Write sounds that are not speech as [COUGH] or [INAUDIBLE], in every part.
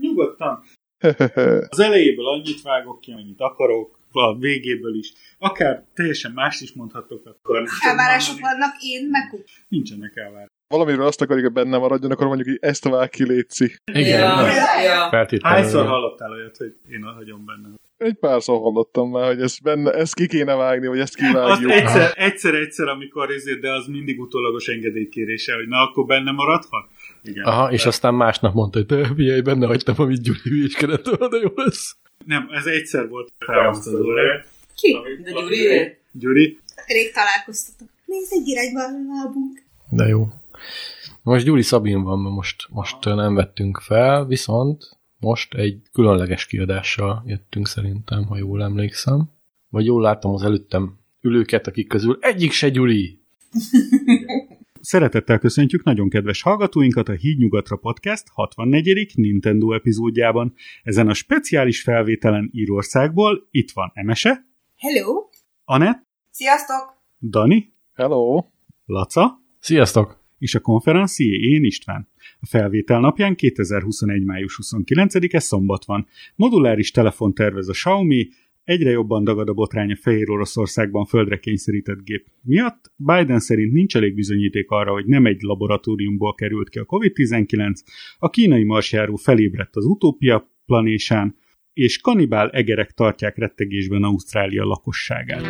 nyugodtan. Az elejéből annyit vágok ki, amennyit akarok, a végéből is. Akár teljesen más is mondhatok, akkor... Elvárások vannak, én meg Nincsenek elvárások. Valamiről azt akarjuk, hogy benne maradjon, akkor mondjuk, hogy ezt vág ki, létszi. Igen. Ja. Ja. Feltétlenül. Hányszor hallottál olyat, hogy én hagyom benne? Egy pár szó hallottam már, hogy ezt, benne, ezt ki kéne vágni, vagy ezt Azt kivágjuk. egyszer, egyszer, egyszer, amikor ezért, de az mindig utólagos engedélykérése, hogy na, akkor benne maradhat? Igen. Aha, és aztán másnap mondta, hogy de figyelj, benne hagytam, amit Gyuri hülyéskedett, [LAUGHS] de jó lesz. Nem, ez egyszer volt felhasználó. Ki? De Gyuri? Gyuri, Rég találkoztatok. Nézd, egy irányban van a lábunk. De jó. Most Gyuri Szabin van, mert most, most nem vettünk fel, viszont most egy különleges kiadással jöttünk szerintem, ha jól emlékszem. Vagy jól látom az előttem ülőket, akik közül egyik se Gyuri. Szeretettel köszöntjük nagyon kedves hallgatóinkat a Híd Nyugatra Podcast 64. Nintendo epizódjában. Ezen a speciális felvételen Írországból itt van Emese, Hello! Anett, Sziasztok! Dani, Hello! Laca Sziasztok! és a konferencié én István. A felvétel napján 2021. május 29-e szombat van. Moduláris telefon tervez a Xiaomi, egyre jobban dagad a botrány a Fehér Oroszországban földre kényszerített gép miatt. Biden szerint nincs elég bizonyíték arra, hogy nem egy laboratóriumból került ki a COVID-19, a kínai marsjáró felébredt az utópia planésán, és kanibál egerek tartják rettegésben Ausztrália lakosságát.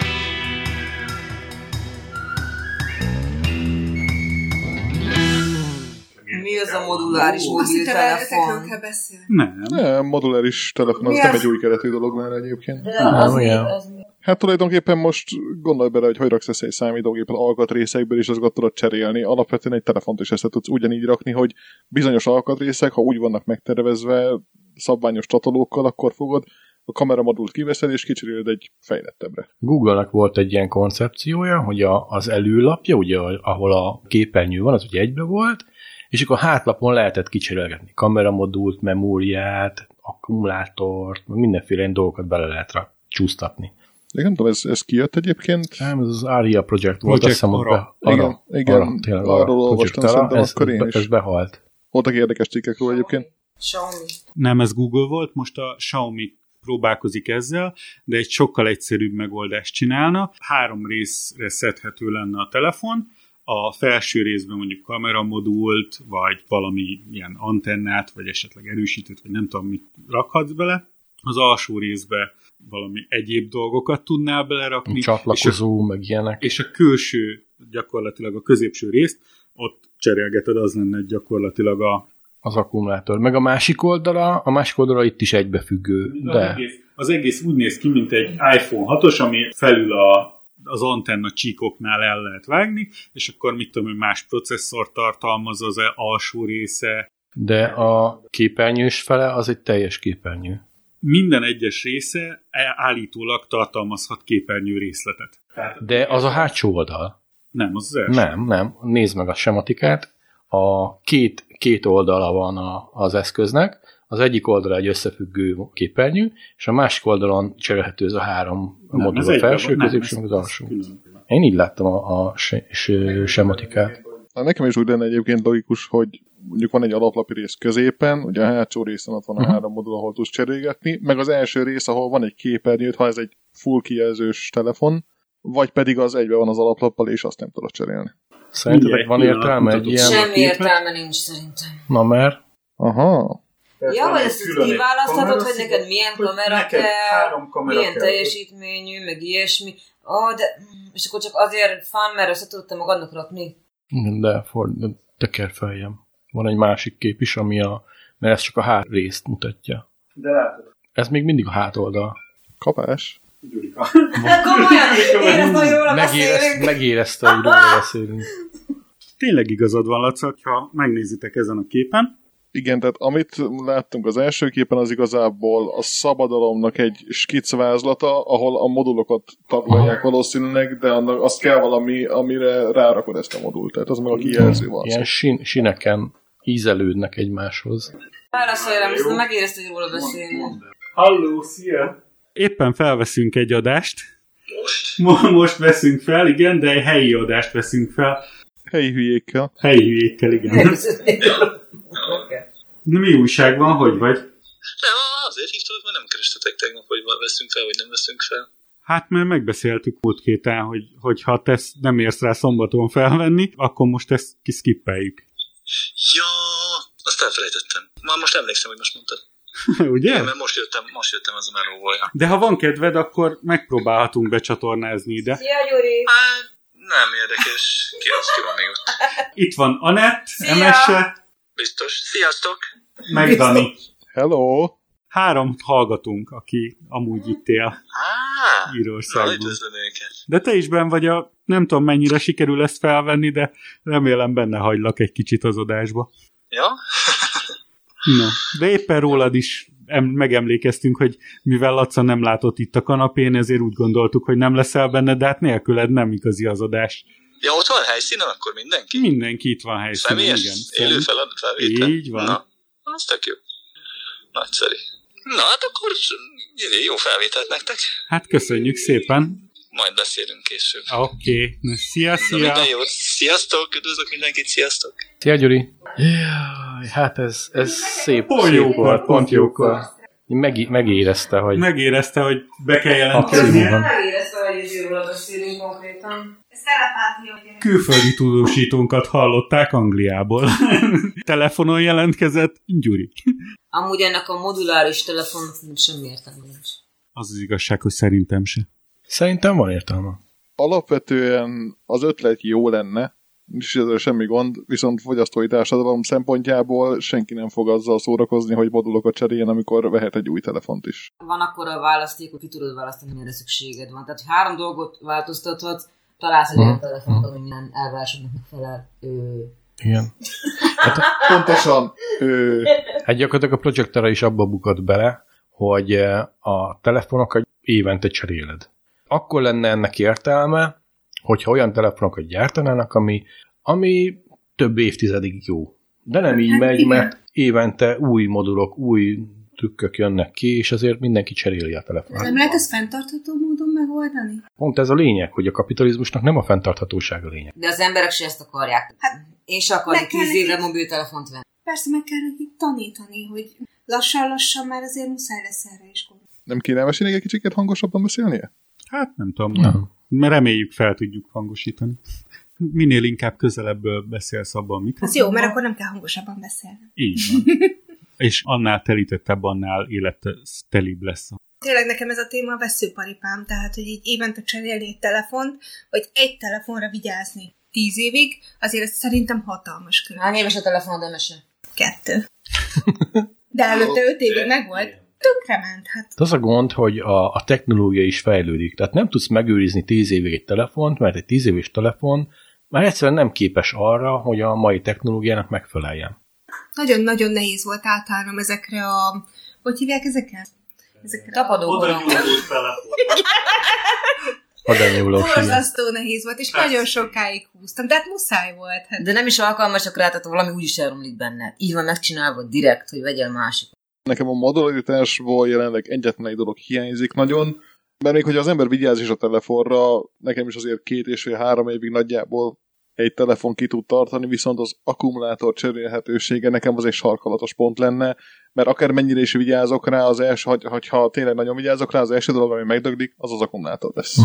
Mi az a moduláris Azt hittem, el- mobiltelefon? ezekről kell beszélni. Nem. Nem, moduláris telefon, az Mi nem az? egy új keletű dolog már egyébként. Nem, Nem, mi- igen. mi? Hát tulajdonképpen most gondolj bele, hogy hogy raksz össze egy számítógépet alkatrészekből, és azokat tudod cserélni. Alapvetően egy telefont is ezt tudsz ugyanígy rakni, hogy bizonyos alkatrészek, ha úgy vannak megtervezve szabványos csatolókkal, akkor fogod a kameramodult kiveszed, és kicseréled egy fejlettebbre. Google-nak volt egy ilyen koncepciója, hogy a, az előlapja, ugye, ahol a képernyő van, az ugye egybe volt, és akkor hátlapon lehetett kicserélgetni kameramodult, memóriát, akkumulátort, meg mindenféle ilyen dolgokat bele lehet rak, csúsztatni. De nem tudom, ez, ez kijött egyébként? Nem, ez az ARIA projekt volt, Project azt hiszem, hogy Ara. be- Ara. Igen, igen, Ara, tényleg arról Ara. Project olvastam Ara, szerintem ez, akkor én be- is. Ez behalt. Voltak érdekes cikkek róla egyébként. Xiaomi. Nem ez Google volt, most a Xiaomi próbálkozik ezzel, de egy sokkal egyszerűbb megoldást csinálna. Három részre szedhető lenne a telefon, a felső részben mondjuk kameramodult, vagy valami ilyen antennát, vagy esetleg erősítőt, vagy nem tudom mit rakhatsz bele. Az alsó részbe valami egyéb dolgokat tudnál belerakni. és a, Csatlakozó, meg ilyenek. és a külső, gyakorlatilag a középső részt, ott cserélgeted, az lenne gyakorlatilag a, Az akkumulátor. Meg a másik oldala, a másik oldala itt is egybefüggő. Az, De egész, az egész úgy néz ki, mint egy iPhone 6-os, ami felül a, az antenna csíkoknál el lehet vágni, és akkor mit tudom, hogy más processzor tartalmaz az e- alsó része. de a képernyős fele az egy teljes képernyő. Minden egyes része e- állítólag tartalmazhat képernyő részletet. De az a hátsó oldal. Nem, az az első. Nem, nem. Nézd meg a sematikát. A két, két oldala van a, az eszköznek. Az egyik oldala egy összefüggő képernyő, és a másik oldalon cserélhető ez a három Nem, modul, ez a egyben felső, van. Nem, középső, ez- meg az alsó. ez külön. Én így láttam a, a se, se, sematikát. Na, Hát nekem is úgy lenne egyébként logikus, hogy mondjuk van egy alaplapi rész középen, ugye a hátsó részen ott van a Mhm. három modul, ahol tudsz cserélgetni, meg az első rész, ahol van egy képernyőt, ha ez egy full kijelzős telefon, vagy pedig az egybe van az alaplappal, és azt nem tudod cserélni. Szerintetek Mindjárt van pillanat értelme egy mutatok. ilyen Semmi képnek? értelme nincs szerintem. Na már. Aha. Ja, vagy ezt így kiválaszthatod, hogy neked milyen kamera kell, milyen teljesítményű, meg ilyesmi. Ah, de... mm, És akkor csak azért fán, mert össze tudtam magadnak rakni. Igen, De for, de teker feljem. Van egy másik kép is, ami a, mert ez csak a hát részt mutatja. De látod, Ez még mindig a hát hátoldal. Kapás. Gyurika. Komolyan, érezd, hogy róla Megérezte, beszélünk. megérezte, hogy róla beszélünk. Tényleg igazad van, Laca, ha megnézitek ezen a képen. Igen, tehát amit láttunk az első képen, az igazából a szabadalomnak egy skicvázlata, ahol a modulokat tagolják valószínűleg, de annak azt kell valami, amire rárakod ezt a modult. Tehát az meg a kijelző van. Ilyen sin- sineken ízelődnek egymáshoz. Válaszolj rám, viszont megérezte, hogy róla beszélünk. [LAUGHS] Halló, szia! Éppen felveszünk egy adást. Most? Most veszünk fel, igen, de egy helyi adást veszünk fel. Helyi hülyékkel. Helyi hülyékkel, igen. Oké. Na, mi újság van, hogy vagy? Nem, azért hívtalak, mert nem kerestetek tegnap, hogy veszünk fel, vagy nem veszünk fel. Hát mert megbeszéltük múlt kéten, hogy, hogy ha te ezt nem érsz rá szombaton felvenni, akkor most ezt kiszkippeljük. [LAUGHS] Ja, azt elfelejtettem. Már most emlékszem, hogy most mondtad. Ugye? Igen, mert most jöttem, most jöttem az a melóvolja. De ha van kedved, akkor megpróbálhatunk becsatornázni ide. Szia, Gyuri! Hát, nem érdekes. Ki az, ki van még ott? Itt van Anett, Szia! Emese, Biztos. Sziasztok! meg Dani. Hello! Három hallgatunk, aki amúgy itt él Á, na, Írországban. üdvözlöm őket. De te is benn vagy a... Nem tudom, mennyire sikerül ezt felvenni, de remélem benne hagylak egy kicsit az adásba. Ja? Na, de éppen rólad is em- megemlékeztünk, hogy mivel Laca nem látott itt a kanapén, ezért úgy gondoltuk, hogy nem leszel benne, de hát nélküled nem igazi az adás. Ja, ott van helyszínen akkor mindenki? Mindenki itt van helyszínen, Személyes? igen. Élő Szem- feladat felvétel? Így van. Na, az tök jó. Nagyszerű. Na, hát akkor jó felvételt nektek. Hát köszönjük szépen. Majd beszélünk később. Oké, okay. na szia, Na, szia. minden jót. Sziasztok, üdvözlök mindenkit, sziasztok. Szia, Gyuri! Jaj, hát ez, ez szép, Pont szép jókor, volt, pont pont jókor. jókor. Meg, megérezte, hogy Megérezte, hogy be kell Abszolút. jelentkeznie. van. Megéreztem, hogy ez jólatos szírű konkrétan. Ez telepátia, ugye? Külföldi tudósítónkat hallották Angliából. [LAUGHS] Telefonon jelentkezett Gyuri. Amúgy ennek a moduláris telefonnak semmi értelme nincs. Az az igazság, hogy szerintem se. szerintem van értelme. Alapvetően az ötlet jó lenne, és ezzel semmi gond, viszont fogyasztói társadalom szempontjából senki nem fog azzal szórakozni, hogy modulokat cseréljen, amikor vehet egy új telefont is. Van akkor a választék, hogy ki tudod választani, mire szükséged van. Tehát hogy három dolgot változtathatsz, találsz egy olyan Mhm. telefont, ami minden elvárásodnak megfelel. Ő... Igen. Pontosan. Ő, Hát gyakorlatilag a projektorra is abba bukott bele, hogy eh, a telefonokat évente cseréled. Akkor lenne ennek értelme, hogyha olyan telefonokat gyártanának, ami, ami több évtizedig jó. De nem így megy, mert évente új modulok, új trükkök jönnek ki, és azért mindenki cseréli a telefonot. Nem lehet ezt fenntartható módon megoldani? Pont ez a lényeg, hogy a kapitalizmusnak nem a fenntarthatóság a lényeg. De az emberek se ezt akarják. Hát, Én se akarok meg tíz kell évre neki- mobiltelefont venni. Persze meg kell nekik tanítani, hogy lassan-lassan már azért muszáj lesz erre is gondolni. nem kényelmes egy kicsit hangosabban beszélnie? Hát nem tudom. Nem. Mert reméljük fel tudjuk hangosítani. Minél inkább közelebből beszélsz abban a mikrofonba. Az jó, mert akkor nem kell hangosabban beszélni. Így [LAUGHS] van. És annál telítettebb, annál élettelibb lesz. Tényleg nekem ez a téma a veszőparipám, tehát hogy így évente cserélni egy telefont, vagy egy telefonra vigyázni tíz évig, azért ez szerintem hatalmas különbség. Hány éves a telefonod, Emese? Kettő. De előtte öt évig De- megvolt. Tönkrement, hát. De az a gond, hogy a, a technológia is fejlődik. Tehát nem tudsz megőrizni 10 évig egy telefont, mert egy 10 éves telefon már egyszerűen nem képes arra, hogy a mai technológiának megfeleljen. Nagyon-nagyon nehéz volt átállnom ezekre a... Hogy hívják ezeket? Ezekre Tapadó korong. Hadányúlós. Borzasztó nehéz volt, és nagyon sokáig húztam, de hát muszáj volt. Hát. De nem is alkalmasak rá, tehát valami úgyis elromlik benne. Így van megcsinálva direkt, hogy vegyél másik. Nekem a modularitásból jelenleg egyetlen egy dolog hiányzik nagyon, mert még hogyha az ember vigyáz is a telefonra, nekem is azért két és fél három évig nagyjából egy telefon ki tud tartani, viszont az akkumulátor cserélhetősége nekem az egy sarkalatos pont lenne, mert akármennyire is vigyázok rá, az első, ha, ha tényleg nagyon vigyázok rá, az első dolog, ami megdöglik, az az akkumulátor lesz.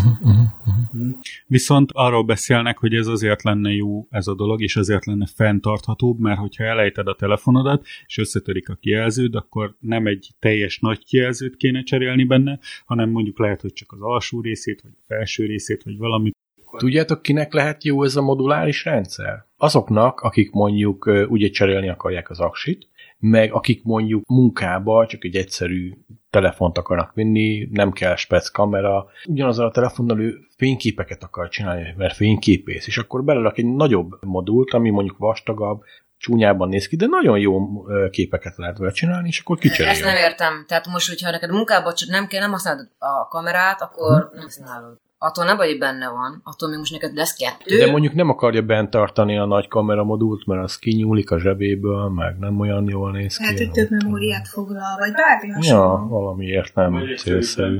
Viszont arról beszélnek, hogy ez azért lenne jó ez a dolog, és azért lenne fenntarthatóbb, mert hogyha elejted a telefonodat, és összetörik a kijelződ, akkor nem egy teljes nagy kijelzőt kéne cserélni benne, hanem mondjuk lehet, hogy csak az alsó részét, vagy a felső részét, vagy valamit. Tudjátok, kinek lehet jó ez a moduláris rendszer? Azoknak, akik mondjuk ö, ugye cserélni akarják az aksit, meg akik mondjuk munkába csak egy egyszerű telefont akarnak vinni, nem kell spec kamera, ugyanazzal a telefonnal ő fényképeket akar csinálni, mert fényképész, és akkor belerak egy nagyobb modult, ami mondjuk vastagabb, csúnyában néz ki, de nagyon jó ö, képeket lehet vele csinálni, és akkor Ezt nem kicserélni. értem. Tehát most, hogyha neked munkában csak nem kell, nem használod a kamerát, akkor nem használod. Attól nem vagy, hogy benne van. Attól még most neked lesz kettő. De mondjuk nem akarja bent tartani a nagy kameramodult, mert az kinyúlik a zsebéből, meg nem olyan jól néz ki. Lehet, hogy Hát, nem több tudom. memóriát foglal, vagy bármi Ja, hasonló. valami értelmi célszerű.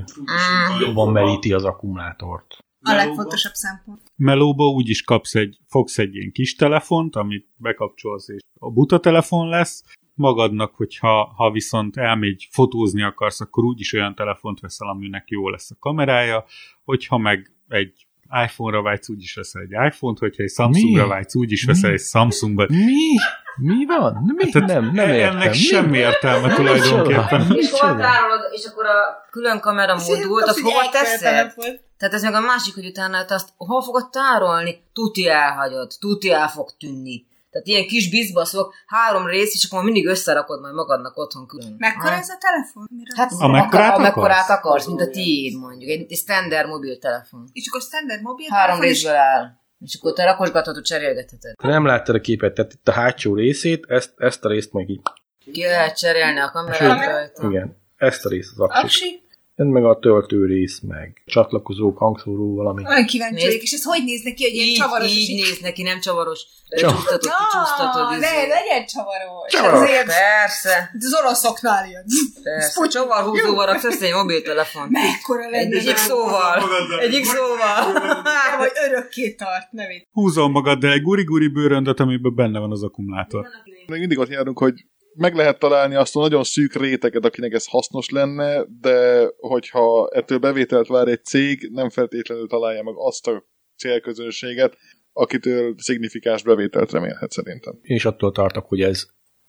Jobban meríti az akkumulátort. Mm. A legfontosabb szempont. Melóba úgy is kapsz egy, fogsz egy ilyen kis telefont, amit bekapcsolsz, és a buta telefon lesz, magadnak, hogyha ha viszont elmégy fotózni akarsz, akkor úgyis olyan telefont veszel, aminek jó lesz a kamerája, hogyha meg egy iPhone-ra vágysz, úgyis veszel egy iPhone-t, hogyha egy Samsungra Mi? vágysz, úgyis Mi? veszel egy Samsungot. Mi? Mi van? Mi? Tehát nem, nem értem. e- Ennek Mi? semmi értelme Micsoda? tulajdonképpen. És hova Micsoda? tárolod, és akkor a külön kamera módult, azt hova teszed? hát Tehát ez meg a másik, hogy utána te azt hol fogod tárolni? Tuti elhagyod, tuti el fog tűnni. Tehát ilyen kis bizbaszok, három rész, és akkor mindig összerakod majd magadnak otthon külön. Mekkora Hát, ez a telefon? Miről Hát, beszélsz? Amekkorát akar- amekkorát akarsz? akarsz, mint a tiéd mondjuk. Egy, egy standard mobiltelefon. És akkor standard mobil Három telefon, és részből áll. És akkor te rakosgathatod, cserélgetheted. Te nem láttad a képet, tehát itt a hátsó részét, ezt, ezt a részt meg így. Ki lehet cserélni a kamerát Sőt, rajta. Igen, ezt a részt az aksit. aksi. Ez meg a töltő rész, meg csatlakozók, hangszóró, valami. Olyan kíváncsi Nézd. vagyok, és ez hogy néz neki, hogy ilyen Így, csavaros? és így néz neki, nem csavaros. Csavar. Lecsúsztatod, Ah, kicsúsztatod. ne, izé. legyen csavaros. Csavaros. Azért Persze, az oroszoknál jön. persze. Csavarhúzóval raksz össze egy mobiltelefon. Mekkora Egy, lenne egyik már? szóval. Egyik szóval. Nem, hogy örökké tart, nevét. Húzom magad, de egy guri-guri bőröndöt, amiben benne van az akkumulátor. Még mindig ott járunk, hogy meg lehet találni azt a nagyon szűk réteget, akinek ez hasznos lenne, de hogyha ettől bevételt vár egy cég, nem feltétlenül találja meg azt a célközönséget, akitől szignifikáns bevételt remélhet szerintem. Én is attól tartok, hogy ez,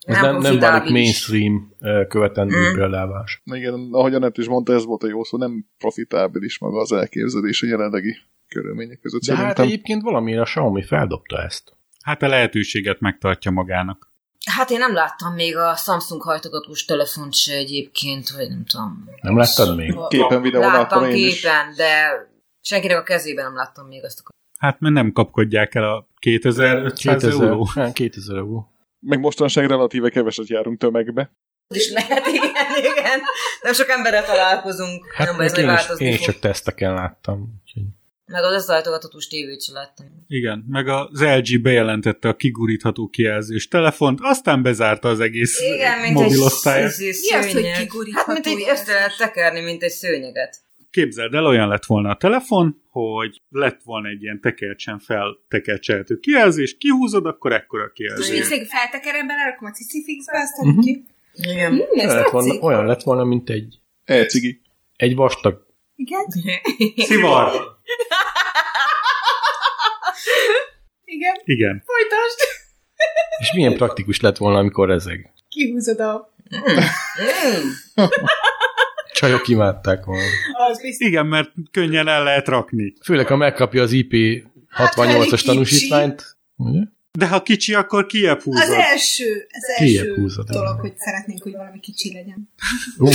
ez Nem nem, nem profitális. válik mainstream ö, követendő Mm. példávás. Igen, ahogy Anett is mondta, ez volt a jó szó, nem profitábilis maga az elképzelés a jelenlegi körülmények között De hát szerintem. egyébként valamiért a Xiaomi feldobta ezt. Hát a lehetőséget megtartja magának. [LAUGHS] Hát én nem láttam még a Samsung hajtogatós telefont se egyébként, vagy nem tudom. Nem láttad még? Képen, videón láttam Láttam én is. képen, de senkinek a kezében nem láttam még azt a Hát mert nem kapkodják el a 2500 euró. Hát, 2000 euró. Meg mostanság relatíve keveset járunk tömegbe. is lehet, Hát igen, igen. Nem sok emberrel találkozunk. Hát nem, ez én, majd is, változni én is fog. csak teszteken láttam. úgyhogy- Meg az összehajtogatós tévét se láttam. Igen, meg az LG bejelentette a kigurítható kijelzős telefont, aztán bezárta az egész Igen, mint mobilosztályát. egy szí- szí- Mi az, hogy szőnyeg. Hát, kigurítható mint egy jelzős? össze lehet tekerni, mint egy szőnyeget. Képzeld el, olyan lett volna a telefon, hogy lett volna egy ilyen tekercsen fel tekercselhető kijelzés, kihúzod, akkor ekkora a És kijelző. nézzék, feltekerem bele, rakom a cicifixbe, aztán Mhm. ki. Igen. Hm, ez Olyan lett, volna, tetszik. olyan lett volna, mint egy, E, cigi. egy vastag Igen, Szivar! igen, Igen. folytasd. És milyen praktikus lett volna, amikor ezek Kihúzod a... Mm. csajok imádták volna. Az biztos. Igen, mert könnyen el lehet rakni. Főleg, ha megkapja az Hát, elég IP68-as kicsi. tanúsítványt, ugye? De ha kicsi, akkor kiebb húzod. Az első, az Kiebb első húzod, dolog, igen. hogy szeretnénk, hogy valami kicsi legyen. Ú,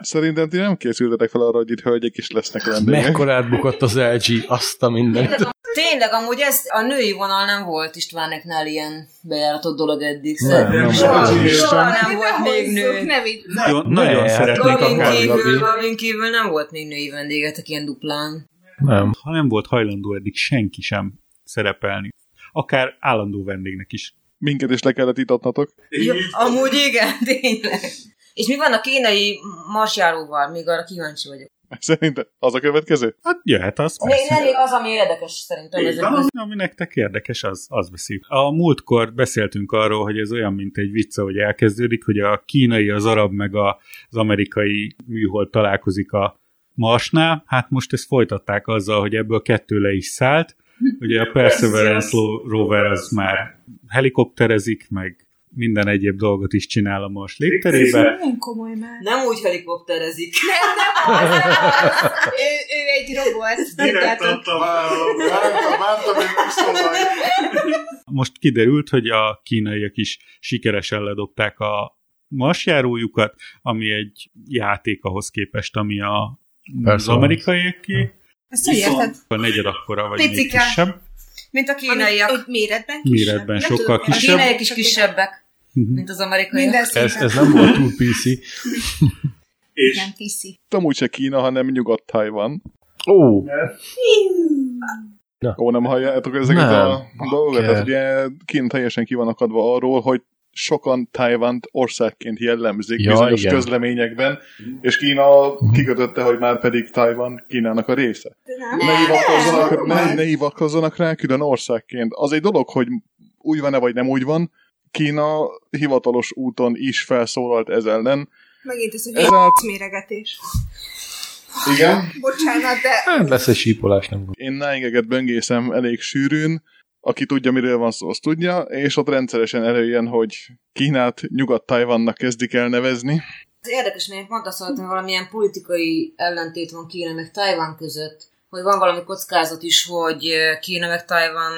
Szerintem ti nem készültetek fel arra, hogy itt hölgyek is lesznek vendégek. mekkorát bukott az LG, azt a mindent. Tényleg, amúgy ez a női vonal nem volt Istváneknál ilyen bejáratott dolog eddig. Nem, szerintem. nem soha, volt. soha, Ne nem volt még hozzuk, nő. Ne vicc. Nagyon, Ne, nagyon hát szeretnék Gavin akár. Gabi. kívül, Gavin kívül nem volt még női vendégetek ilyen duplán. Nem. Ha nem volt hajlandó eddig senki sem szerepelni. Akár állandó vendégnek is. Minket is le kellett itatnatok. [LAUGHS] Ja, amúgy igen, [LAUGHS] tényleg. És mi van a kínai marsjáróval? Még arra kíváncsi vagyok. Szerintem az a következő? Hát jöhet az. Még elég az, ami érdekes szerintem. Így ezekben. van, Ami nektek érdekes, az, az beszél. A múltkor beszéltünk arról, hogy ez olyan, mint egy vicca, hogy elkezdődik, hogy a kínai, az arab, meg a- az amerikai műhold találkozik a Marsnál. Hát most ezt folytatták azzal, hogy ebből kettő le is szállt. Ugye a Perseverance lo- rover az már helikopterezik, meg minden egyéb dolgot is csinál a Mars légterében. Nagyon komoly már. Nem úgy helikopterezik. Ő, ő egy robot. tudjátok. Vártam, vártam, hogy Szóval- Most kiderült, hogy a kínaiak is sikeresen ledobták a marsjárójukat, ami egy játék ahhoz képest, ami a, az Persze. amerikaiaké. Ezt hogy érted? A negyed akkora, vagy még Picike. kisebb. Mint a Ami- kínaiak. hogy méretben kisebb. Méretben Nem sokkal tudom, A kisebb. kínaiak is kisebbek, Mhm. mint az amerikaiak. Minden Ez, szinten. ez nem volt túl PC. Nem tiszi. Nem úgyse Kína, hanem Nyugat-Tajvan. Ó, Ó, nem halljátok ezeket Nem. a dolgokat? Bakker. Hát ugye Kína teljesen ki van akadva arról, hogy sokan Tájvánt országként jellemzik Ja, ja, bizonyos igen. Mhm. igen. közleményekben, és Kína kikötötte, hogy már pedig Tájvan Kínának a része. Ne hivatkozzanak, ne, ne hivatkozzanak rá külön országként. Az egy dolog, hogy úgy van-e vagy nem úgy van, Kína hivatalos úton is felszólalt ez ellen. Megint ez a Ez hülye a- méregetés. Igen. Bocsánat, de Hát lesz egy sípolás, nem gond. Én náingeget böngészem elég sűrűn, aki tudja, miről van szó, azt tudja, és ott rendszeresen előjön, hogy Kínát Nyugat-Tajvannak kezdik el nevezni. Ez érdekes, mert én pont azt hallottam, hogy valamilyen politikai ellentét van Kína meg Tajvan között, hogy van valami kockázat is, hogy eh, Kína meg Tajvan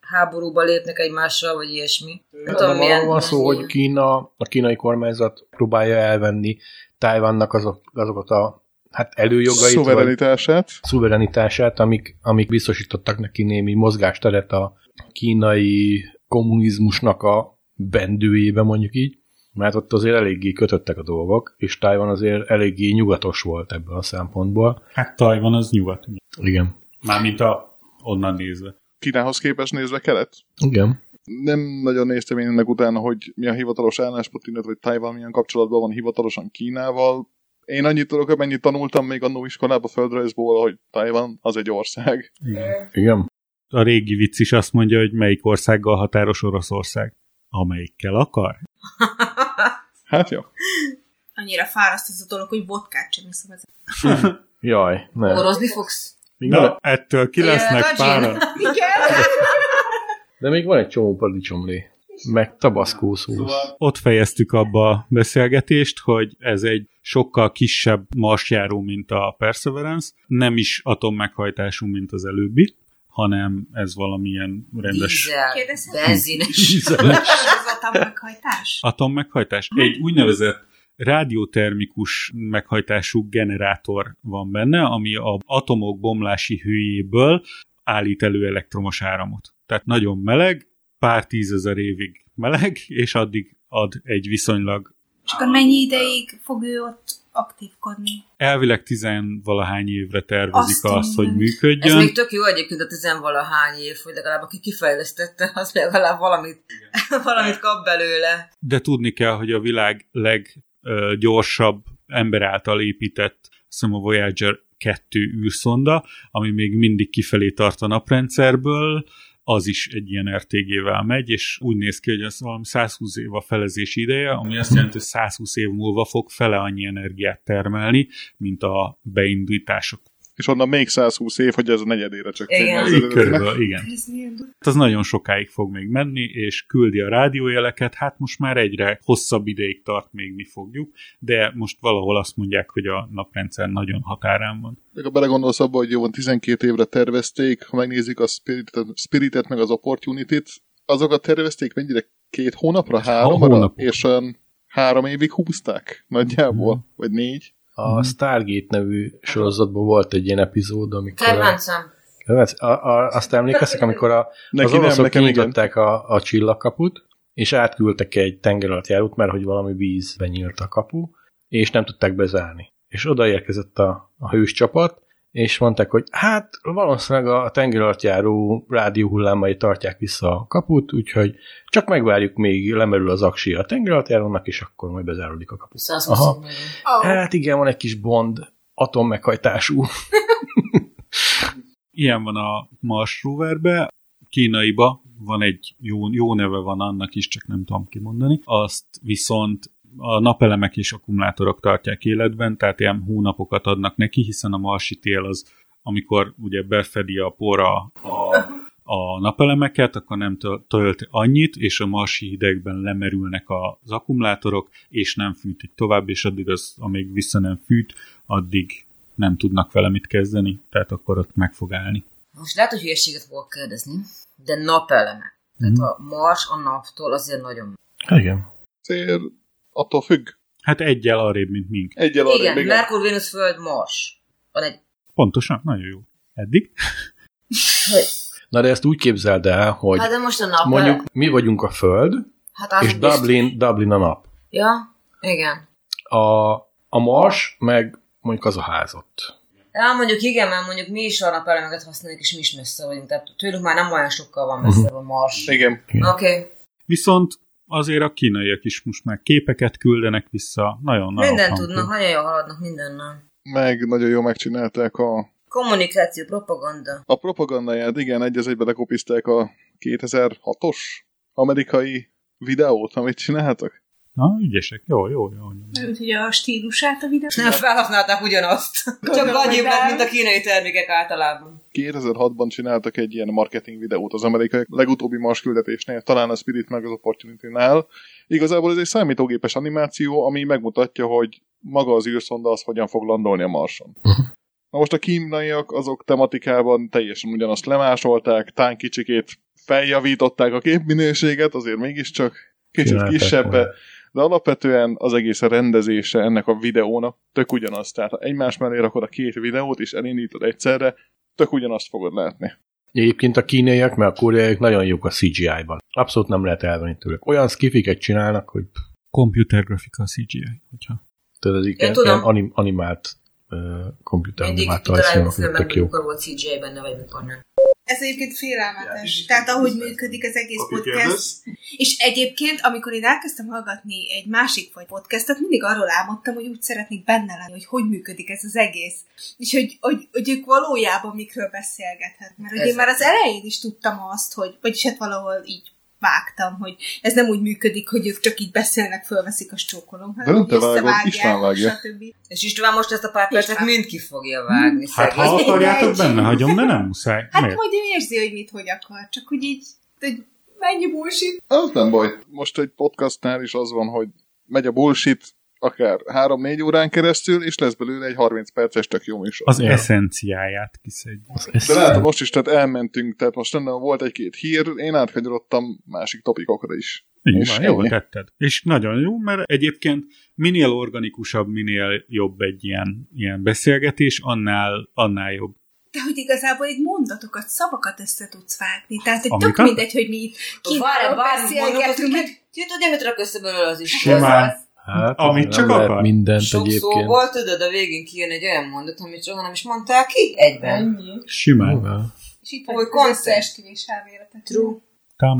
háborúba lépnek egymással, vagy ilyesmi. Nem tudom, Nem arról milyen- van szó, hogy milyen- Kína, a kínai kormányzat próbálja elvenni Tájvannak azok, azokat a hát előjogait, vagy Szuverenitását. szuverenitását, amik, amik biztosítottak neki némi mozgásteret a kínai kommunizmusnak a bendőjébe, mondjuk így, mert ott azért eléggé kötöttek a dolgok, és Tájvan azért eléggé nyugatos volt ebből a szempontból. Hát Tajvan az nyugat. Igen. Mármint a onnan nézve. Kínához képest nézve kelet. Igen. Nem nagyon néztem én ennek utána, hogy mi a hivatalos álláspont, illetve hogy Tajvan milyen kapcsolatban van hivatalosan Kínával. Én annyit tudok, amennyit tanultam még annó iskolába földrajzból, hogy Tajvan az egy ország. Igen. A régi vicc is azt mondja, hogy melyik országgal határos Oroszország. Amelyikkel akar. Hát jó. annyira fáraszt ez a dolog, hogy vodkát sem iszom ezzel. Jaj, ne. Orozni fogsz? Igen. Na, ettől ki lesznek Gagyi? páran. Igen? De még van egy csomó paradicsomlé. Meg tabaszkó szósz. Ott fejeztük abba a beszélgetést, hogy ez egy sokkal kisebb marsjáró, mint a Perseverance. Nem is atommeghajtású, mint az előbbi, hanem ez valamilyen rendes Dízel, Kérdezhetem? benzines. Ez volt a meghajtás? atommmeghajtás. Egy úgynevezett rádiótermikus meghajtású generátor van benne, ami a atomok bomlási hőjéből állít elő elektromos áramot. Tehát nagyon meleg, pár tízezer évig meleg, és addig ad egy viszonylag És akkor mennyi ideig fog ő ott aktívkodni? elvileg tizenvalahány évre tervezik azt, Azt a azt hogy mindent. Ez működjön. még tök jó egyébként a tizenvalahány év, hogy legalább aki kifejlesztette, az legalább valamit, [LAUGHS] valamit kap belőle. De tudni kell, hogy a világ leggyorsabb ember által épített, azt hiszem a Voyager 2 űrszonda, ami még mindig kifelé tart a naprendszerből, az is egy ilyen RTG-vel megy, és úgy néz ki, hogy az valami 120 év a felezés ideje, ami azt jelenti, hogy 120 év múlva fog fele annyi energiát termelni, mint a beindítások. És onnan még 120 év, hogy ez a negyedére csak Igen. tényleg az Így eredetinek. körülbelül, igen. Ez milyen Hát az nagyon sokáig fog még menni, és küldi a rádiójeleket, hát most már egyre hosszabb ideig tart még mi fogjuk, de most valahol azt mondják, hogy a naprendszer nagyon határán van. Meg ha belegondolsz abba, hogy jó van 12 évre tervezték, ha megnézik a Spiritet, Spiritet meg az Opportunity-t, azokat tervezték mennyire két hónapra, háromra, hónapok. és olyan három évig húzták nagyjából, Hmm. Mhm. vagy négy. A Stargate nevű sorozatban volt egy ilyen epizód, amikor... a- Kedvencem. Kedvenc? A, a, azt emlékeztek, amikor a, Neki az oroszok nem, nekem igen. kinyitották a, a csillagkaput, és átküldtek egy tenger alatt járót, mert hogy valami vízbe nyílt a kapu, és nem tudták bezárni. És odaérkezett a, a hős csapat, és mondták, hogy hát valószínűleg a tenger alatt járó rádióhullámai tartják vissza a kaput, úgyhogy csak megvárjuk, még lemerül az aksi a tenger alatt járónak, és akkor majd bezáródik a kapu. Aha. Hát igen, van egy kis bond atommeghajtású. Ilyen van a Mars roverbe, kínaiba van egy jó, jó neve van annak is, csak nem tudom kimondani. Azt viszont a napelemek és akkumulátorok tartják életben, tehát ilyen hónapokat adnak neki, hiszen a marsi tél az, amikor ugye befedi a pora a a napelemeket, akkor nem töl- tölt annyit, és a marsi hidegben lemerülnek az akkumulátorok, és nem fűtik tovább, és addig az, amíg vissza nem fűt, addig nem tudnak vele mit kezdeni, tehát akkor ott meg fog állni. Most lehet, hogy hülyeséget fogok kérdezni, de napeleme. Tehát Mhm. a Mars a naptól azért nagyon... Igen. Azért attól függ. Hát egyel arrébb, mint mink. Egyel arra, Igen, Merkur, Venus, Föld, Mars. Van egy... Pontosan, nagyon jó. Eddig? Na de ezt úgy képzeld el, hogy Hát de most a nap... mondjuk mi vagyunk a Föld, hát az és biztos- Dublin, Dublin a nap. Ja, igen. A, a Mars, meg mondjuk az a ház ott. Ja, mondjuk igen, mert mondjuk mi is a napelemeket használjuk, és mi is messze vagyunk. Tehát tőlünk már nem olyan sokkal van messze a Mars. Oké. Igen. Okay. Viszont azért a kínaiak is most már képeket küldenek vissza, nagyon-nagyon Minden hangos. tudnak, nagyon jól haladnak mindennel. Meg nagyon jól megcsinálták a, Kommunikáció, propaganda. a propagandáját, igen, egy az egybe lekopizták a 2006-os amerikai videót, amit csináltak? Na, ügyesek. Jó, jó, jó. Úgyhogy a stílusát a videó. Nem felhasználták ugyanazt. Csak hogy gagyibb lett, nem. mint a kínai termékek általában. 2006-ban csináltak egy ilyen marketing videót az amerikai legutóbbi Mars küldetésnél, talán a Spirit meg az Opportunity-nál. Igazából ez egy számítógépes animáció, ami megmutatja, hogy maga az űrszonda az hogyan fog landolni a Marson. Na most a kínaiak azok tematikában teljesen ugyanazt lemásolták, tán kicsikét feljavították a képminőséget, azért mégiscsak kicsit Csinálták kisebbe, volna. de alapvetően az egész rendezése ennek a videónak tök ugyanaz. Tehát ha egymás mellé rakod a két videót és elindítod egyszerre, tök ugyanazt fogod látni. Egyébként a kínaiak, meg a koreaiak nagyon jók a CGI-ban. Abszolút nem lehet elvenni tőlük. Olyan skifiket csinálnak, hogy Computer grafika CGI, hogyha. tudod, az ilyen, tudom. ilyen anim, animált uh, komputer Mindig animált kitaláljuk rajzfilmek, filmet, tök hogy jó. mikor volt CGI benne, vagy mikor nem. Ez egyébként félelmetes. Tehát ahogy működik az egész Aki podcast. kérdez? És egyébként, amikor én elkezdtem hallgatni egy másik faj podcastot, mindig arról álmodtam, hogy úgy szeretnék benne lenni, hogy hogy működik ez az egész. És hogy, hogy, hogy ők valójában mikről beszélgethetnek. Mert hogy én Ez- már az elején is tudtam azt, hogy, vagyis hát valahol így vágtam, hogy ez nem úgy működik, hogy ők csak így beszélnek, fölveszik a csókolom, De nem te vágod, István vágja. stb. És István most ezt a pár percet István. mind ki fogja vágni, Hát ha szegény. mindegy. akarjátok, benne hagyom, de nem muszáj. Hát Miért? hogy ő érzi, hogy mit hogy akar, csak hogy így, hogy mennyi bullshit. Az nem baj. Most egy podcastnál is az van, hogy megy a bullshit akár 3-4 órán keresztül, és lesz belőle egy 30 perces tök jó műsor. Az Ja. eszenciáját kiszedjük. De látod, most is, tehát elmentünk, tehát most nem volt egy-két hír, én átkanyarodtam másik topikokra is. Így És van, jól ennyi. tetted. És nagyon jó, mert egyébként minél organikusabb, minél jobb egy ilyen, ilyen beszélgetés, annál, annál jobb. De hogy igazából egy mondatokat, szavakat össze tudsz vágni. Tehát hogy tök Amiket? mindegy, hogy mi itt Várj, kívánok bármit mondok, beszélgetünk. hogy tudod, nem jut rak össze belőle az is. Simán. Az- Hát, Amit nem csak lehet akar. Mindent Sok egyébként. szóból, tudod, a végén kijön egy olyan mondat, amit soha nem is mondtál ki egyben. Ennyi. Simán. Jóvel. És itt Hogy vagyunk az koncept. összeesküvés elméletek. True.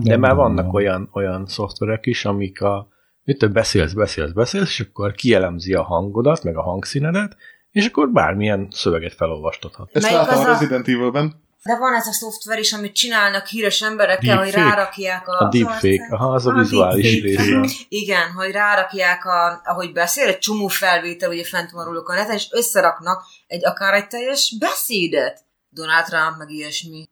De már vannak olyan, olyan szoftverek is, amik a mit te beszélsz, beszélsz, beszélsz, és akkor kielemzi a hangodat, meg a hangszínedet, és akkor bármilyen szöveget felolvastathat. Ezt Melyik láttam az a a- Resident Evil-ben. De van ez a szoftver is, amit csinálnak híres emberekkel, hogy Deepfake. rárakják a... A deepfake, aha, az a A vizuális deepfake, része. aha. Igen, hogy rárakják, a, ahogy beszél, egy csomó felvétel, ugye fent van róluk a neten, és összeraknak egy akár egy teljes beszédet. Donald Trump, meg ilyesmi.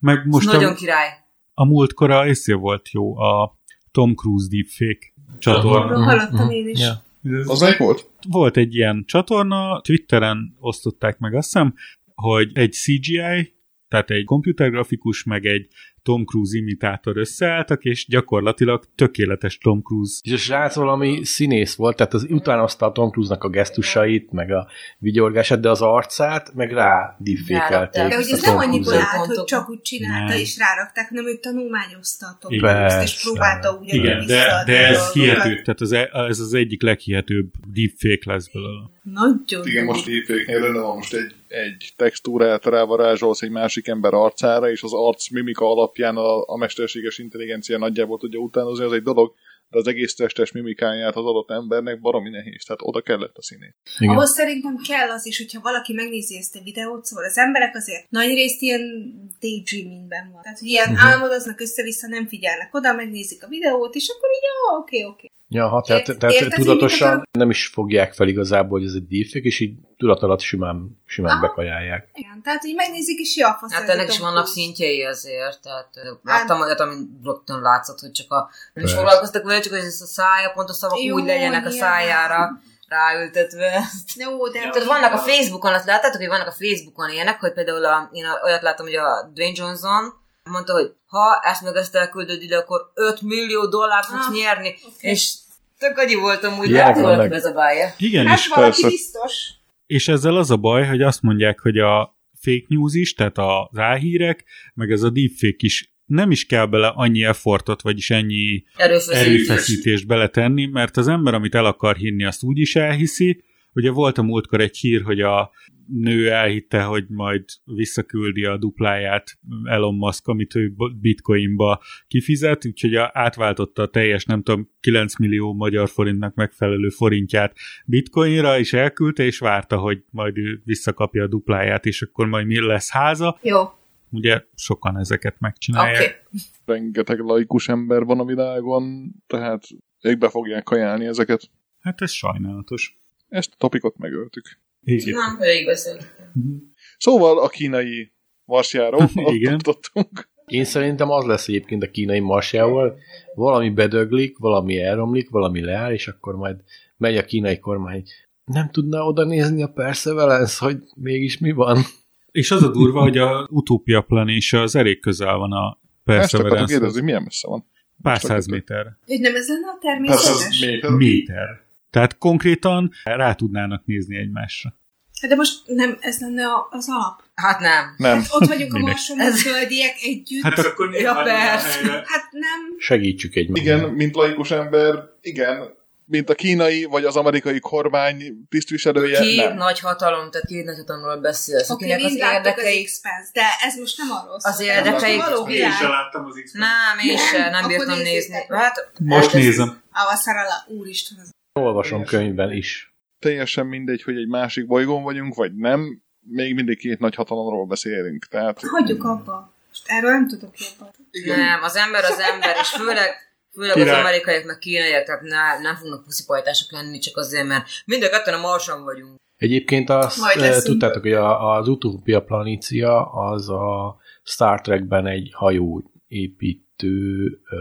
Meg Most most nagyon a, király. a múltkor a észé volt jó, a Tom Cruise deepfake csatorna. Arról Mhm, hallottam mhm. én is. Ja. Ez- Az melyik volt? Volt egy ilyen csatorna, Twitteren osztották meg azt hiszem, hogy egy CGI, tehát egy komputergrafikus, meg egy Tom Cruise imitátor összeálltak, és gyakorlatilag tökéletes Tom Cruise És a srác valami színész volt, tehát az, utána hozta a Tom Cruise-nak a gesztusait, meg a vigyorgását, de az arcát, meg rá deepfake-elték. De Ezt hogy ez a nem Tom annyiból Cruise-et. állt, hogy Pontok. csak úgy csinálta Nem. és rárakták, hanem ő tanulmányozta a Tom Igen. Cruise-t, és Persze. próbálta ugyanúgy Igen, de, visszaadni de ez dolgokat. hihető, tehát az, e- ez az egyik leghihetőbb deepfake lesz belőle. Nagyon Igen, most deepfake-nél lenne van most egy, egy textúrát rávarázsolsz egy másik ember arcára, és az arc mimika alapján a, a mesterséges intelligencia nagyjából tudja utánozni, az egy dolog, de az egész testes mimikáját az adott embernek baromi nehéz, tehát oda kellett a színét. Igen. Ahhoz szerintem kell az is, hogyha valaki megnézi ezt a videót, szóval az emberek azért nagy részt ilyen daydreamingben van. Tehát, hogy ilyen uh-huh. álmodoznak össze-vissza, nem figyelnek oda, megnézik a videót, és akkor így, "Ah, oké, oké. Ja, ha, tehát, Ért- tehát érted, hogy tudatosan mit nem is fogják fel igazából, hogy ez egy deepfake, és így tudat alatt simán, simán Aha. bekajálják. Igen, tehát így megnézik, és ja, fasz. Hát ez ennek a is Tom vannak Cruise. szintjei azért, tehát ö, láttam olyat, amin rögtön látszott, hogy csak a, nem is foglalkoztak vele, csak hogy ez a szája, pont a szavak Jó, úgy legyenek a nyilván. szájára ráültetve. Jó, de... Tehát vannak a Facebookon, azt láttátok, hogy vannak a Facebookon ilyenek, hogy például a, én olyat láttam, hogy a Dwayne Johnson mondta, hogy ha ezt meg ezt elküldöd ide, akkor 5 millió dollárt fogsz Ah, nyerni, és tök agyi voltam úgy, Ilyenek hogy volt vannak. ez a bája. Igen, Hát és, valaki persze. biztos. és ezzel az a baj, hogy azt mondják, hogy a fake news is, tehát az álhírek, meg ez a deepfake is nem is kell bele annyi effortot, vagyis ennyi Erőfeszítés. erőfeszítést beletenni, mert az ember, amit el akar hinni, azt úgy is elhiszi. Ugye volt a múltkor egy hír, hogy a nő elhitte, hogy majd visszaküldi a dupláját Elon Musk, amit ő bitcoinba kifizet, úgyhogy a- átváltotta a teljes, nem tudom, 9 millió magyar forintnak megfelelő forintját bitcoinra, és elküldte, és várta, hogy majd ő visszakapja a dupláját, és akkor majd mi lesz háza, Jó. Ugye sokan ezeket megcsinálják. Oké. Rengeteg laikus ember van a világon, tehát ők be fogják kajálni ezeket. Hát ez sajnálatos. Ezt a topikot megöltük. Igen. Nem, elég beszélünk. Szóval a kínai marsjáró, Igen. ott tartottunk. Én szerintem az lesz egyébként a kínai marsjával, valami bedöglik, valami elromlik, valami leáll, és akkor majd megy a kínai kormány, hogy nem tudná oda nézni a Perseverance, hogy mégis mi van. És az a durva, hogy a Utopia Plan is az elég közel van a Ezt akartam Perseverance. kérdezni, hogy milyen messze van. Pár száz méter. Hogy nem Hát, ez lenne a Hát természetes? Méter. Tehát konkrétan rá tudnának nézni egymásra. Hát de most nem ez lenne a- az alap. Hát nem. Nem. Hát ott vagyunk a Minek? marson, a földiek együtt. Hát Hát, a- akkor Ja, nyilván nem persze. helyre. hát nem. Segítsük egymást. Igen, mint laikus ember, igen. Mint a kínai vagy az amerikai kormány tisztviselője, Két nem. nagy hatalom, tehát két nagy hatalomról beszélsz, Oké, akinek okay, az mind láttuk az érdekeik... x de ez most nem arról szól. Az Ez most a érdekeik- való Én világ. sem láttam az x Nem, én sem, nem Akkor bírtam nézzétek nézni. meg. Hát, Most hát ez- nézem. Avaszarala, úristen, az Olvasom könyvben is. Teljesen mindegy, hogy egy másik bolygón vagyunk, vagy nem, még mindig két nagy hatalomról beszélünk. Tehát Hagyjuk abba. Most erről nem tudok jobban. Nem, az ember az ember, és főleg, főleg az Király. amerikaiak meg kínaiak, tehát ne, nem fognak puszipajtások lenni, csak azért, mert mind a ketten a marson vagyunk. Egyébként azt Majd eh, leszünk. tudtátok, hogy a, az Utopia Planitia az a Star Trekben egy hajó építő ö,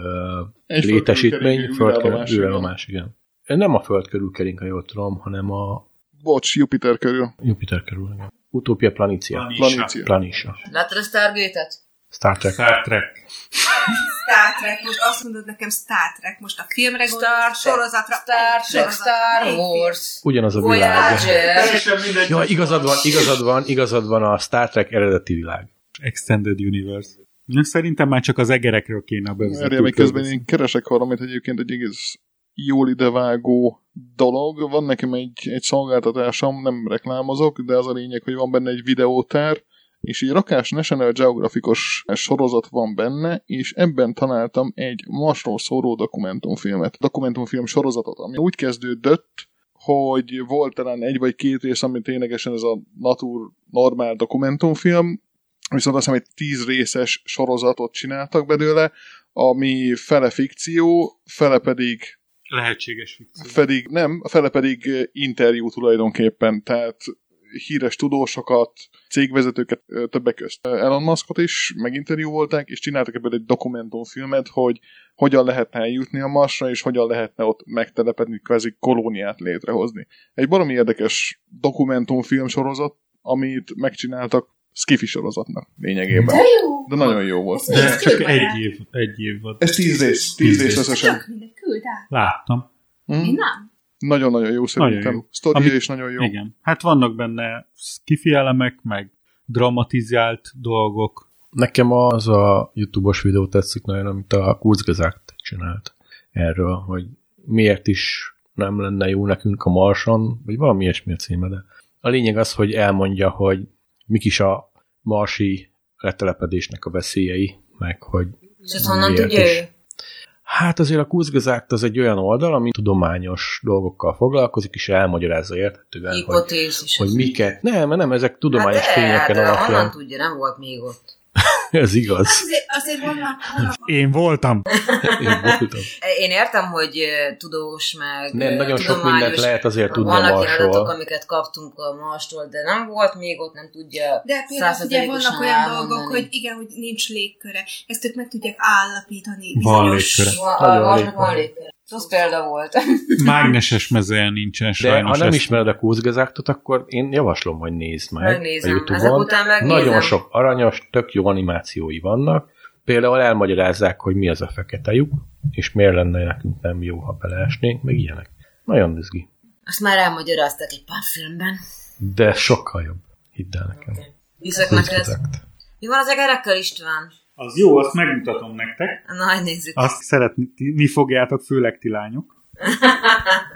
Egy létesítmény, földkörüli föld körül, űrállomás, űrállomás, igen. Nem a föld körül kering, ha jól tudom, hanem a Bocs, Jupiter körül. Jupiter körül. Igen. Utopia Planitia. Planícia. Planisa. Láttad a Stargate-et? Star Trek. Star Trek. Star Trek, most azt mondod nekem Star Trek, most a filmre Star gondolsz, Trek, sorozatra, Star egy Trek, sorozatra, Star egy Wars, Ugyanaz a világ. Voyager. Teljesen mindegy. Ja, igazad van, igazad van, igazad van a Star Trek eredeti világ. Extended Universe. Na, Szerintem már csak az egerekről kéne a Erre még bevezetőt közben kérdezni. én keresek valamit egyébként egy egész jól idevágó dolog. Van nekem egy, egy szolgáltatásom, nem reklámozok, de az a lényeg, hogy van benne egy videótár, és egy rakás National Geographicos sorozat van benne, és ebben találtam egy Marsról szóró dokumentumfilmet, dokumentumfilm sorozatot, ami úgy kezdődött, hogy volt talán egy vagy két rész, ami ténylegesen ez a natur normál dokumentumfilm, viszont azt hiszem egy tíz részes sorozatot csináltak belőle, ami fele fikció, fele pedig Lehetséges fikció. pedig nem, a fele pedig eh, interjú tulajdonképpen, tehát híres tudósokat, cégvezetőket, eh, többek közt eh, Elon Muskot is meginterjúvolták, és csináltak ebből egy dokumentumfilmet, hogy hogyan lehetne eljutni a Marsra, és hogyan lehetne ott megtelepedni, kvázi kolóniát létrehozni. Egy baromi érdekes dokumentumfilm sorozat, amit megcsináltak skifi sorozatnak lényegében. De jó! De nagyon jó volt. De ez Ez csak kb. egy év, egy év volt. Ez tíz rész, tíz rész rész. összesen. Csak mindegy, küld el. Láttam. Mm. Én nem. Nagyon-nagyon jó Nagyon szerintem. jó. Sztoria Ami- is nagyon jó. Igen. Hát vannak benne skifi elemek, meg dramatizált dolgok. Nekem az a YouTube-os videó tetszik nagyon, amit a Kurzgesagt csinált erről, hogy miért is nem lenne jó nekünk a Marson, vagy valami ilyesmi a címe, de a lényeg az, hogy elmondja, hogy mik is a marsi letelepedésnek a veszélyei, meg hogy És ezt honnan Miért tudja is? ő? Hát azért a Kurzgesagt az egy olyan oldal, ami tudományos dolgokkal foglalkozik, és elmagyarázza érthetően, hogy, Hipotézis. hogy miket. Nem, nem, ezek tudományos hát de, tényeken de Honnan alapján. tudja, nem volt még ott. [LAUGHS] Ez igaz. Azért, azért vannak, vannak Én voltam. Én voltam. Én értem, hogy eh, tudós, meg Nem, eh, nagyon sok tudományos, mindent lehet azért tudni a Vannak ilyen adatok, Marsról. amiket kaptunk a Marstól, de nem volt még ott, nem tudja de például ugye vannak századékosan olyan elmondani. dolgok, hogy igen, hogy nincs légköre. Ezt ők meg tudják állapítani. Van bizonyos- légköre. Van, Nagyon a Marsnak régen. van légkör. Az példa volt. [LAUGHS] Mágneses mezője nincsen De sajnos. ha nem ezt- ismered a Kurzgesagtot, akkor én javaslom, hogy nézd meg a Megnézem. Ezek Youtube-on. után megnézem. Nagyon sok aranyos, tök jó animációi vannak. Például elmagyarázzák, hogy mi az a fekete lyuk, és miért lenne nekünk nem jó, ha beleesnénk, meg ilyenek. Nagyon izgi. Azt már elmagyarázták egy pár filmben. De sokkal jobb. Hidd el nekem. Hiszek neked. Kurzgesagt. Mi van az egerekkel, István? Az jó, azt megmutatom nektek. Na, hát nézzük. Azt szeretni fogjátok, főleg ti lányok.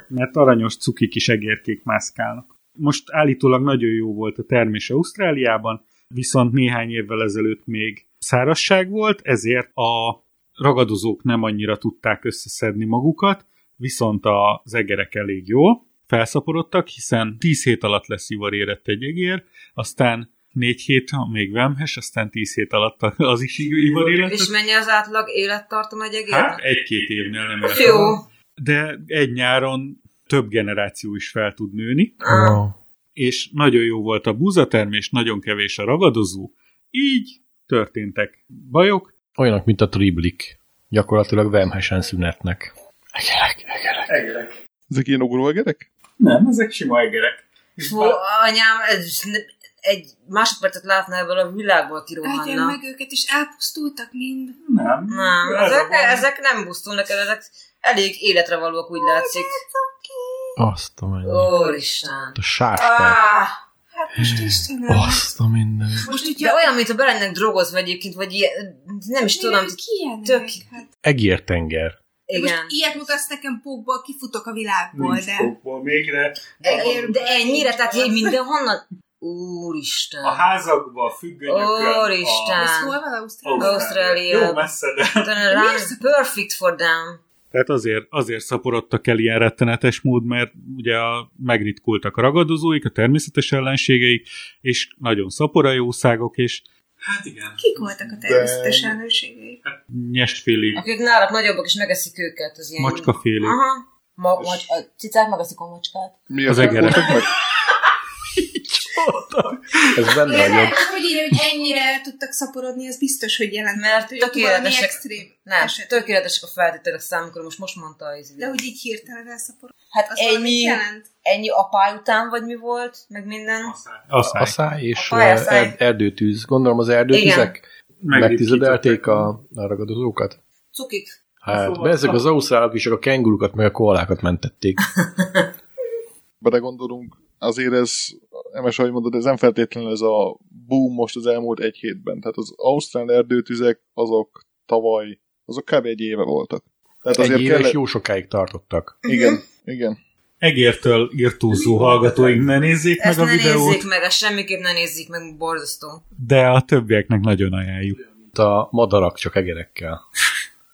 Mert aranyos cuki kis egérkék mászkálnak. Most állítólag nagyon jó volt a termése Ausztráliában, viszont néhány évvel ezelőtt még szárazság volt, ezért a ragadozók nem annyira tudták összeszedni magukat, viszont az egerek elég jól felszaporodtak, hiszen 10 hét alatt leszivart érett egy egér, aztán négy hét a még vemhes, aztán tíz hét alatt az is ivar életet. És mennyi az átlag élettartam egy egérnek? Hát egy-két évnél nem Jó. élettartam. De egy nyáron több generáció is fel tud nőni, Ah. és nagyon jó volt a búzatermés, nagyon kevés a ragadozó, így történtek bajok, Olyanok, mint a triblik. Gyakorlatilag vemhesen szünetnek. Egerek, egerek. Egerek. Ezek ilyen ugróegerek? Nem, ezek sima egerek. Fú, anyám, ez, egy másodpercet látná ebből a világból Egyen kirohanna. Hát, meg őket, és elpusztultak mind. Nem. Nem, ezek, ezek nem busztulnak el, ezek elég életre valóak, úgy látszik. Azt a mennyi. Úristen. A sárkát. Ah, Hm. Hát most Istenem. Azt a minden. Most így de olyan, mintha belennek drogozva egyébként, vagy ilyen, nem is tudom. ki ilyenek? tök- Hát, Egértenger. Igen. Most ilyet mutatsz nekem pókból, kifutok a világból, de... Nincs még, de E- De ennyire, tehát így mindenhonnan? Úristen. a házakba, a függönyökön, Úristen. Ez hol van Ausztrália? a Ausztrália. Jó messze, de Turn around, perfect for them. Tehát azért, azért szaporodtak el ilyen rettenetes mód, mert ugye a, megritkultak a ragadozóik, a természetes ellenségeik, és nagyon szapora jószágok, és hát igen, Kik voltak a természetes ellenségei? nyestféli, Akik nálad nagyobbak, és megeszik őket az ilyen... macskaféli. Hát Aha. Ma, macs, a cicák megeszik a macskát. Mi Az ezek egerek. voltak meg? Ez benne vagyok. Hát, hogy, így, hogy ennyire el tudtak szaporodni, az biztos, hogy jelent. Mert hogy ott valami tökéletesek- extrém Nem, eset. tökéletesek a feltételek számukra, most most mondta izé- az De hogy így hirtelen elszaporodni, Hát az valamit ennyi, jelent. ennyi apály után, vagy mi volt, meg minden. A Aztán száj és A pályasztály. ö, erd- erdőtűz. Gondolom az erdőtüzek megtizedelték a, a ragadozókat. Cukik. Hát, Szóval- szóval ezek az ausztrálok is, csak a kengurukat meg a koalákat mentették. belegondolunk, azért ez, Emes, ahogy mondod, ez nem feltétlenül ez a boom most az elmúlt egy hétben. Tehát az ausztrál erdőtüzek, azok tavaly, azok kb. egy éve voltak. Tehát Egy azért éves kellett... jó sokáig tartottak. Igen, igen. Egértől írtózó hallgatóink, ne nézzék Ezt meg ne a videót, nézzék meg, ezt semmiképp ne nézzék meg, borzasztó. de a többieknek nagyon ajánljuk. A madarak csak egerekkel.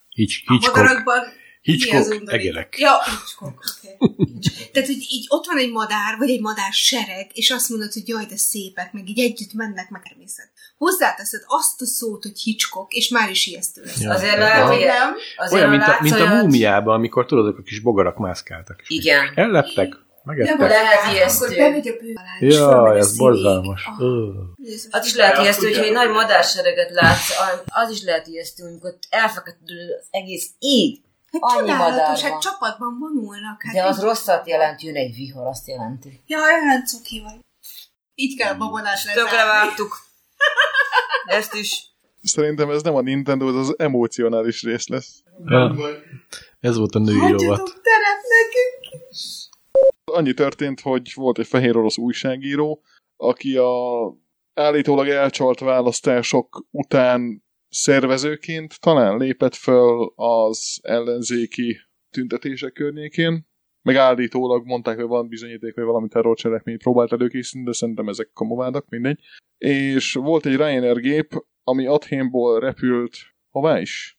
Hitch, A Hitchcock, madarakban Mi az Hitchcock undorító? egerek. Ja, Hitchcock, oké. Hitchcock. Tehát, hogy így ott van egy madár, vagy egy madár sereg, és azt mondod, hogy jaj, de szépek, meg így együtt mennek, meg természet. Hozzáteszed azt a szót, hogy Hitchcock, és már is ijesztő lesz. Ja. Azért Aha. lehet, hogy... Nem? Azért Olyan, mint a, látsz mint a olyat- múmiában, amikor tudod, azok a kis bogarak mászkáltak. Igen. Elleptek? De Megettek? lehet Hát Akkor ijesztő. bemegy a bő alá, és fölmegy Jaj, a ez színig. borzalmas. Ah, Ö. Jézus. Az is lehet De azt ijesztő, hogyha egy tudjátok, nagy hogy- madársereget látsz, a- az is lehet ijesztő, amikor elfeketül az egész ég. Hát annyi madár csodálatos, van. hát csapatban vonulnak. Hát De az így- rosszat jelent, jön egy vihar, azt jelenti. Jaj, hát cuki vagy. Így kell a babonás Tökre lezárni. vágtuk. Ezt is. Szerintem ez nem a Nintendo, ez az emocionális rész lesz. Ja. Ez volt a női rovat. Hagyjatok teret nekünk. Annyi történt, hogy volt egy fehér orosz újságíró, aki a állítólag elcsalt választások után szervezőként talán lépett föl az ellenzéki tüntetések környékén, meg állítólag mondták, hogy van bizonyíték, hogy valami terrorcselekményt próbált előkészíteni, de szerintem ezek kamovádak, mindegy. És volt egy Ryanair gép, ami Athénból repült, hová is?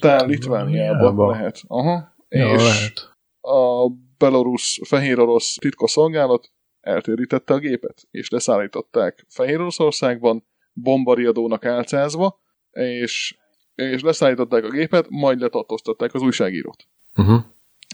Talán Litvániába lehet. Aha. Ja, és lehet. a belorusz fehér orosz titkosszolgálat eltérítette a gépet, és leszállították Fehér Oroszországban, bombariadónak álcázva, és, és leszállították a gépet, majd letartóztatták az újságírót. Uh-huh.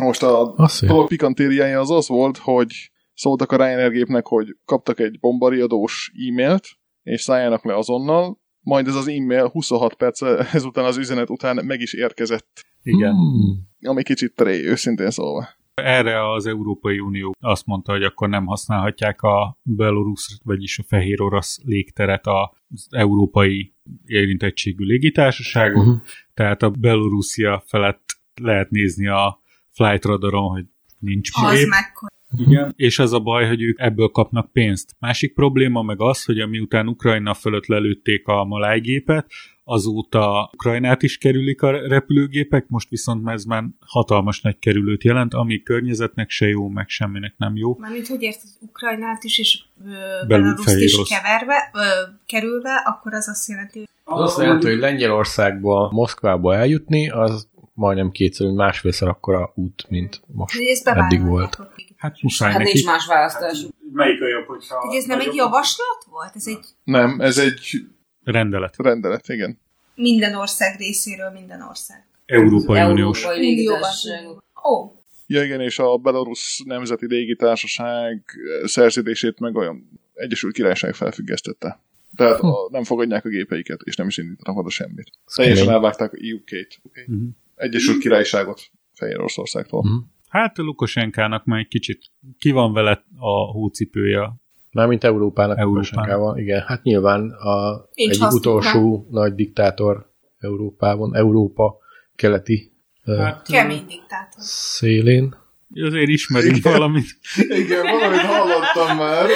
Most a Azt hiszem. dolog pikantériája az az volt, hogy szóltak a Ryanair gépnek, hogy kaptak egy bombariadós e-mailt, és szálljanak le azonnal, majd ez az e-mail 26 perc [LAUGHS] ezután az üzenet után meg is érkezett, Igen. Hmm. ami kicsit tré, őszintén szólva. Erre az Európai Unió azt mondta, hogy akkor nem használhatják a belorusz, vagyis a fehér orosz légteret az európai érintettségű légitársaságok, Uh-huh. tehát a Belorusszia felett lehet nézni a flight radaron, hogy nincs Az gép, mekkora. Igen. és az a baj, hogy ők ebből kapnak pénzt. Másik probléma meg az, hogy miután Ukrajna fölött lelőtték a malájgépet, azóta Ukrajnát is kerülik a repülőgépek, most viszont ez már hatalmas nagy kerülőt jelent, ami környezetnek se jó, meg semminek nem jó. Mármint, hogy érted, Ukrajnát is és ö, Belül Belaruszt is fehérosz. keverve, ö, kerülve, akkor az azt jelenti, hogy Az azt jelenti, hogy Lengyelországból Moszkvába eljutni, az majdnem kétszer, másfélszer akkora út, mint most hogy ezt eddig bevállalják. volt. Hát muszáj Hát neki. nincs más választás. Melyik a jobb, hogyha... Ugye ez nem egy nagyobb- javaslat volt? Ez egy Nem, ez egy Rendelet. rendelet, igen. minden ország részéről minden ország. Európai Európai Uniós. légitársaság. Ó, Ja, igen, és a Belarus Nemzeti Légitársaság szerződését meg olyan Egyesült Királyság felfüggesztette. Tehát a, nem fogadják a gépeiket, és nem is indítanak oda semmit. Teljesen kemény. elvágták a UK-t. Okay. Mhm. Egyesült Királyságot Fehér Oroszországtól. Mhm. Hát Lukasenkának már egy kicsit ki van vele a hócipője. Mármint Európának, Európán. Európának. igen. Hát nyilván a Nincs egy hasznuk, utolsó nagy diktátor Európában, Európa keleti hát. Hát, kemény diktátor. szélén. Azért ismerünk valamit. Igen, valamit hallottam már.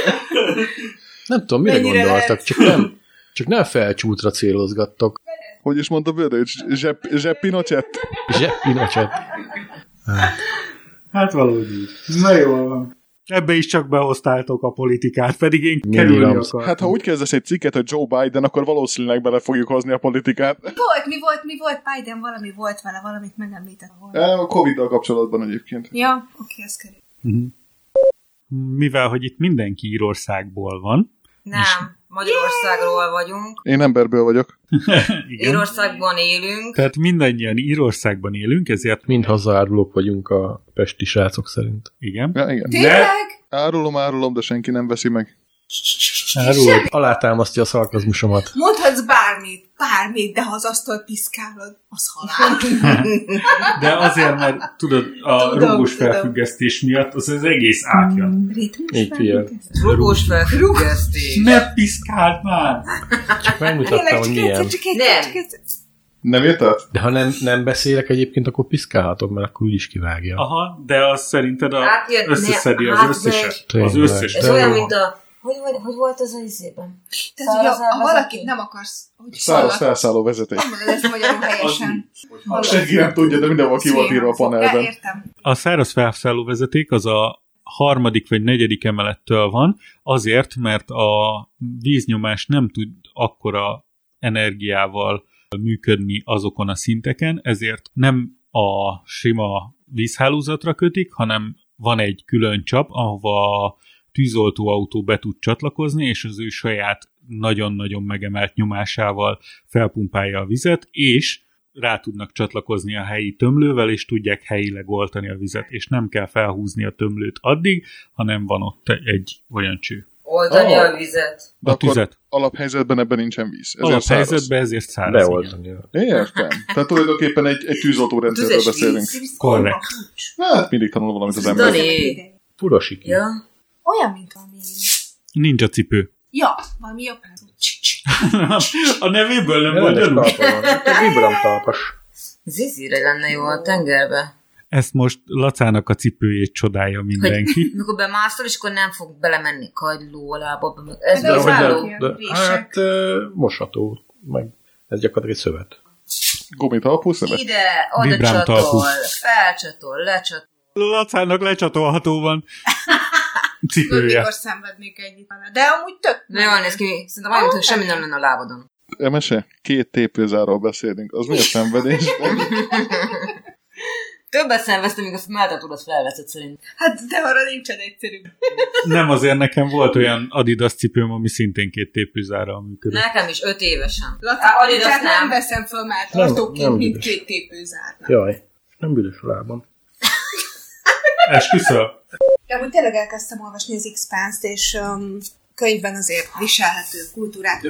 Nem tudom, mire Mennyire gondoltak, lehet? csak nem, csak nem felcsútra célozgattok. Hogy is mondta Bőröcs? Zsepp, zsepp Pinochet? e- Zseppinocset. Hát valahogy így. Na jól van. Ebbe is csak behoztáltok a politikát, pedig én Mi kerülni iramsz? akartam. Hát ha úgy kezdesz egy cikket, hogy Joe Biden, akkor valószínűleg bele fogjuk hozni a politikát. Volt, mi volt, mi volt? Biden valami volt vele, valamit megemlített volna. Eh, A Covid-dal kapcsolatban egyébként. Ja, oké, ez kerül. Mivel, hogy itt mindenki Írországból van. Nem, Magyarországról vagyunk. Én emberből vagyok. Írországban élünk. Tehát mindannyian Írországban élünk, ezért Mind hazárulók vagyunk a pesti srácok szerint. igen. Ja, igen. Tényleg? Árulom, árulom, de senki nem veszi meg. Árul, alátámasztja a szarkazmusomat. Mondhatsz bármit, bármit, de ha az asztalt piszkálod, az [LAUGHS] halál. De azért, mert tudod, a Tudom, Hmm. rúgós tudom. felfüggesztés miatt az, az egész átjön. Ritmus Így figyel. felügyezés. Rugós felfüggesztés. Ne piszkáld már! Csak megmutattam, Tényleg, hogy csak milyen. egyszer, csak egyszer, Nem. csak egyszer. Nem érted? De ha nem, nem beszélek egyébként, akkor piszkálhatom, mert akkor úgy is kivágja. Aha, de az szerinted a, Hát jön, ne, összeszedi az hát összeset. megy. Az Tényleg. összeset. Ez De olyan, jó. mint a... Hogy, vagy- hogy volt az a izében? Tehát, Száraz hogyha ha elvezető. valakit nem akarsz, hogy Száraz hallat, felszálló vezeték. nem mondod ezt [LAUGHS] magyarul helyesen. Hallat. Senki nem tudja, de mindenhol ki volt írva a Ja, panelben. értem. A száraz felszálló vezeték az a harmadik vagy negyedik emelettől van, azért, mert a víznyomás nem tud akkora energiával működni azokon a szinteken, ezért nem a sima vízhálózatra kötik, hanem van egy külön csap, ahova a tűzoltóautó be tud csatlakozni, és az ő saját nagyon-nagyon megemelt nyomásával felpumpálja a vizet, és rá tudnak csatlakozni a helyi tömlővel, és tudják helyileg oltani a vizet, és nem kell felhúzni a tömlőt addig, hanem van ott egy olyan cső. Oldani Ah. a vizet. A tüzet. alaphelyzetben ebben nincsen víz. Ezért száraz. Alaphelyzetben ezért száraz. igen. Beoltani. Értem. Tehát tulajdonképpen egy, egy tűzoltórendszerről Tüzes beszélünk. víz. Korrekt. Hát mindig tanul valamit az ember. Dani. Furosik. Ja. Olyan, mint valami... Nincs a cipő. Ja, valami Hát, japán. Csics. [LAUGHS] A nevéből nem Rendes vagy talpa van. Ez vibram talpas. Zizire lenne jó a tengerbe. Ezt most Lacának a cipőjét csodálja mindenki. Mikor bemászol, és akkor nem fog belemenni kagyló alába. meg- Ez De Hát de az hogy már- bizarró. nem, álló. de, Rések. hát ö, mosható, meg ez gyakorlatilag egy szövet. Gumitalpú szemet. Ide, oda Vibrám csatol, talpú. felcsatol, lecsatol. [LAUGHS] Lacának lecsatolható van [LAUGHS] cipője. Mikor szenvednék ennyit vele. De amúgy tök. Na jól néz ki, szerintem olyan, mintha semmi nem lenne a lábadon. Emese, két tépőzáról beszélünk. Az mi a szenvedés? Többet szenveztem, míg a melltartódat felveszed szerint. Hát, de arra nincsen egyszerűbb. Nem azért nekem volt olyan Adidas cipőm, ami szintén két tépőzárral működött. Nekem is öt évesen. Laci, Á, Adidas Adidas nem. nem nem. veszem föl már Nem, nem tartóként, mint Adidas. két tépőzárnak. Jaj, nem büdös a lábam. Esküszöl? De amúgy tényleg elkezdtem olvasni az Expanse-t, és um, könyvben azért viselhető kultúrát.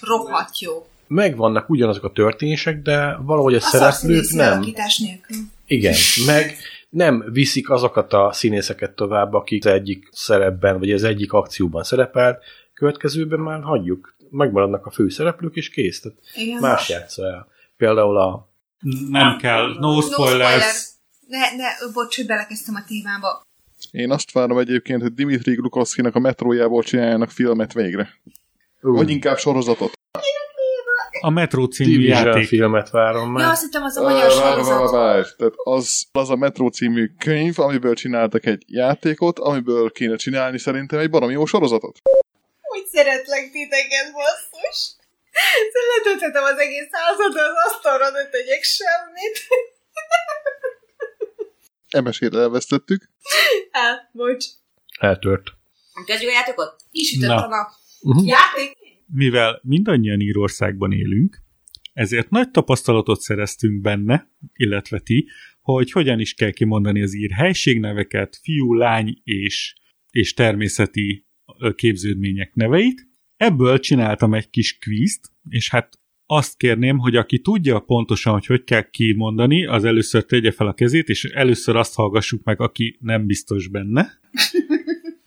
Rohadt jó. Megvannak ugyanazok a történések, de valahogy a, A szereplők szarszínűszi nem. alakítás nélkül. Igen, meg nem viszik azokat a színészeket tovább, akik az egyik szerepben, vagy az egyik akcióban szerepelt, következőben már hagyjuk. Megmaradnak a főszereplők, és kész. Tehát Igen. más játsza el. Például a Nem kell. No No spoiler. spoilers. Ne, ne, ö, bocs, hogy belekezdtem a témába. Én azt várom egyébként, hogy Dimitri Glukovszkinak a metrójából csináljanak filmet végre. Vagy inkább sorozatot. A Metro című Division játék. filmet várom már. Ja, azt hittem az a magyar Várj, várj, sorozat. várj, várj. Tehát az, az a Metró című könyv, amiből csináltak egy játékot, amiből kéne csinálni szerintem egy baromi jó sorozatot. Úgy szeretlek titeket, basszus. [LAUGHS] Letöthetem az [LAUGHS] egész házat, az asztalra ne tegyek semmit. Emesére elvesztettük. Á, Hát, bocs. Eltört. Kezdjük a játékot? Kisütött Na. a nap. Mhm. Játék? mivel mindannyian Írországban élünk, ezért nagy tapasztalatot szereztünk benne, illetve ti, hogy hogyan is kell kimondani az ír helységneveket, fiú, lány és, és természeti ö, képződmények neveit. Ebből csináltam egy kis kvízt, és hát azt kérném, hogy aki tudja pontosan, hogy hogy kell kimondani, az először tegye fel a kezét, és először azt hallgassuk meg, aki nem biztos benne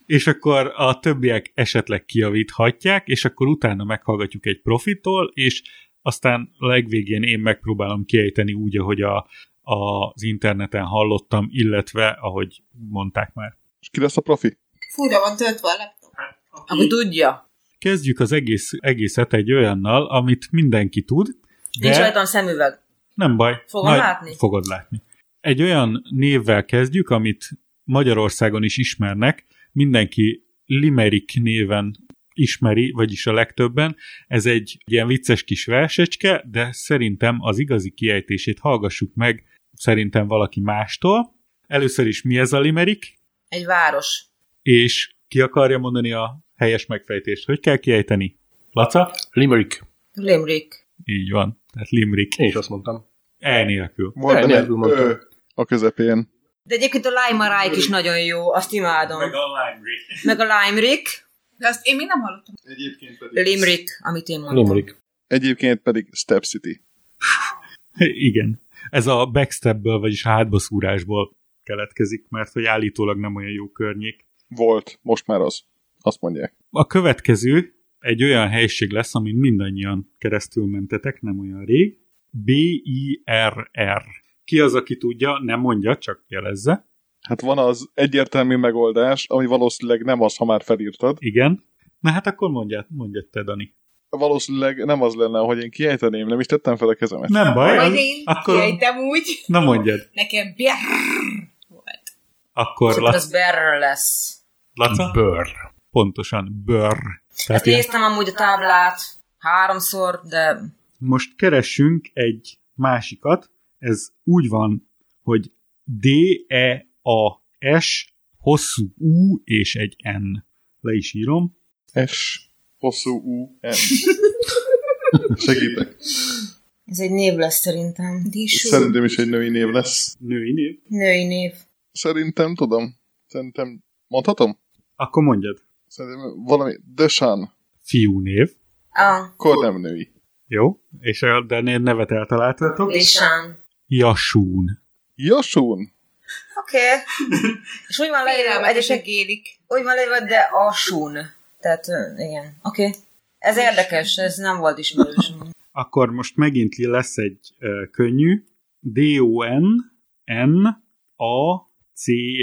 és akkor a többiek esetleg kiavíthatják, és akkor utána meghallgatjuk egy profitól, és aztán legvégén én megpróbálom kiejteni úgy, ahogy a, a, az interneten hallottam, illetve ahogy mondták már. És ki lesz a profi? Fúra van töltve a laptop. Aki tudja. Kezdjük az egész, egészet egy olyannal, amit mindenki tud, de Nincs rajtam szemüveg. nem baj. Fogom látni? Fogod látni. Egy olyan névvel kezdjük, amit Magyarországon is ismernek, mindenki Limerick néven ismeri, vagyis a legtöbben. Ez egy ilyen vicces kis versecske, de szerintem az igazi kiejtését hallgassuk meg szerintem valaki mástól. Először is mi ez a Limerick, Egy város. és ki akarja mondani a helyes megfejtést, hogy kell kiejteni? Laca? Limerick. Limerick. Így van. Tehát Limerick. Én is azt mondtam. E nélkül. Majd Nem, ne, nélkül mondtam. ö, a közepén. De egyébként a Lime Rike is nagyon jó, azt imádom. Meg a Limerick. Meg a Limerick, De azt én még nem hallottam. Egyébként pedig. Limerick, amit én mondtam. Limerick. Egyébként pedig Step City. Igen. Ez a backstepből, vagyis a hátbaszúrásból keletkezik, mert hogy állítólag nem olyan jó környék. Volt, most már az. Azt mondják. A következő egy olyan helység lesz, amin mindannyian keresztül mentetek, nem olyan rég. B-I-R-R. Ki az, aki tudja, nem mondja, csak jelezze. Hát van az egyértelmű megoldás, ami valószínűleg nem az, ha már felírtad. Igen. Na hát akkor mondjad, mondjad te, Dani. Valószínűleg nem az lenne, hogy én kiejteném, nem is tettem fel a kezemet. Nem baj, Majd az, én akkor- akkor... kiejtem úgy. na mondjad. Nekem brrrr volt. Akkor Szóval Lac- az Berr lesz. Laca? Bőr. Pontosan, bőr. Tehát Ezt ilyen- néztem amúgy a táblát háromszor, de Most keressünk egy másikat. Ez úgy van, hogy D-E-A-S, hosszú U és egy N. Le is írom. S. Hosszú U. M. Segítek. ez egy név lesz szerintem. Dísú. Szerintem is egy női név lesz. Női név. Női név. Szerintem tudom. Szerintem mondhatom? Akkor mondjad. Szerintem valami Desan. Fiú név. Ah, Akkor nem női. Jó. És a de né- nevet eltaláltatok. Lisán. Jasún. Jasun. Oké. Okay. És úgy van leírva, Félelmetesen egyesek gélik. úgy van leírva, de a sun. Tehát ö, igen, oké. Okay. Ez érdekes, ez nem volt ismerős. Akkor most megint lesz egy ö, könnyű.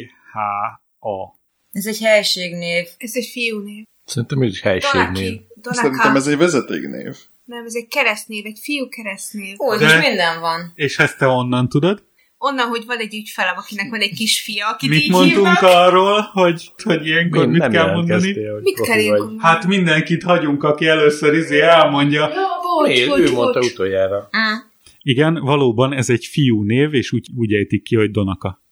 D-O-N-N-A-C-H-A. Ez egy helységnév. Ez egy fiúnév. Szerintem ez is helységnév. Donáki. Donáka. Szerintem ez egy vezetéknév. Nem, ez egy keresztnév, egy fiú keresztnév. Ó, De- de... most minden van. És ezt te onnan tudod? Onnan, hogy van egy ügyfelem, akinek van egy kisfia, akit Mit így mondtunk hívnak. arról, hogy, hogy ilyenkor Én mit nem kell mondani? jelentkeztél, hogy Mit kell profi vagy. ilyenkor Hát mindenkit hagyunk, aki először izé elmondja. Ja, bocs, Én, bocs, ő mondta bocs. utoljára. Mm. Igen, valóban ez egy fiú név, és úgy, úgy ejtik ki, hogy Donaka.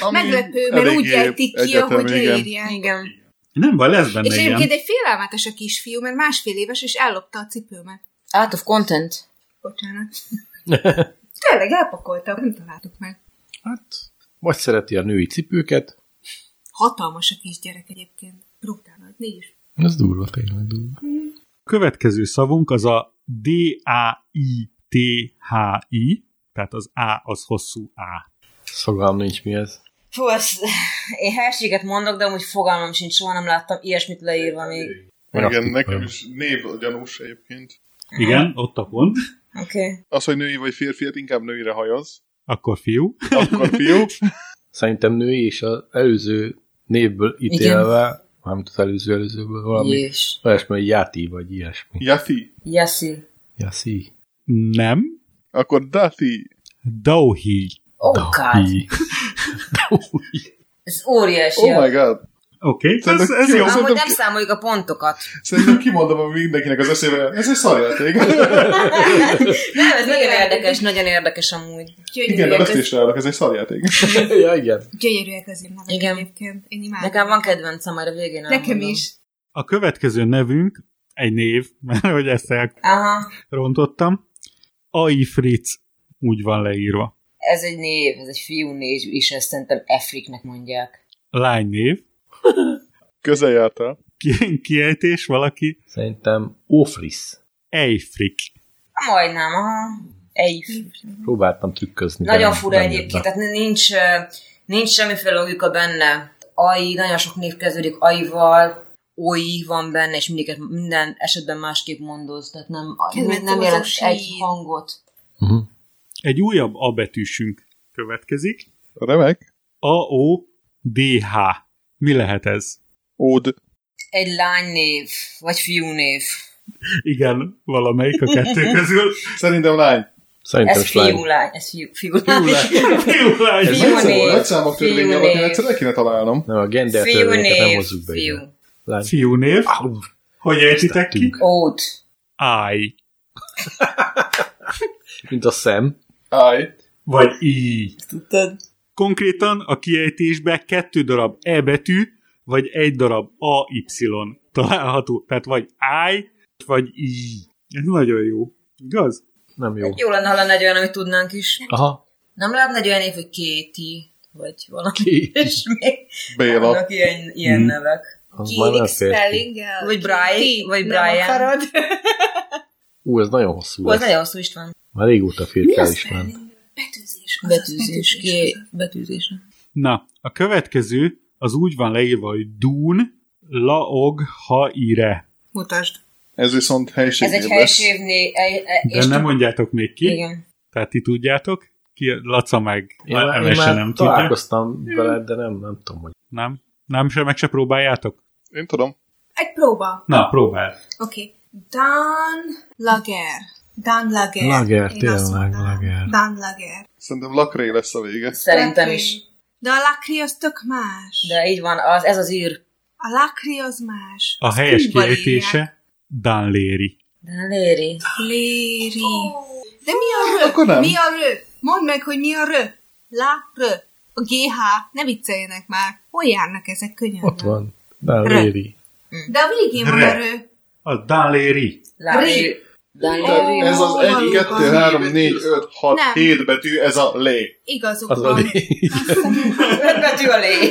Ami Meglepő, mert eléggé úgy ejtik ki, egyetem, ahogy igen. leírják. Igen. Nem baj, lesz benne És ilyen. egyébként egy félelmetes a kisfiú, mert másfél éves, és ellopta a cipőmet. Out of content. Bocsánat. Tényleg elpakoltam, nem találtuk meg. Hát, vagy szereti a női cipőket. Hatalmas a kisgyerek egyébként. Brutál nagy, négy Ez durva, tényleg durva. Következő szavunk az a D-A-I-T-H-I, tehát az A az hosszú A. Szogalm nincs mi ez. Fú, ez, én helységet mondok, de amúgy fogalmam sincs, soha nem láttam ilyesmit leírva még. Én Igen, azt tippelem. nekem is név a gyanús egyébként. Igen, ott a pont. Oké. Okay. Az, hogy női vagy férfi, hát inkább nőire hajaz. Akkor fiú. Akkor fiú. Szerintem női és az előző névből ítélve, mármint az előző előzőből valami, Jés. olyasmi, hogy Játi vagy ilyesmi. Jafi. Jesszi. [LAUGHS] Jaszi. Nem. Akkor Dati. Dauhi. Oh, God. Dahi. Dahi. Ez óriási. Oh my god. Oké, okay, ez, Szerintem ez ki- jó. Amúgy szerintem nem ki- számoljuk a pontokat. Szerintem kimondom a mindenkinek az eszébe, ez egy szarjáték. Nem, ez nagyon Igen. érdekes, nagyon érdekes amúgy. Igen, de Gyönyörűek, ezt az, is ráadok, ez egy szarjáték. ja, igen. gyönyörűek az én magam Igen. egyébként. Én imádom. Nekem van kedvencem, majd a végén Nekem elmondom. is. A következő nevünk, egy név, [LAUGHS] mert hogy ezt Aha, elrontottam, AI Fritz úgy van leírva. ez egy név, ez egy fiú név is, ezt szerintem Efriknek mondják. Lány név, Közel jártál. ki- kiejtés valaki, Szerintem Ófrisz. Eifrik. Ha, Majdnem, aha. Egy. Próbáltam trükközni. de Nagyon nem- fura nem egyébként, jött be. tehát nincs, ö, nincs semmiféle logika benne. AI, nagyon sok név kezdődik AI-val, OI van benne, és mindig, minden esetben másképp mondod, tehát nem, Kedvenc nem jelent szó, egy sír. hangot. Mhm. Egy újabb A betűsünk következik, Remek. A-O-D-H. Mi lehet ez? Ód. Egy lánynév, vagy fiúnév. Igen, valamelyik a kettő közül. Szerintem lány. Szerintem Ez slány. fiú lány, ez fiú, fiú Fiú lány. lány. Jó lány. Ez Fiú Nagy szám- név. Nagy számok törvény Fiú alapján név. egyszer el kéne találnom. Nem, a gender Fiú törvényeket nem név, hozzuk be. fiú. ide. Lány. Fiú név. Au, Hogy ejtitek ki? tettünk. Ód. I. Mint a szem. Áj. Vagy I. Tudtad? Konkrétan a kiejtésben kettő darab E betű, vagy egy darab AY található. Tehát vagy I, vagy I. Ez nagyon jó. Igaz? Nem jó. Jó lenne, ha lenne egy olyan, amit tudnánk is. Aha. Nem lehetne egy olyan név, hogy Kéti, vagy valami Ki? ilyesmi. Béla. Vannak ilyen, ilyen Mhm. nevek. Az már Kérik nem férfi. spellinggel. Vagy Brian, Ki? vagy Nem Brian. akarod? Ú, ez nagyon hosszú. Hú, ez lesz. nagyon hosszú István. Már régóta a firkál is ment. spelling? Betűzés. azaz Betűzés, ké, betűzés. Na, a következő az úgy van leírva, hogy Dún Laog Haire. Mutasd. Ez viszont Ez helység egy helysévné, e- e- De és nem mondjátok még ki. igen. Tehát ti tudjátok, ki Laca meg Én, már- én Emese már nem tudja. találkoztam veled, de nem, nem tudom, hogy Nem? Nem se meg se próbáljátok? Én tudom. Egy próba. Na, próbál. Oké. Okay. Dan Lager. Dan Lager. Lager, Én azt tényleg, mondanám. Lager. Dan Lager. Szerintem lakré lesz a vége. Szerintem Lakri. is. De a lakri az tök más. De így van, az, ez az ír. A lakri az más. A Azt helyes kúval írják. kiejtése Dan Léri. De Léri. Léri. De mi a rö? Akkor nem. Mi a rö? Mondd meg, hogy mi a rö. La rö. A GH. Ne vicceljenek már. Hol járnak ezek könnyen? ott van. Már Re. Léri. De a végén van Re. a rö. A Dan Léri. Lári. Dan Léri. De ez az Ó, 1, valóban. 2, 3, 4, 5, 6, Nem. 7 betű, ez a lé. Igazuk Az a van. Léri. Öt betű a lé.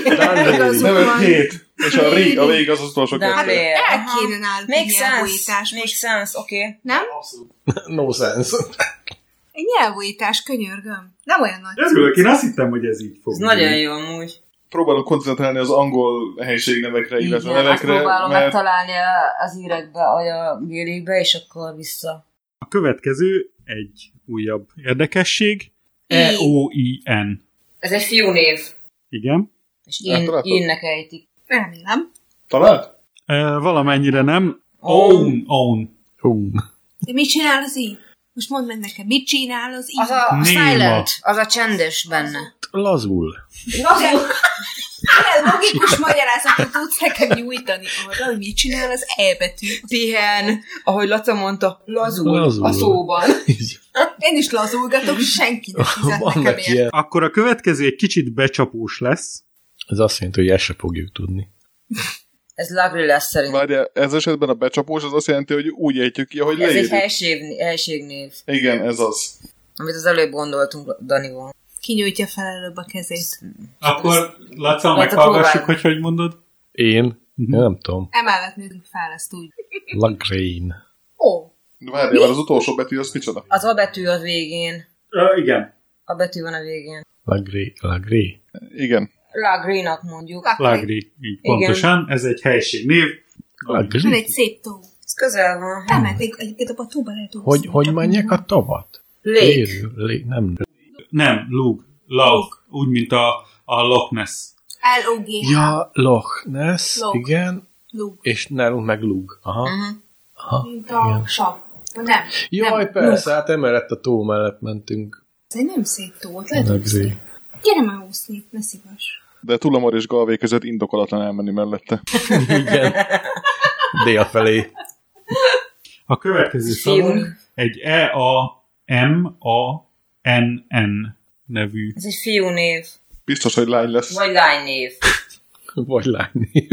Igazuk Nem, ez van. 7. És a ré, a vég az az utolsó Dan kettő. Léri. El Aha. kéne náluk egy Make nyelvújítás sense, most, make sense, oké. Okay. nem? [LAUGHS] No sense. Egy nyelvújítás, könyörgöm. Nem olyan nagy. Örülök, Szóval én azt hittem, hogy ez így fog. Ez nagyon jó amúgy. Próbálok koncentrálni az angol helységnevekre, illetve Igen, azt nevekre, próbálom mert megtalálni a- az írekbe, vagy a gélikbe, és akkor vissza. A következő egy újabb érdekesség. E I. E-O-I-N. Ez egy fiú név, Igen. és én, Eltaláltad? énnek ejtik. Remélem. talált? E, valamennyire nem. Own. Own, own. Hú. De mit csinál az i? Most mondd meg nekem, mit csinál az i? Az a Néma. silent, az a csendes benne. Lazul. Milyen logikus magyarázatot tudsz nekem nyújtani arra, hogy mit csinál az e betű? Pihen, ahogy Laca mondta, lazul, Lazul. a szóban. Én is lazulgatok, senki nem fizet nekem Vannak ilyen. ilyen. Akkor a következő egy kicsit becsapós lesz. Ez azt jelenti, hogy ezt se fogjuk tudni. Ez Lagri lesz szerintem. Várjál, ez esetben a becsapós az azt jelenti, hogy úgy ejtjük ki, ahogy Ez egy leírjuk. helység, helységnév, Igen, ez az. amit az előbb gondoltunk Danival. Kinyújtja fel előbb a kezét. Akkor, Laca, Laca, meghallgassuk, próbál. hogy hogy mondod. Én? Én nem tudom. Emellett nőünk fel, ezt úgy. Lagrain. Ó, De Várjál, mert az utolsó betű az micsoda? Az a betű a végén. Ö, igen. A betű van a végén. Lagré. Lagré. Igen. Lagrinak mondjuk. Hát, lakri. Lagri. Így Igen. pontosan. Ez egy helység név. Van Lagré. egy szép tó. Ez közel van. Elmennék egyébként abba a tóba lehet úszni, Hogy, hogy csak menjek a tavat? Lég. Lérő. Lé, nem. Nem, lug. Lauk. Úgy, mint a, a Loch Ness. L-O-G-H. Ja, Loch Ness. Loch. Igen. Lug. És nálunk meg lug. Aha. Aha. Mhm. Mint a sav. Nem. Jaj, Nem, persze, hát emellett a tó mellett mentünk. Ez egy nem szép tó, ott lehet úszni. Lagré. Gyere már úszni, ne szívas. de Tulamar és Galvé között indokolatlan elmenni mellette. [LAUGHS] Igen. Dél felé. A következő szavunk Fiúk. egy E E-A-M-A-N-N nevű. Ez egy fiú név. Biztos, hogy lány lesz. Vagy lány név. Vagy lánynév.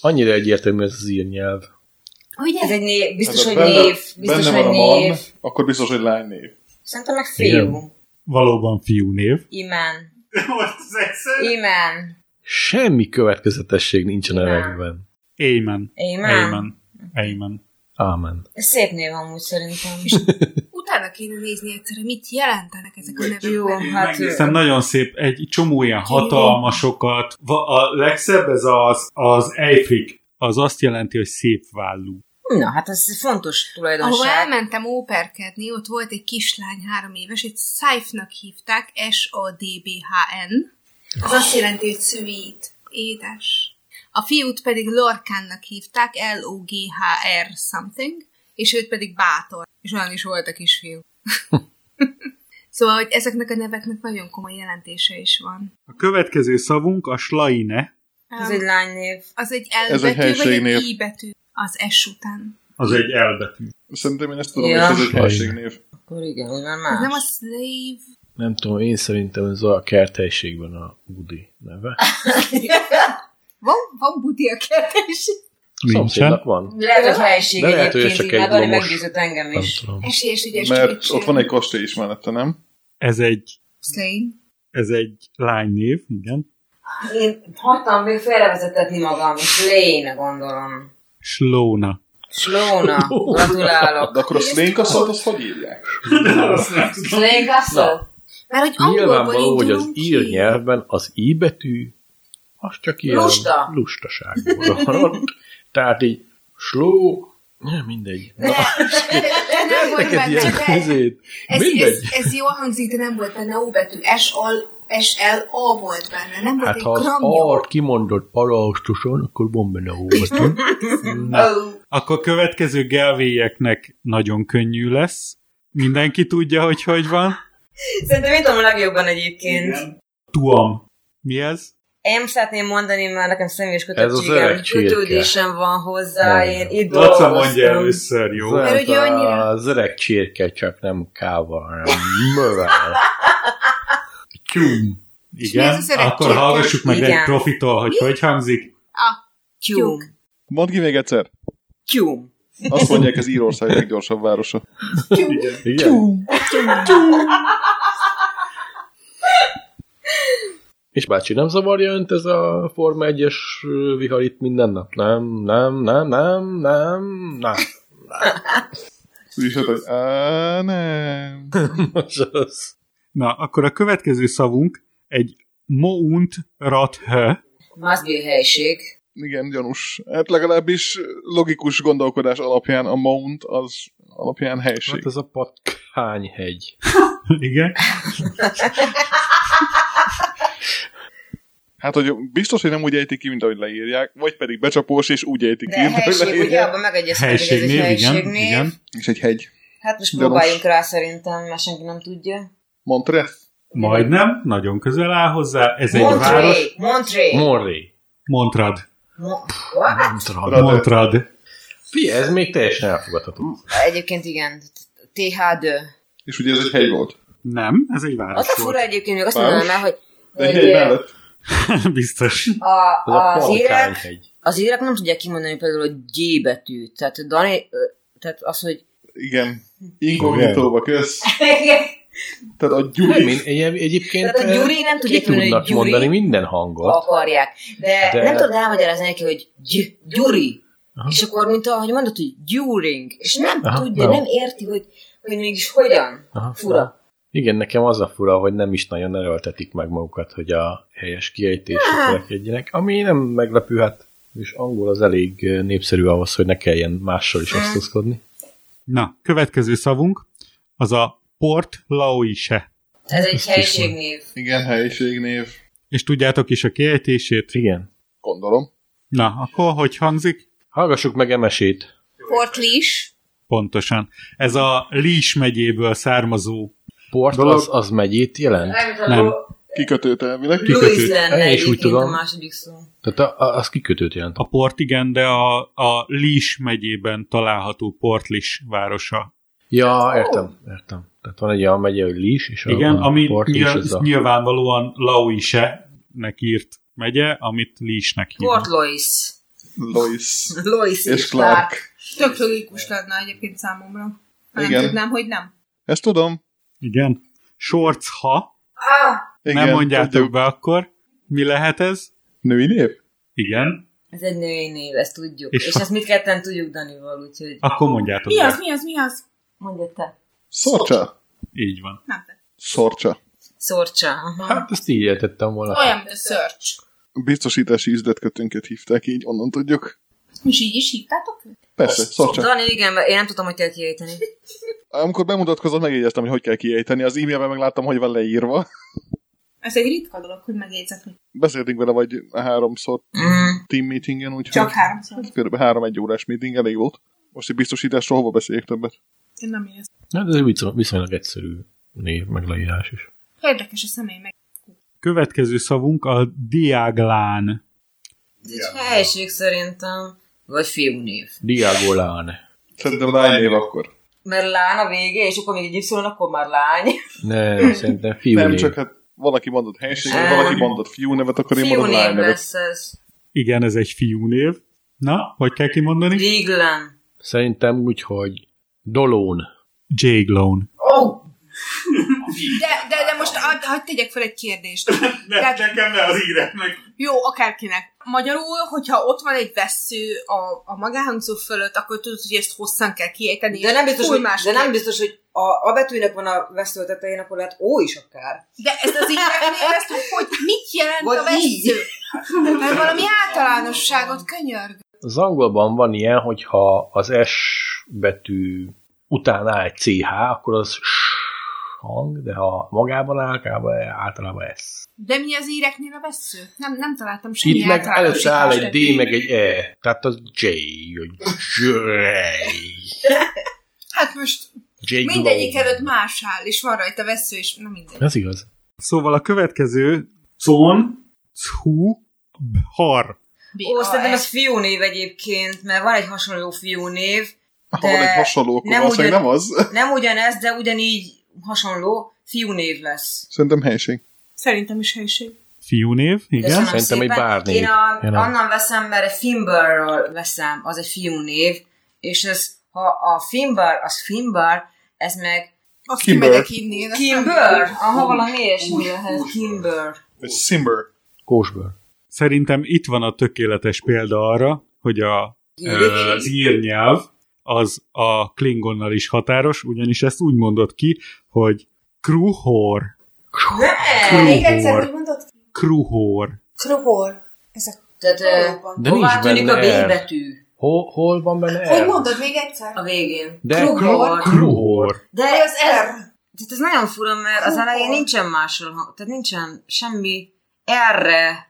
Annyira egyértelmű ez az írnyelv. Ugye? Ez egy név. Biztos, Hát, ha hogy benne- név. Biztos, benne hogy van a man, név. akkor biztos, hogy lány név. Szerintem meg Igen. fiú. Valóban fiú név. [LAUGHS] Imen. Most az egyszer. Imen. Semmi következetesség nincsen a nevekben. Amen. Amen. Amen. Amen. Ámen. Ez szép név amúgy szerintem. Utána kéne nézni egyszer, hogy mit jelentenek ezek a nevek. Jó, hát... Megnéztem, nagyon szép, egy csomó ilyen hatalmasokat. Va- A legszebb ez az, az Eiffig. Az azt jelenti, hogy szép vállú. Na, hát ez fontos Ahol tulajdonság. elmentem óperkedni, ott volt egy kislány három éves, egy Saifnak hívták, S-A-D-B-H-N. Az azt jelenti, hogy sweet, édes. A fiút pedig Lorkánnak hívták, L-O-G-H-R something, és őt pedig Bátor, és olyan is volt a [LAUGHS] kisfiú. szóval, hogy ezeknek a neveknek nagyon komoly jelentése is van. A következő szavunk a Slaine, Ez egy lánynév. Az egy Ez L egy betű, vagy helységnév. egy I betű? Az S után. az egy elbetű. Szerintem én ezt tudom, Ja. és ez egy Sajnos. helységnév. Akkor igen, úgy már Ez más. nem a slave Nem tudom, én szerintem ez a kerthelyiségben a Budi neve. Van, van budi a kérdés. Szomszédnak van? Lehet, hogy helység De lehet, hogy egyébként, csak így egy már valami lomos- meggyőzött engem Nem is. tudom. Esélyes, ügyes Mert ott van egy kastély is mellette, nem? Ez egy, Slain. ez egy lánynév, igen. Én hagytam még félrevezetetni magam, és léne gondolom. Slóna. [LAUGHS] Slóna, gratulálok. De akkor a szlénkasszalt azt hogy írják? Slénkasszó? Mert hogy angolból Nyilvánvaló, hogy az indulunk ki. ír nyelvben az i betű az csak ilyen Lusta. lustaságból [LAUGHS] van. Tehát így sló, nem mindegy. Na, De [LAUGHS] nem volt neked benne, ilyen csak ez, közét. ez, Mindegy. ez, ez jól hangzik, de nem volt benne O betű. S, L, S, L, A volt benne. Nem volt Hát egy ha az gramja. art kimondott paraustosan, akkor van benne óvatú. [LAUGHS] Akkor következő gelvélyeknek nagyon könnyű lesz. Mindenki tudja, hogy hogy van. Szerintem én tudom a legjobban egyébként. Tuam. Mi ez? Én szeretném mondani, mert nekem személyes Ez az kötöttségem, öreg csirke. kötődésem van hozzá, Mondja. én itt Laca mondja dolgoztam. először, jó? Mert ugye annyira- Az öreg Hát csirke csak nem kával, hanem [LAUGHS] mövel. Tyúm. És mi Igen, ez az öreg akkor csirke? hallgassuk meg Igen. egy profitól, hogy hogy hangzik. Tyúm. Mondd ki még egyszer. Tyúm. Azt mondják, ez Írország leggyorsabb városa. Igen? És bácsi, nem zavarja önt ez a Forma 1-es vihar itt minden nap? Nem, nem, nem, nem, nem, nem. Úgyis hát, hogy á, nem. Most az. Na, akkor a következő szavunk egy Mount Rathö. Must be helység. Igen, gyanús. Hát legalábbis logikus gondolkodás alapján a Mount az alapján Hát helység. ez a patkányhegy. Igen. Hát, hogy biztos, hogy nem úgy ejtik ki, mint ahogy leírják, vagy pedig becsapós, és úgy ejtik ki, De mint ahogy helység, ugye leírják. abban megegyeztünk, hogy ez egy Helységnév, igen. helységnév. igen. És egy hegy. Hát most Gyanús. próbáljunk rá szerintem, mert senki nem tudja. Montre? Majdnem, nagyon közel áll hozzá. Ez egy város. Montré! Montré! Morri. Montrad. Mo- What? Montrad. Montrad. Fi, ez még teljesen elfogadható. Egyébként igen. THD. És ugye ez egy hegy volt. Nem, ez egy Az város a fura volt. egyébként, még azt Város? mondanám el, hogy De egy hogy, hegy eh, mellett. [LAUGHS] Biztos. a, Ez a az, írek, patkányhegy. az írek nem tudják kimondani például a G betűt. Tehát, Dani, ö, tehát az, hogy... Igen. Inkognitóba kösz. Tehát a Nem, gyuri. én egy- egyébként tehát a Gyuri nem ki tudják kimondani, hogy tudnak Gyuri mondani minden hangot. akarják. De, De- de, nem tudod elmagyarázni neki, hogy gy- Gyuri. És akkor, mint ahogy mondod, hogy Gyuring. És nem Aha, tudja, nem. nem érti, hogy, hogy mégis hogyan. Aha, Fura. Igen, nekem az a fura, hogy nem is nagyon erőltetik meg magukat, hogy a helyes kiejtésre törekedjenek, ami nem meglepő, hát és angol az elég eh, népszerű ahhoz, hogy ne kelljen mással is osztozkodni. Na, következő szavunk az a Port Laoise. Ez egy Ezt is helységnév. Igen, helyiségnév. És tudjátok is a kiejtését? Igen. Gondolom. Na, akkor hogy hangzik? Hallgassuk meg Emesét. Portlis. Pontosan. Ez a Lís megyéből származó. Port Dolog- az, az megyét jelent? Nem, Nem. nem. Kikötőt elvileg. Ki- Louis Kikötő. Én is lenne úgy egyébként tudom. a második szó. Tehát a, a, az kikötőt jelent. A port igen, de a, a Lis megyében található Portlis városa. Ja, értem, értem. Tehát van egy olyan megye, hogy Lis, és a- igen, a ami port is nyilv, ez a... nyilvánvalóan Laoise-nek írt megye, amit Lisnek hívnak. Port Lois. Lois. Lois És Clark. Tök logikus lenne egyébként számomra. Ha nem Igen. tudnám, hogy nem. Ezt tudom. Igen. Sorc, ha Ah, Igen, nem mondjátok tudjuk. be, akkor mi lehet ez? Női nép? Igen. ez egy női név, ezt tudjuk. És És, és ha- ezt mit ketten tudjuk Danival, úgyhogy Akkor mondjátok Mi be. az, mi az, mi az? mondja te. Szorcsa. Így van. Nem te. Szorcsa. Szorcsa. aha. Hát ezt így értettem volna. Olyan, mint a search. Biztosítási üzletkötőnket hívták, így onnan tudjuk. És így is hívtátok őt? Persze, szorcsa. Dani, igen, mert én nem tudtam, hogy kell kiejteni. Amikor bemutatkozott, megjegyeztem, hogy hogy kell kiejteni. Az e-mailben megláttam, hogy van leírva. Ez egy ritka dolog, hogy megjegyzed, hogy Beszéltünk vele vagy háromszor Mm. team meetingen, úgyhogy csak háromszor. körülbelül három egy órás meeting elég volt. Most egy biztosításról hova beszéljek többet? Én nem érsz. Hát ez egy viszonylag- viszonylag egyszerű név, meg leírás is. Érdekes a személy meg. Következő szavunk a diaglán. Ez egy helység szerintem. Vagy fiúnév. Diagolán. Szerintem lány név akkor. Mert lány a vége, és akkor még egy y akkor már lány. Nem, szerintem fiú Nem, név. csak hát valaki mondott helységet, Sem. valaki mondott fiú nevet, akkor én Fiú mondom lány név nevet. lesz ez. Igen, ez egy fiúnév. Na, hogy kell kimondani? Riglan. Szerintem úgy, hogy Dolón. Jaglone. Oh! De, de, de most ad, hagyd tegyek fel egy kérdést. Ne, Tehát- nekem ne az írek meg. Jó, akárkinek. Magyarul, hogyha ott van egy vesző a, a magánhangzó fölött, akkor tudod, hogy ezt hosszan kell kiejteni. De nem biztos, Fúj hogy, de másképp. nem biztos, hogy a, a betűnek van a vesző tetején, akkor lehet ó is akár. De ezt az így megnéztem, hogy mit jelent Vagy a vesző. [LAUGHS] így. Mert valami általánosságot könyörg. Az angolban van ilyen, hogyha az S betű után áll egy CH, akkor az S hang, de ha magában áll, általában- általában S. De mi az éreknél a vesző? Nem, nem találtam semmi Itt meg általános előtte áll egy írást. D, meg egy E. Tehát az J. vagy J. Hát most J. mindegyik előtt más áll, és van rajta vesző, és nem mindegy. Ez igaz. Szóval a következő Con, chu har. Ó, szerintem ez fiúnév egyébként, mert van egy hasonló fiúnév. Ha van egy hasonló, akkor nem valószínűleg ugyan- nem az. Nem ugyanez, de ugyanígy hasonló fiúnév lesz. Szerintem helység. Szerintem is helység. Fiúnév, igen. Köszönöm Szerintem szépen. egy bárnév. Én a, Én a- onnan veszem, mert a Finbarról veszem, az egy fiúnév, és ez, ha a Finbar, az Finbar, ez meg Azt Kimber. kimegyek inni. én azt nem Kimber, aha, valami ilyesmi lehet, Kimber. Egy Simber. Kósbőr. Szerintem itt van a tökéletes példa arra, hogy a, ö, az írnyelv az a klingonnal is határos, ugyanis ezt úgy mondod ki, hogy kruhor, Ne! tudom. Még egyszer, Kruhor. hogy mondod? kruhor. Kruhor. Ez a Tehát ö, valóban. De hová nincs tűnik a benne B R. betű Hol, hol van benne Hogy R? mondod még egyszer? a végén? De Kruhor. Kruhor. De Vagy az R. tehát ez nagyon fura, mert az Kruhor. elején nincsen máshol, hang- tehát nincsen semmi erre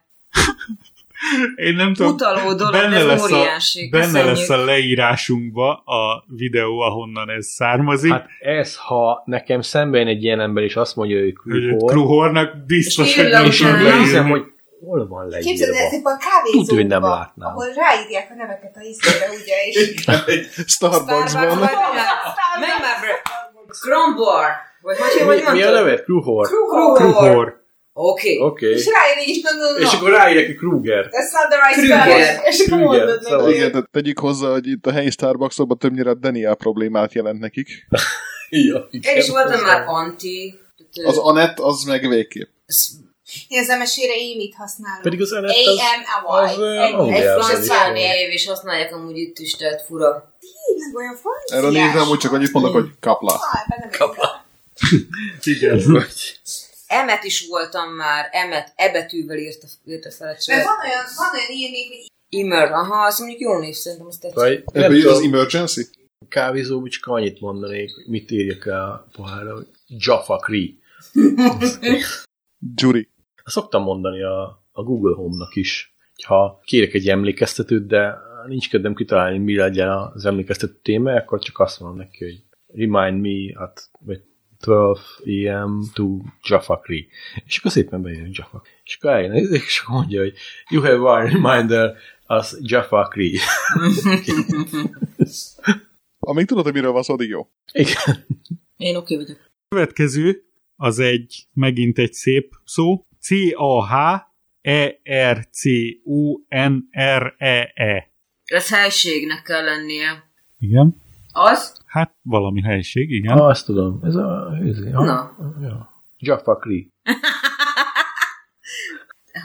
Én nem tudom, utaló dolog, benne, ez lesz a, óriási. benne Köszönjük. lesz a leírásunkba a videó, ahonnan ez származik, Hát ez, ha nekem szemben egy ilyen ember, és azt mondja, hogy hogy egy Kruhor, kruhornak biztos, És hogy nem írja is utána. leírni. én hiszem, hogy hol van Képzeld, leírva. ezekben a Tudod, hogy nem kávézókban, látnám. ahol ráírják a neveket a izére, ugye, és... Starbucksban. Starbucksban. Meg már bre. Crombar. Vagy hogy, hogy Mi, mi a mondtad? neve? Kruhor? Kruhor. Kruhor. Oké. Oké. És ráír így, no, no, no. És akkor ráírják, hogy Kruger. That's not the right Krüger. spelling. És akkor Krüger, szóval. mondod szabad. neki. Igen, de tegyük hozzá, hogy itt a helyi Starbucksokban többnyire a Daniel problémát jelent nekik. Ja, Én is voltam már anti. Az Anett, az meg végképp. Én az MSZ-re émit használom. Pedig az Anett az... az, ö, M-A-Y. Egy Angliában franc is van. számév, és használják amúgy itt is, tehát fura. Tényleg olyan franciás. Erre a névre amúgy csak annyit mondok, hogy kapla. Ah, ebben nem érdekel. [LAUGHS] Igen. Emet is voltam már, Emet, E betűvel írta, írta fel a Mert csaj. van olyan, van olyan ilyen név, hogy Immer, aha, azt mondjuk jó név szerintem, azt tetszik. Vagy nem Ebből jön az tudom, emergency? kávézó bucska annyit mondanék, hogy mit írjak a pohárra, hogy Jaffa [LAUGHS] Cree. Jury. Szoktam mondani a, a Google Home-nak is, ha kérek egy emlékeztetőt, de nincs kedvem kitalálni, mi legyen az emlékeztető téma, akkor csak azt mondom neki, hogy remind me at, vagy 12 a.m. to Jaffa Creek. És akkor szépen beírjuk Jaffa. És akkor elnézik, és akkor mondja, hogy you have one reminder az Jaffa Creek. Amíg tudod, hogy miről van szó, addig jó. Igen. Én oké okay vagyok. Következő az egy, megint egy szép szó, C-A-H-E-R-C-U-N-R-E-E. Ez helységnek kell lennie. Igen. Az? Hát valami helység, igen. Ah, azt tudom. Ez a... Ez, a Na. Ja. Jaffa Creek.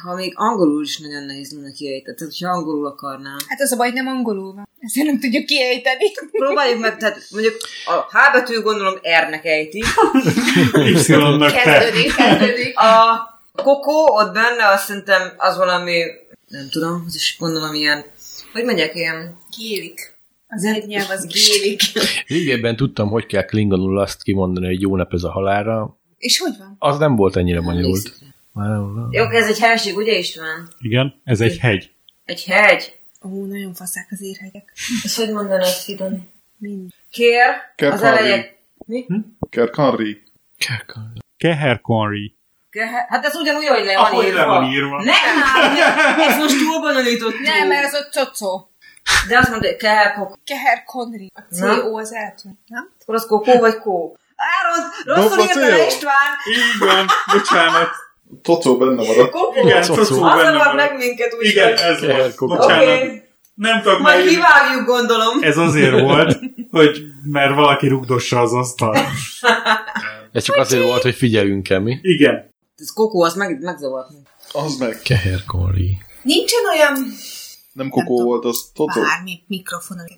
Ha még angolul is nagyon nehéz lenne kiejteni, tehát ha angolul akarnám. Hát az a baj, hogy nem angolul van. Ezért nem tudjuk kiejteni. Próbáljuk meg, tehát mondjuk a H betű gondolom R-nek ejti. [LAUGHS] Y-nak te. Kezdődik, kezdődik. A kokó ott benne, azt szerintem az valami, nem tudom, az is gondolom ilyen, hogy mondják ilyen, Gélik. Az egy nyelv az gélik. Régebben tudtam, hogy kell klingonul azt kimondani, hogy jó nap ez a halára. És hogy van? Az nem volt ennyire bonyolult. Már nem- nem. Jó, ez egy helység, ugye István? Igen, ez egy hegy. Egy hegy. Ó, nagyon faszák az érhegyek. És hogy mondanád, Fidon? Mind. Kér, Kér az Kari. eleje. Mi? Kerkanri. Keher Conry. Kér- Hát ez ugyanúgy, hogy le van Ahogy írva. le van írva. Nem, nem, ez most túl bonyolított. Nem, mert az a cocó. De azt mondta, hogy kell kokó. Keher Conry. A Na? CO az eltűnt, nem? Akkor az kokó vagy kó? Áron, rosszul Dobva írta cél. le István. Így van, bocsánat. Tocó benne maradt. Kokó. Igen, Cocó. cocó Az benne zavar van. meg minket úgy. Igen, hogy- ez Kell volt. kokó. Oké, Bocsánat. Nem tudok már majd írni. kivágjuk, gondolom. Ez azért volt, hogy mert valaki rugdossa az asztalt. Ez csak azért volt, hogy figyeljünk el mi. Igen. Ez kokó, az meg, megzavart. Az meg. Keherkonri. Nincsen olyan Nem kokó tudom. volt, az tocó. bármi mikrofon, amit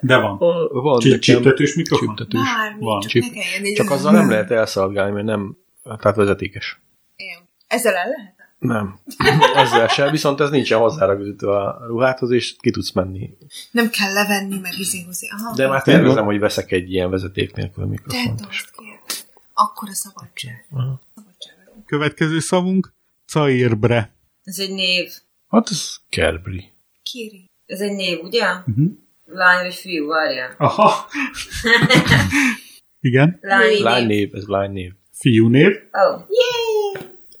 De van. Van Csip- nekem Csiptetős mikrofon. csiptetős. Bármi, Van, csak csip. ne kelljen egy- Csak azzal nem lehet elszolgálni, mert nem, tehát vezetékes. Igen. Ezzel el lehet? Nem. Ezzel sem, viszont ez nincsen hozzáragozítva a ruháthoz, és ki tudsz menni. Nem kell levenni, meg izéhozni. Aha, De már tervezem, hogy veszek egy ilyen vezeték nélkül Tedd mikrofont. azt ki. Akkor a szabadság. Következő szavunk, Cairbre. Ez egy név. Hát ez Kerbri. Kéri. Ez egy név, ugye? Lány vagy fiú, várjál. Aha. [LAUGHS] Igen. Lány, Lány név. név, ez lány név. Fiú név. Oh.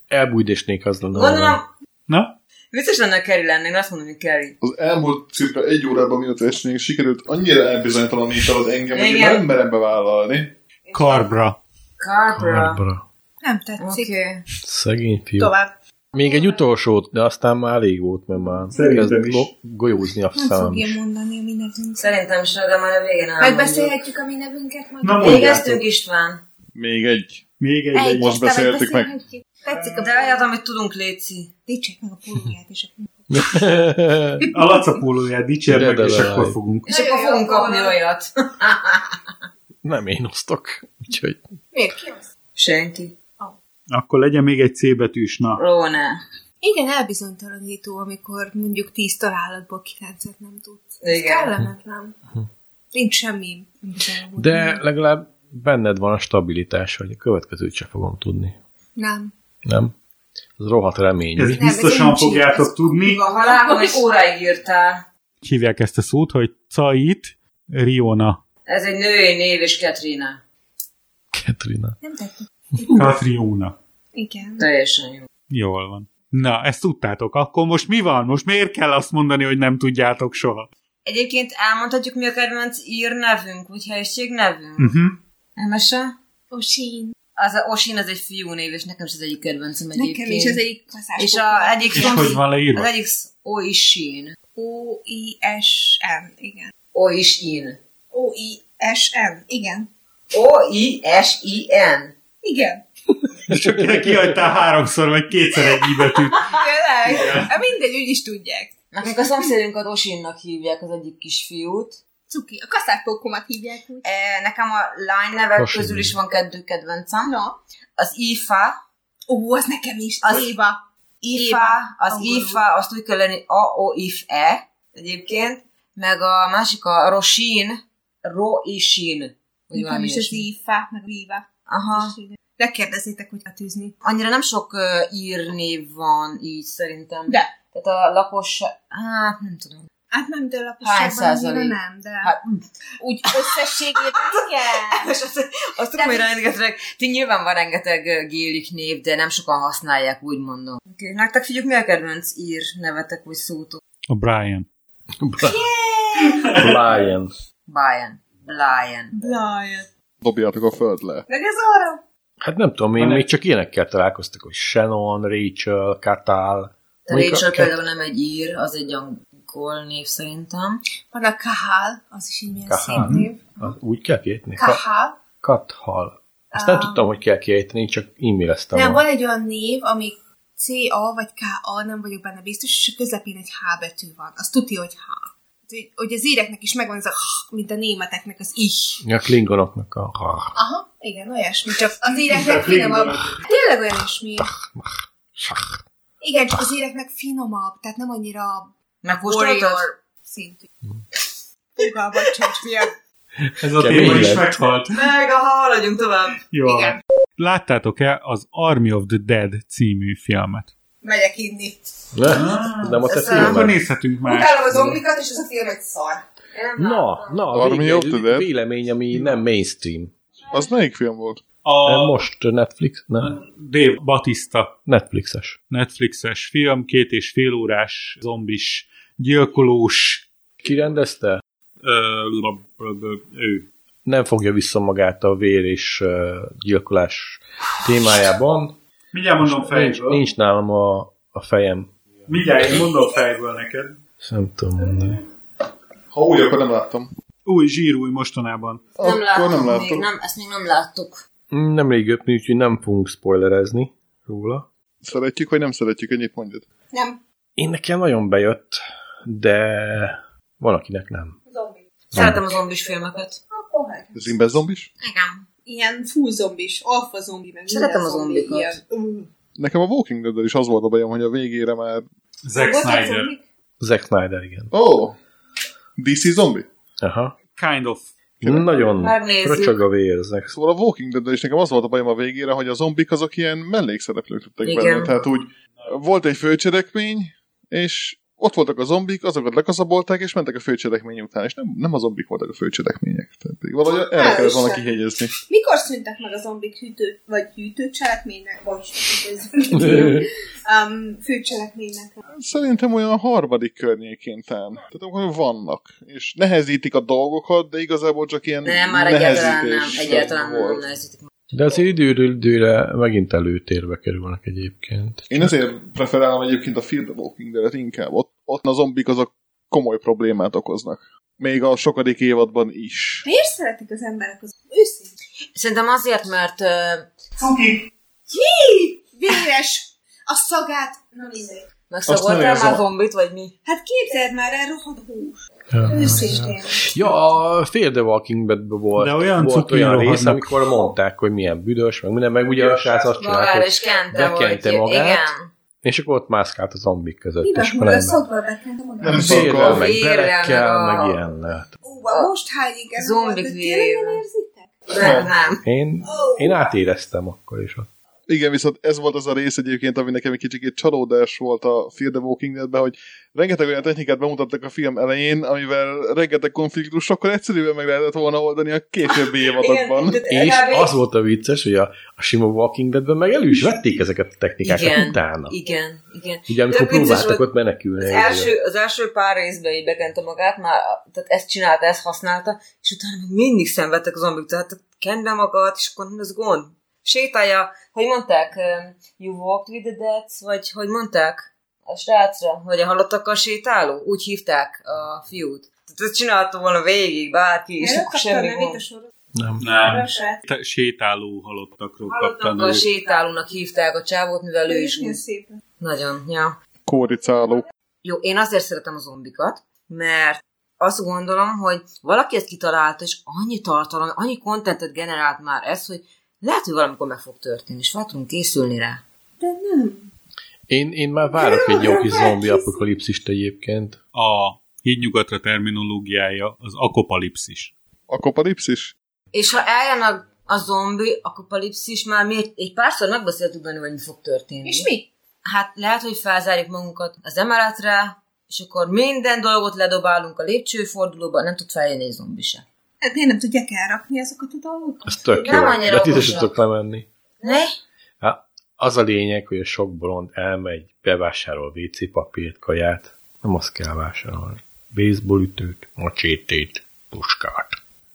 Elbújdésnék az lenne. Gondolom, Na, Biztos lenne Kerry lenne, én azt mondom, hogy Kerry. Az elmúlt cirka egy órában, mióta esnénk, sikerült annyira elbizonytalanítani engem, hogy én Igen. nem merem bevállalni. Karbra. Karbra. Barbara. Nem tetszik. Oké. Okay. Szegény fiú. Tovább. Még egy utolsót, de aztán már elég volt, mert már Szerintem kezd is. go- golyózni a Nem szám fogja is. mondani a mi nevünket. Szerintem is, de már a végén elmondjuk. Megbeszélhetjük a mi nevünket majd? Na, mondj. Végeztünk István. Még egy. Még egy, egy. Egy, most aztán beszéltük meg. megbeszélhetjük. Tetszik a De olyat, bejárat. amit tudunk, Léci. Dicsék meg a pólóját és a A Laca pólóját De, dicsérnek, de, és de, de. akkor fogunk. És Nagyon akkor jó, fogunk akkor kapni van. olyat. Nem én osztok, úgyhogy Miért ki az? Senki. Akkor legyen még egy C betűs, na. Róna. Igen, elbizonytalanító, amikor mondjuk tíz találatból kilencet nem tudsz. Ez Igen. kellemetlen. Nincs semmi. bizalom. De legalább benned van a stabilitás, hogy a következőt se fogom tudni. Nem. Nem? Ez rohadt remény. Ezt ez biztosan nincs így, fogjátok ez- tudni. A halálom egy óráig írtál. Hívják ezt a szót, hogy Cait Riona. Ez egy női név és Katrina. Katrina. Nem tetszik. hát Katriona. Igen. Teljesen jó. Jól van. Na, ezt tudtátok. Akkor most mi van? Most miért kell azt mondani, hogy nem tudjátok soha? Egyébként elmondhatjuk, mi a kedvenc ír nevünk, vagy helység nevünk. Uh-huh. Emese? Osin. Az a Osin az egy fiú név, és nekem is az egyik kedvencem egyébként. Nekem is az egyik faszás. És a egyik És hogy van Az leírva? egyik sz- Oisin. O-I-S-M, igen. Oisin. O-I-S-M, igen. O-I-S-I-N. Igen. Csak kihagytál háromszor, vagy kétszer egy i betűt. Tényleg? Hát Mindegy, úgy is tudják. Nekünk a szomszédunkat Osinnak hívják az egyik kisfiút. Cuki, a kaszákpókomat hívják úgy. E, Nekem a lány nevek Osin. közül is van kettő kedvencem. Na. Az Ifa. Ó, az nekem is. Az- Az Éva. Ifa, az angolul. Ifa, azt úgy kell lenni A-O-If-E egyébként, meg a másik a Rosin, Roisin. Úgy Nekem valami is az ilyesmi. Éva, meg Éva. Aha. Ne kérdezzétek, hogy a tűzni. Annyira nem sok uh, írnév van így szerintem. De. Tehát a lakos... Hát nem tudom. Hát nem, de Hány laposságban annyira százalék? nem, de... Hát, Hát, úgy összességében igen. [LAUGHS] És azt, azt tudom, hogy rengeteg, ti nyilván van rengeteg ö, gélik név, de nem sokan használják, úgy mondom. Okay. Nektek figyelj, mi a kedvenc ír nevetek vagy szótó? A Brian. Lion. Brian. Lion. Blajt. Dobjátok a föld le. Meg ez arra. Hát nem tudom, én Van egy- még csak ilyenekkel találkoztak, hogy Shannon, Rachel, Katal. De Mondjuk a Rachel kett- például nem egy ír, az egy angol név szerintem. Van a kahál, az is így milyen Kahal. szép név. Az Úgy kell kiejteni? Ka- Kahál. Kathal. Ezt nem Ah. tudtam, hogy kell kiejteni, csak e-maileztem. Nem, a- van egy olyan név, ami CA vagy KA, nem vagyok benne biztos, és a közepén egy H betű van. Az tudja, hogy H. Hát, Hogy- Hogy az íreknek is megvan ez a H, mint a németeknek az ich. A klingonoknak a... a- Aha, igen, olyasmi, csak az íreknek finomabb. Tényleg olyan is mi. sach. Igen, csak az íreknek finomabb, tehát nem annyira Megkóstoltad? warrior szintű. Fogalmat sincs mi a Ez a Kemény téma is lett. meghalt. Meg, aha, haladjunk tovább. Jó. Igen. Láttátok-e az Army of the Dead című filmet? megyek inni. Ne? Ah, Nem a te Ez a- Akkor filmed. nézhetünk már. Utálom az omlikat, és az a film egy szar. Na, na, a Army vége- of the Dead. vélemény, ami nem mainstream. Az melyik film volt? De A Most Netflix, ne, Dave Batista Netflixes. Netflixes film, két és fél órás zombis, gyilkolós, Ki rendezte? ö, lab- lab- ő. Nem fogja vissza magát a vér és ö, gyilkolás témájában. Mindjárt mondom Nincs, fejből. nincs nálam a, a fejem. Mindjárt én mondom fejből neked. Ezt Nem tudom mondani. Ha úgy, akkor nem láttam. Új zsírúj mostanában. Nem akkor nem láttuk még, láttam. nem, ezt még nem láttuk. Nemrég öpni, úgyhogy nem fogunk spoilerezni róla. Szeretjük, vagy nem szeretjük, ennyit mondjad. Nem, Én nekem nagyon bejött, de van akinek nem. zombi. Szeretem a zombis filmeket. Akkor hát. Ez Zimbe zombis? Igen. Ilyen full zombis, alfa zombi, meg Szeretem minden a zombi, zombikat. ilyen. Ú. Nekem a Walking dead is az volt a bajom, hogy a végére már... Zack Voltak Snyder. zombik? Zack Snyder, igen. Ó! Oh, DC zombi? Aha. Kind of. Nagyon Megnézzük. fröcsög a vér. Zack Szóval a Walking dead is nekem az volt a bajom a végére, hogy a zombik azok ilyen mellékszereplők lettek Igen. benne. Tehát úgy volt egy főcselekmény, és ott voltak a zombik, azokat lekaszabolták, és mentek a főcselekmény után, és nem, nem a zombik voltak a főcselekmények. Tehát valahogy erre Hál' kellett volna Isten. kihegyezni. Mikor szűntek meg a zombik hűtő, vagy hűtőcselekménynek, vagy Snyder. um, főcselekménynek? Szerintem olyan harmadik környékén tán. Tehát akkor vannak. És nehezítik a dolgokat, de igazából csak ilyen Nem, már egyáltalán nem, nehezítés egyáltalán nem volt. nehezítik. De azért időről időre megint előtérbe kerülnek egyébként. Én ezért preferálom egyébként a Fear the Walking Dead-et inkább. Ott, ott a zombik azok komoly problémát okoznak. Még a sokadik évadban is. Miért szeretik az emberek az őszintén? Szerintem azért, mert ö, Cuki. Véres! A szagát nem izé. Azt nem megszagoltál érzem. már zombit, vagy mi? Hát képzeld már el, rohadt hús. Ja. Őszintén. Ja, a Fear the Walking Dead volt, De olyan volt cukin olyan rész, rohadnak. amikor mondták, hogy milyen büdös, meg minden, meg ugye a srác azt csinált, Magára hogy, is kente, bekente hogy magát. Igen. és akkor ott mászkált a zombik között, Mivel és húl a akkor szagba bekentem Nem magam? szagol. Vérrel, meg Vérrel, berekkel, meg a- meg ilyen lehet. Ú, a most hány igen Zombik volt, de tényleg vérével. nem érzitek? Nem, nem. Én, én átéreztem akkor is ott. Igen, viszont ez volt az a rész egyébként, ami nekem egy kicsit csalódás volt a Fear the Walking Deadben, hogy rengeteg olyan technikát bemutattak a film elején, amivel rengeteg konfliktus sokkal egyszerűbben meg lehetett volna oldani a későbbi évadokban. de- de És kb. az volt a vicces, hogy a, a sima Walking Deadben meg elő is vették ezeket a technikákat Igen. utána. Igen, igen. Ugye amikor Tök vicces próbáltak volt. ott menekülni. Az egyről. első, az első pár részben így bekente magát, már, tehát ezt csinálta, ezt használta, és utána még mindig szenvedtek az zombik, tehát kend be magad, és akkor nem az gond. Sétálja, hogy mondták, um, you walked with the dead, vagy hogy mondták a srácra, hogy a halottakkal sétáló, úgy hívták a fiút. Tehát ezt csinálta volna végig, bárki, és akkor Előkapta a semmi nevét gond. a sorozat. Nem. Nem. Te- sétáló halottakról kaptam. Halottakkal sétálónak hívták a csávót, mivel ő is Milyen úgy. szép. Nagyon, ja. Kóricáló. Jó, én azért szeretem a zombikat, mert azt gondolom, hogy valaki ezt kitalálta, és annyi tartalom, annyi kontentet generált már ez, hogy lehet, hogy valamikor meg fog történni, és fel tudunk készülni rá. De nem. Én, én már várok egy jó kis hát zombi apokalipszist egyébként. A hídnyugatra terminológiája az akopalipszis. Akopalipszis? És ha eljön a, a zombi apokalipszis, már mi egy- egy párszor megbeszéltük benne, hogy mi fog történni. És mi? Hát lehet, hogy felzárjuk magunkat az emeletre, és akkor minden dolgot ledobálunk a lépcsőfordulóba, nem tud feljönni egy zombi se. Hát miért nem tudják elrakni azokat a dolgokat? Ez tök Nem jó. annyira De ti okosak. is tudtok lemenni. Ne? Hát, az a lényeg, hogy a sok bolond elmegy, bevásárol WC papírt, kaját. Nem azt kell vásárolni. Baseball ütőt, macsétét, puskát.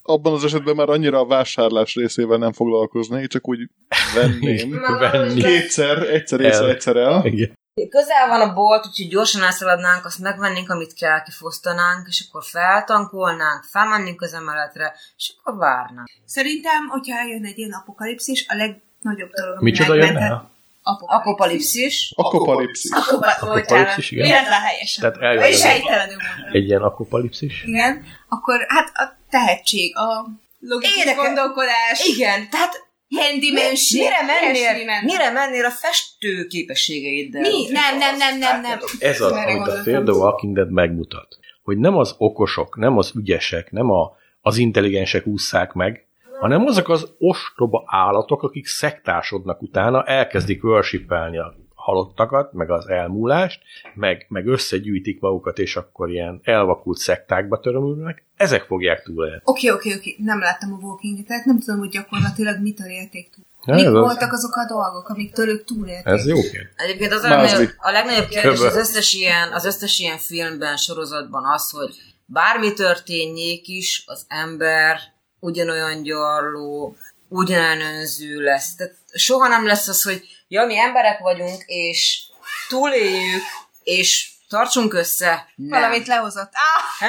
Abban az esetben már annyira a vásárlás részével nem foglalkoznék, csak úgy [LAUGHS] venném. Venni. Kétszer, egyszer észre, El. egyszer el. Igen. Közel van a bolt, úgyhogy gyorsan elszaladnánk, azt megvennénk, amit kell, kifosztanánk, és akkor feltankolnánk, felmennénk az emeletre, és akkor várnánk. Szerintem, hogyha eljön egy ilyen apokalipszis, a legnagyobb dolog, ami Micsoda jön megmenthet- el? Apokalipszis. Apokalipszis. Apokalipszis. Apokalipszis, Apokalipszis, igen. igen. Véletlen helyesen. Tehát mondtam. eljön Vagyis az- helytelenül mondtam. Egy ilyen akopalipszis? Igen. Akkor hát a tehetség, a logikus Érdekes. gondolkodás. Igen, tehát Handymanship. mire ilyesmi mennél, ment. mire mennél a festő képességeiddel? Mi? Nem, nem, nem, nem, nem. Ez az, Erre amit a gondoltam. Fear the Walking Dead megmutat. Hogy nem az okosok, nem az ügyesek, nem a, az intelligensek ússzák meg, hanem azok az ostoba állatok, akik szektásodnak utána, elkezdik worshipelni a halottakat, meg az elmúlást, meg, meg összegyűjtik magukat, és akkor ilyen elvakult szektákba törömülnek. Ezek fogják túlélni. Oké, oké, oké, nem láttam a Walking Dead-et, nem tudom, hogy gyakorlatilag mitől élték túl. Ja, Mik ez az- voltak azok a dolgok, amik tőlük túlélték? Ez jó kérdés. Egyébként az a Mázli. legnagyobb, a legnagyobb kérdés Köbö. az összes, ilyen, az összes ilyen filmben, sorozatban az, hogy bármi történjék is, az ember ugyanolyan gyarló, ugyanolyan önző lesz. Tehát soha nem lesz az, hogy ja, mi emberek vagyunk, és túléljük, és tartsunk össze. Nem. [LAUGHS] Valamit lehozott. Á,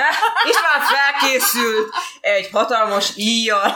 István felkészült egy hatalmas íjjal.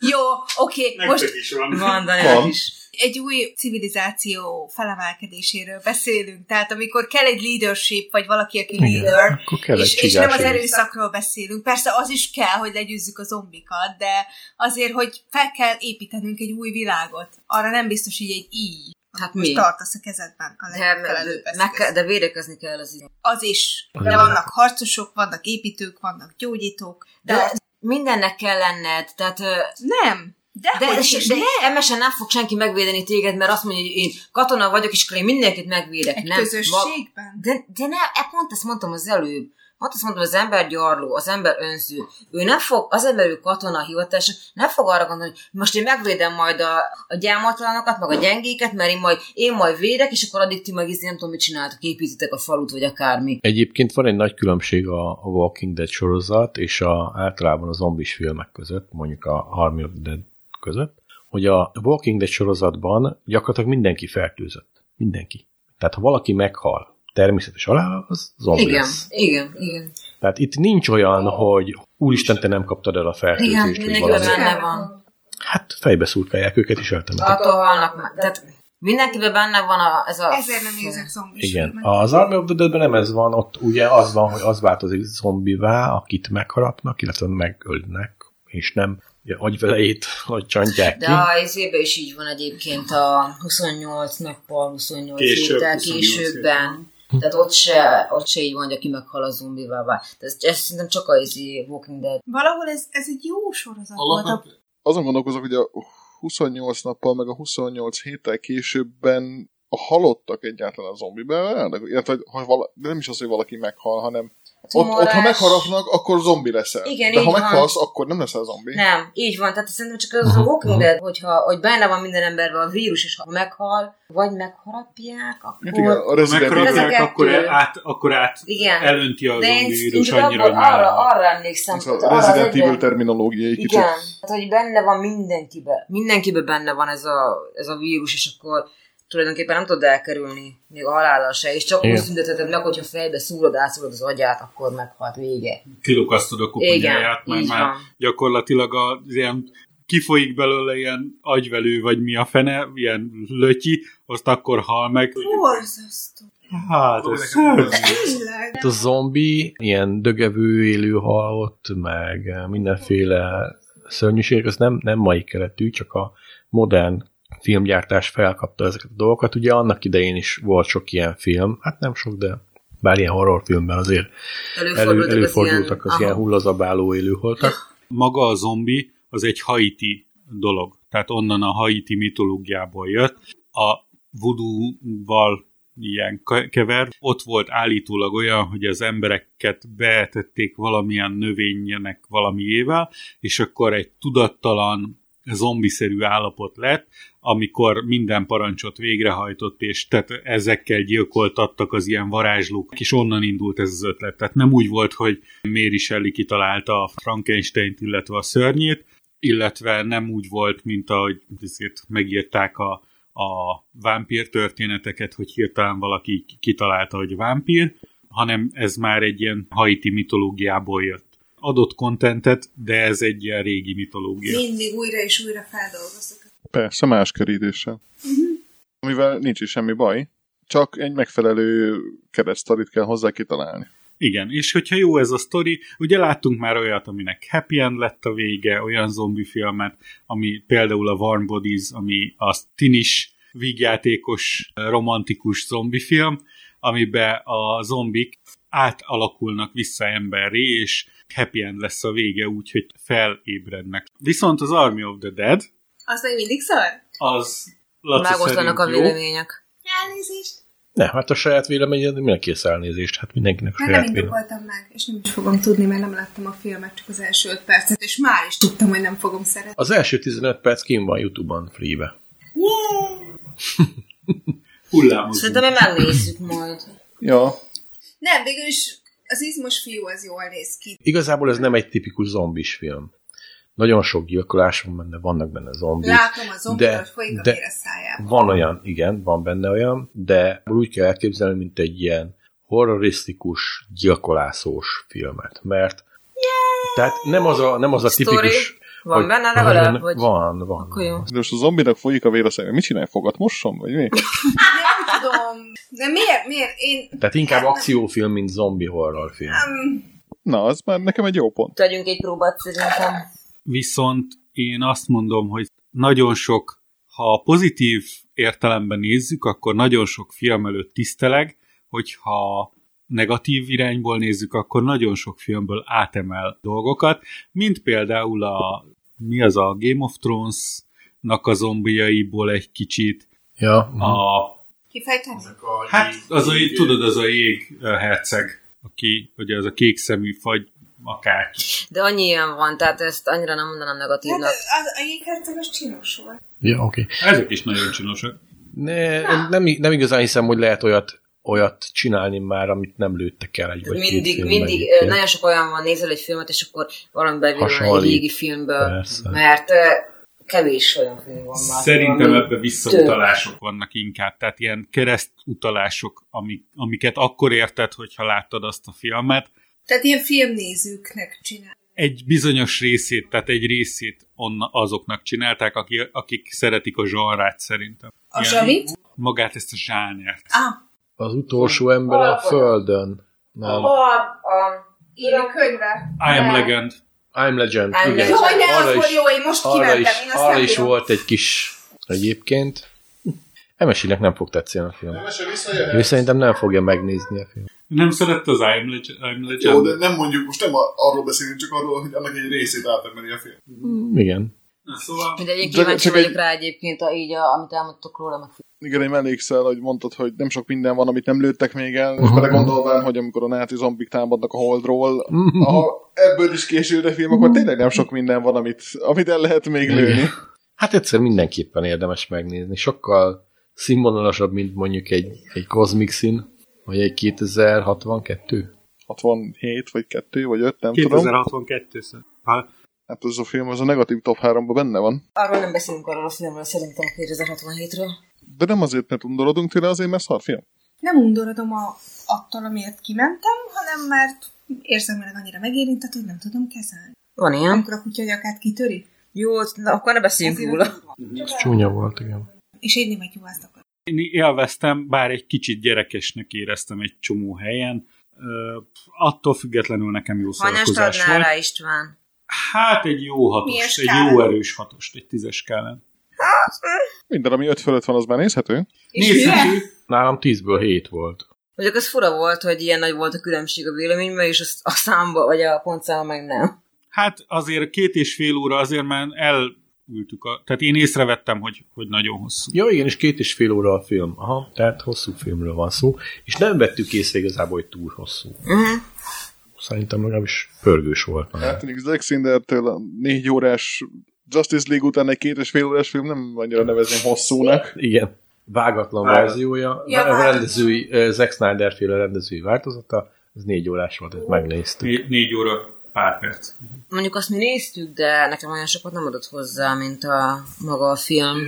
jó, oké, most Nektek is van. Van, Daniel Van. is. egy új civilizáció felemelkedéséről beszélünk, tehát amikor kell egy leadership, vagy valaki, aki leader, Akkor kell egy és, és nem az csigás erőszakról beszélünk. Persze az is kell, hogy legyőzzük a zombikat, de azért, hogy fel kell építenünk egy új világot. Arra nem biztos, hogy egy így. Hát Most mi? tartasz a kezedben a De, legfelelőbb meg, eszköz. kell- de védekezni kell az így. Az is. Az De is. vannak harcosok, vannak építők, vannak gyógyítók. De, De de mindennek kell lenned, tehát ö, nem. De, de, hogy de, is, de nem. emesen nem fog senki megvédeni téged, mert azt mondja, hogy én katona vagyok, és akkor én mindenkit megvédek. Egy nem, ma- közösségben. de, de nem, e, pont ezt mondtam az előbb. Pont azt mondtam, az ember gyarló, az ember önző. Ő nem fog, az ember ő katona hivatása, nem fog arra gondolni, hogy most én megvédem majd a, a gyámatlanokat, meg a gyengéket, mert én majd, én majd védek, és akkor addig ti meg izé nem tudom, mit csináltok, építitek a falut, vagy akármi. Egyébként van egy nagy különbség a a Walking Dead sorozat és a, általában a zombis filmek között, mondjuk a Army of the Dead között, hogy a Walking Dead sorozatban gyakorlatilag mindenki fertőzött. Mindenki. Tehát ha valaki meghal természetes halál, az zombi Igen, lesz. igen, igen. Tehát itt nincs olyan, hogy úristen, te nem kaptad el a Igen, fertőzést. vagy mindenki valami. benne van. Hát fejbe szurkálják őket és eltemetik. Attól halnak meg. Tehát mindenkiben benne van a, ez a... Ezért nem nézek zombis Igen. filmet. Az Army of the Deadben nem ez van, ott ugye az van, hogy az változik zombivá, akit megharapnak, illetve megölnek, és nem ugye, agyvelejét agycsantják ki. De a izébe is így van egyébként a 28 nappal, 28 Később, héttel 28 későbben. Tehát ott se, ott se így van, hogy aki meghal a zombivá vál. Tehát ez, ez szerintem csak a izé Walking Dead. Valahol ez, ez egy jó sorozat volt. A Alapvetően Azon gondolkozok, hogy a 28 nappal, meg a 28 héttel későbben a halottak egyáltalán a zombiben, illetve hogy- hogy vala, de nem is az, hogy valaki meghal, hanem ott, ott, ha Tumorás. megharapnak, akkor zombi leszel. Igen, de ha így van. meghalsz, akkor nem leszel zombi. Nem, így van. Tehát szerintem csak az a Walking Dead, hogyha hogy benne van minden emberben a vírus, és ha meghal, vagy megharapják, akkor... Hát igen, a Ha Resident Evil. megharapják, Ezek akkor, kettő. el- át, akkor át Igen. elönti a De én, zombi én vírus csak annyira, abból hogy már... arra, arra emlékszem. Ez a arra az Resident egyetlen- Evil terminológia egy kicsit. Igen, tehát hogy benne van mindenkibe. Mindenkibe benne van ez a, ez a vírus, és akkor tulajdonképpen nem tudod elkerülni, még a halállal se, és csak Igen. úgy szüntetheted meg, hogyha fejbe szúrod, átszúrod az agyát, akkor meghalt vége. kilukasztod a Igen, kuponyáját, mert így már van. gyakorlatilag a, ilyen kifolyik belőle ilyen agyvelő, vagy mi a fene, ilyen lötyi, azt akkor hal meg. borzasztó. Hát, ez szörnyű. Tényleg. Hát a zombi, ilyen dögevő, élő halott, meg eh, mindenféle szörnyűség, az nem, nem mai keletű, csak a modern filmgyártás felkapta ezeket a dolgokat. Ugye annak idején is volt sok ilyen film, hát nem sok, de bár ilyen horrorfilmben azért elő, előfordultak az ilyen aha. hullazabáló élőholtak. maga a zombi az egy haiti dolog. Tehát onnan a haiti mitológiából jött. A voodoo-val ilyen kever. Ott volt állítólag olyan, hogy az embereket beetették valamilyen növénynek valamiével, és akkor egy tudattalan zombiszerű állapot lett, amikor minden parancsot végrehajtott, és tehát ezekkel gyilkoltattak az ilyen varázslók, és onnan indult ez az ötlet. Tehát nem úgy volt, hogy Mary Shelley kitalálta a Frankenstein-t, illetve a szörnyét, illetve nem úgy volt, mint ahogy ezért megírták a, a vámpír történeteket, hogy hirtelen valaki kitalálta, hogy vámpír, hanem ez már egy ilyen haiti mitológiából jött adott kontentet, de ez egy ilyen régi mitológia. Mindig újra és újra feldolgozok. Persze, más kerítéssel. Mhm. Uh-huh. Amivel nincs is semmi baj, csak egy megfelelő keresztalit kell hozzá kitalálni. Igen, és hogyha jó ez a sztori, ugye láttunk már olyat, aminek happy end lett a vége, olyan zombi filmet, ami például a Warm Bodies, ami a tinis vígjátékos, romantikus zombi film, amiben a zombik átalakulnak vissza emberré, és happy end lesz a vége, úgyhogy felébrednek. Viszont az Army of the Dead... Az még mindig szar? Az Laci Megoszlanak a szerint jó. vélemények. Elnézést. Ne, hát a saját véleményed minek kész elnézést? Hát mindenkinek Már nem saját vélemény. indokoltam meg, és nem is fogom tudni, mert nem láttam a filmet, csak az első öt percet, és már is tudtam, hogy nem fogom szeretni. Az első 15 perc kim van Youtube-on free-be. Hullámozunk. Szerintem mi megnézzük majd. Ja, Nem, végül is az izmos fiú az jól néz ki. Igazából ez nem egy tipikus zombis film. Nagyon sok gyilkolás van benne, vannak benne zombik. Látom a zombikat, De- hogy folyik a de- vér a szájában. Van olyan, igen, van benne olyan, de úgy kell elképzelni, mint egy ilyen horrorisztikus, gyilkolászós filmet, mert tehát nem az a, nem az a Story. tipikus... Van hogy- benne legalább, vagy- Van, van. Akkor jó. de most a zombinak folyik a vér a szemben. Mit csinál? Fogat mosson, vagy mi? Nem tudom. De miért, miért? Én... Tehát inkább Hát akciófilm, mint zombi horrorfilm. Um, Na, az már nekem egy jó pont. Tegyünk egy próbát szerintem. Viszont én azt mondom, hogy nagyon sok, ha pozitív értelemben nézzük, akkor nagyon sok film előtt tiszteleg, hogyha negatív irányból nézzük, akkor nagyon sok filmből átemel dolgokat, mint például a, mi az a Game of Thrones-nak a zombiaiból egy kicsit, Ja, mhm. a kifejteni? Hát az a, tudod, az a jég ö, herceg, aki, ugye az a kék szemű fagy akárki. De annyi ilyen van, tehát ezt annyira nem mondanám Hát negatívnak. az, a jégherceg az csinos volt. ja oké. Ezek is nagyon csinosak. Ne, nem, nem igazán hiszem, hogy lehet olyat, olyat csinálni már, amit nem lőttek el egy vagy két Mindig, filmben mindig, egyébként. ö, nagyon sok olyan van, nézel egy filmet, és akkor valami bevillan egy Hasonlít. régi filmből. Persze. Mert ö, kevés olyan film van már. Szerintem Valami ebbe visszautalások vannak inkább, tehát ilyen keresztutalások, amik, amiket akkor érted, hogyha láttad azt a filmet, Tehát ilyen filmnézőknek csinál. egy bizonyos részét, tehát egy részét onna, azoknak csinálták, akik, akik szeretik a zsanrát szerintem. A Ilyen- zsamit? Magát ezt a zsánert. Ah, Az utolsó ember a Alapanyag. Földön. Nem. több. A, a, író könyvre. I am legend. I'm Legend, I'm igen. Legend. Jaj, ne, az Arra volt is- jó, én most arra kimentem, is, én azt arra nem is bírom. volt egy kis egyébként. Emesinek nem fog tetszeni a film. Ő szerintem nem fogja megnézni a film. Nem szerette az I am legend? I am legend? Jó, de nem mondjuk, most nem a- arról beszélünk, csak arról, hogy annak egy részét átemeli a film. Mm, Igen. Na, Szóval mindegy, én Csak- kíváncsi csak vagyok egy- rá egyébként, a, így, a, amit elmondtok róla, meg Igen, én mellékszel, hogy mondtad, hogy nem sok minden van, amit nem lőttek még el, és belegondolván, hogy amikor a náci zombik támadnak a holdról, Mhm. ha ebből is készülne film, akkor tényleg nem sok minden van, amit, amit el lehet még lőni. Hát egyszer mindenképpen érdemes megnézni. Sokkal színvonalasabb, mint mondjuk egy, egy Cosmic Sin, vagy egy 2062. 67 vagy 2 vagy 5, nem tudom. 2062 szerint. Hát, Hát ez a film az a negatív top 3-ban benne van. arról nem beszélünk arról a filmről, szerintem a 2067-ről. De nem azért, mert undorodunk tőle, azért, mert szar film. Nem undorodom a, attól, amiért kimentem, hanem mert érzelmileg annyira megérintett, hogy nem tudom kezelni. Van ilyen. Amikor a kutya nyakát kitöri. Jó, na, akkor ne beszéljünk Ezért róla. az durva. Csúnya volt, igen. És én nem egy juhászt akarok. Én élveztem, bár egy kicsit gyerekesnek éreztem egy csomó helyen. Ö, attól függetlenül nekem jó Hanyast szórakozás adnál volt. rá István? Hát egy jó Milyen hatost, egy skálán? jó erős hatost, egy tízes skálán. Minden, ami 5 fölött van, az már nézhető. És Nézhető, Nálam 10-ből 7 volt. Mondjuk az fura volt, hogy ilyen nagy volt a különbség a véleményben, és az a számba, vagy a pontszámba meg nem. hát azért két és fél óra azért már el ültük. A, tehát én észrevettem, hogy, hogy nagyon hosszú. Ja, igen, és két és fél óra a film. Aha, tehát hosszú filmről van szó, és nem vettük észre igazából, hogy túl hosszú. Uh-huh. Szerintem legalábbis pörgős volt. már. Hát mondjuk Zack Snydertől a négy órás Justice League után egy két és fél órás film nem annyira nevezném hosszúnak. Igen, vágatlan Vágat- verziója, Ja, a vágatlan. rendezői, ö, Zack Snyder féle rendezői változata, ez négy órás volt, ezt megnéztük. Né- négy óra pár perc. Mondjuk azt mi néztük, de nekem olyan sokat nem adott hozzá, mint a maga a film.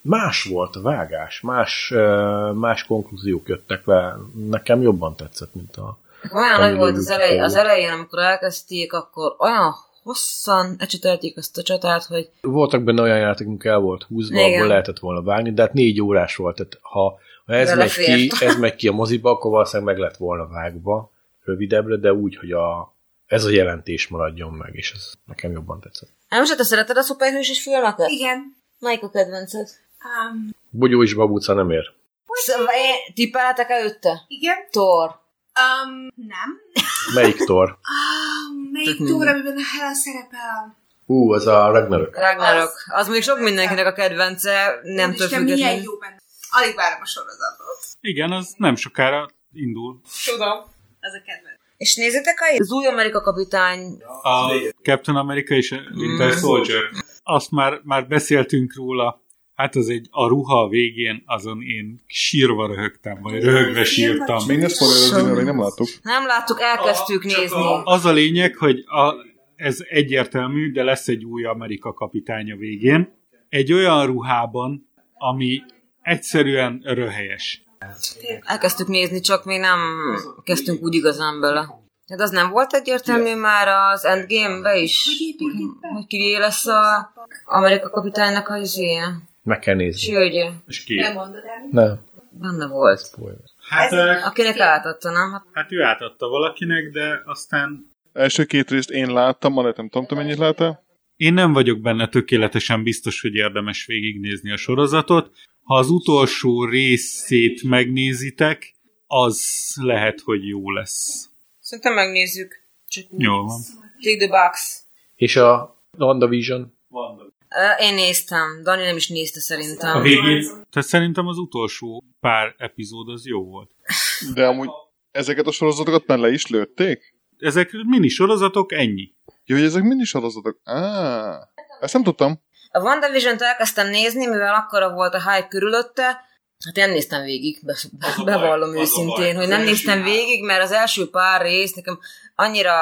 Más volt a vágás, más, ö, más konklúziók jöttek le. Nekem jobban tetszett, mint a... Olyan nagy volt az, Nagyon elej, az jó. elején, amikor elkezdték, akkor olyan hosszan ecsetelték ezt a csatát, hogy Voltak benne olyan játékok, amik el volt húzva, Igen. abból lehetett volna vágni, de hát négy órás volt, tehát ha, ha ez, megy ki, Belefért. [LAUGHS] ez megy ki a moziba, akkor valószínűleg meg lett volna vágva rövidebbre, de úgy, hogy a, ez a jelentés maradjon meg, és ez nekem jobban tetszett. nem se te szereted a szuperhős és filmeket? Igen. Melyik a kedvenced? Um, Bogyó és babúca nem ér. Szóval én- Tippelhetek előtte? igen. Thor. Um, nem. Melyik tor? Um, melyik Tök mindegy. túl, amiben a Hela szerepel? Ú, ez a Ragnarök. Ragnarok. Az, az még sok mindenkinek a kedvence, Úristen, nem több függetlenül. milyen jó benne. Alig várom a sorozatot. Igen, az nem sokára indul. Tudom. Az a kedvenc. És nézzétek a az új Amerika kapitány. A Captain America és a Winter Soldier. Azt már, már beszéltünk róla. Hát az egy, a ruha a végén, azon én sírva röhögtem, vagy röhögve sírtam. Még ne spoilerezni, mert még nem láttuk. Nem láttuk, elkezdtük Csak nézni. A, az a lényeg, hogy a, ez egyértelmű, de lesz egy új Amerika kapitánya végén. Egy olyan ruhában, ami egyszerűen röhelyes. Elkezdtük nézni, csak még nem kezdtünk úgy igazán bele. Hát az nem volt egyértelmű már az Endgame-be is? Hogy építik be? Hogy kivé lesz a Amerika kapitánynak a izéje? Meg kell nézni. Sőgye. És ki? Nem mondod el. Nem. Benne volt. Hát, ö, Akinek átadta, nem? Hát hát ő átadta valakinek, de aztán... Első két részt én láttam, Anett nem tudom, te mennyit láttál. Én nem vagyok benne tökéletesen biztos, hogy érdemes végignézni a sorozatot. Ha az utolsó részét megnézitek, az lehet, hogy jó lesz. szerintem megnézzük. Csak úgy. Jól van. Take the box. És a WandaVision? Ö, Én néztem. Dani nem is nézte szerintem. végén. Tehát szerintem az utolsó pár epizód az jó volt. De amúgy ezeket a sorozatokat már le is lőtték? ezek mini sorozatok, ennyi. Jó, hogy ezek mind is sorozatok. Á, ezt nem tudtam. A WandaVision-t elkezdtem nézni, mivel akkora volt a hype körülötte, hát én nem néztem végig, be, be, bevallom őszintén, hogy nem néztem végig, mert az első pár rész nekem annyira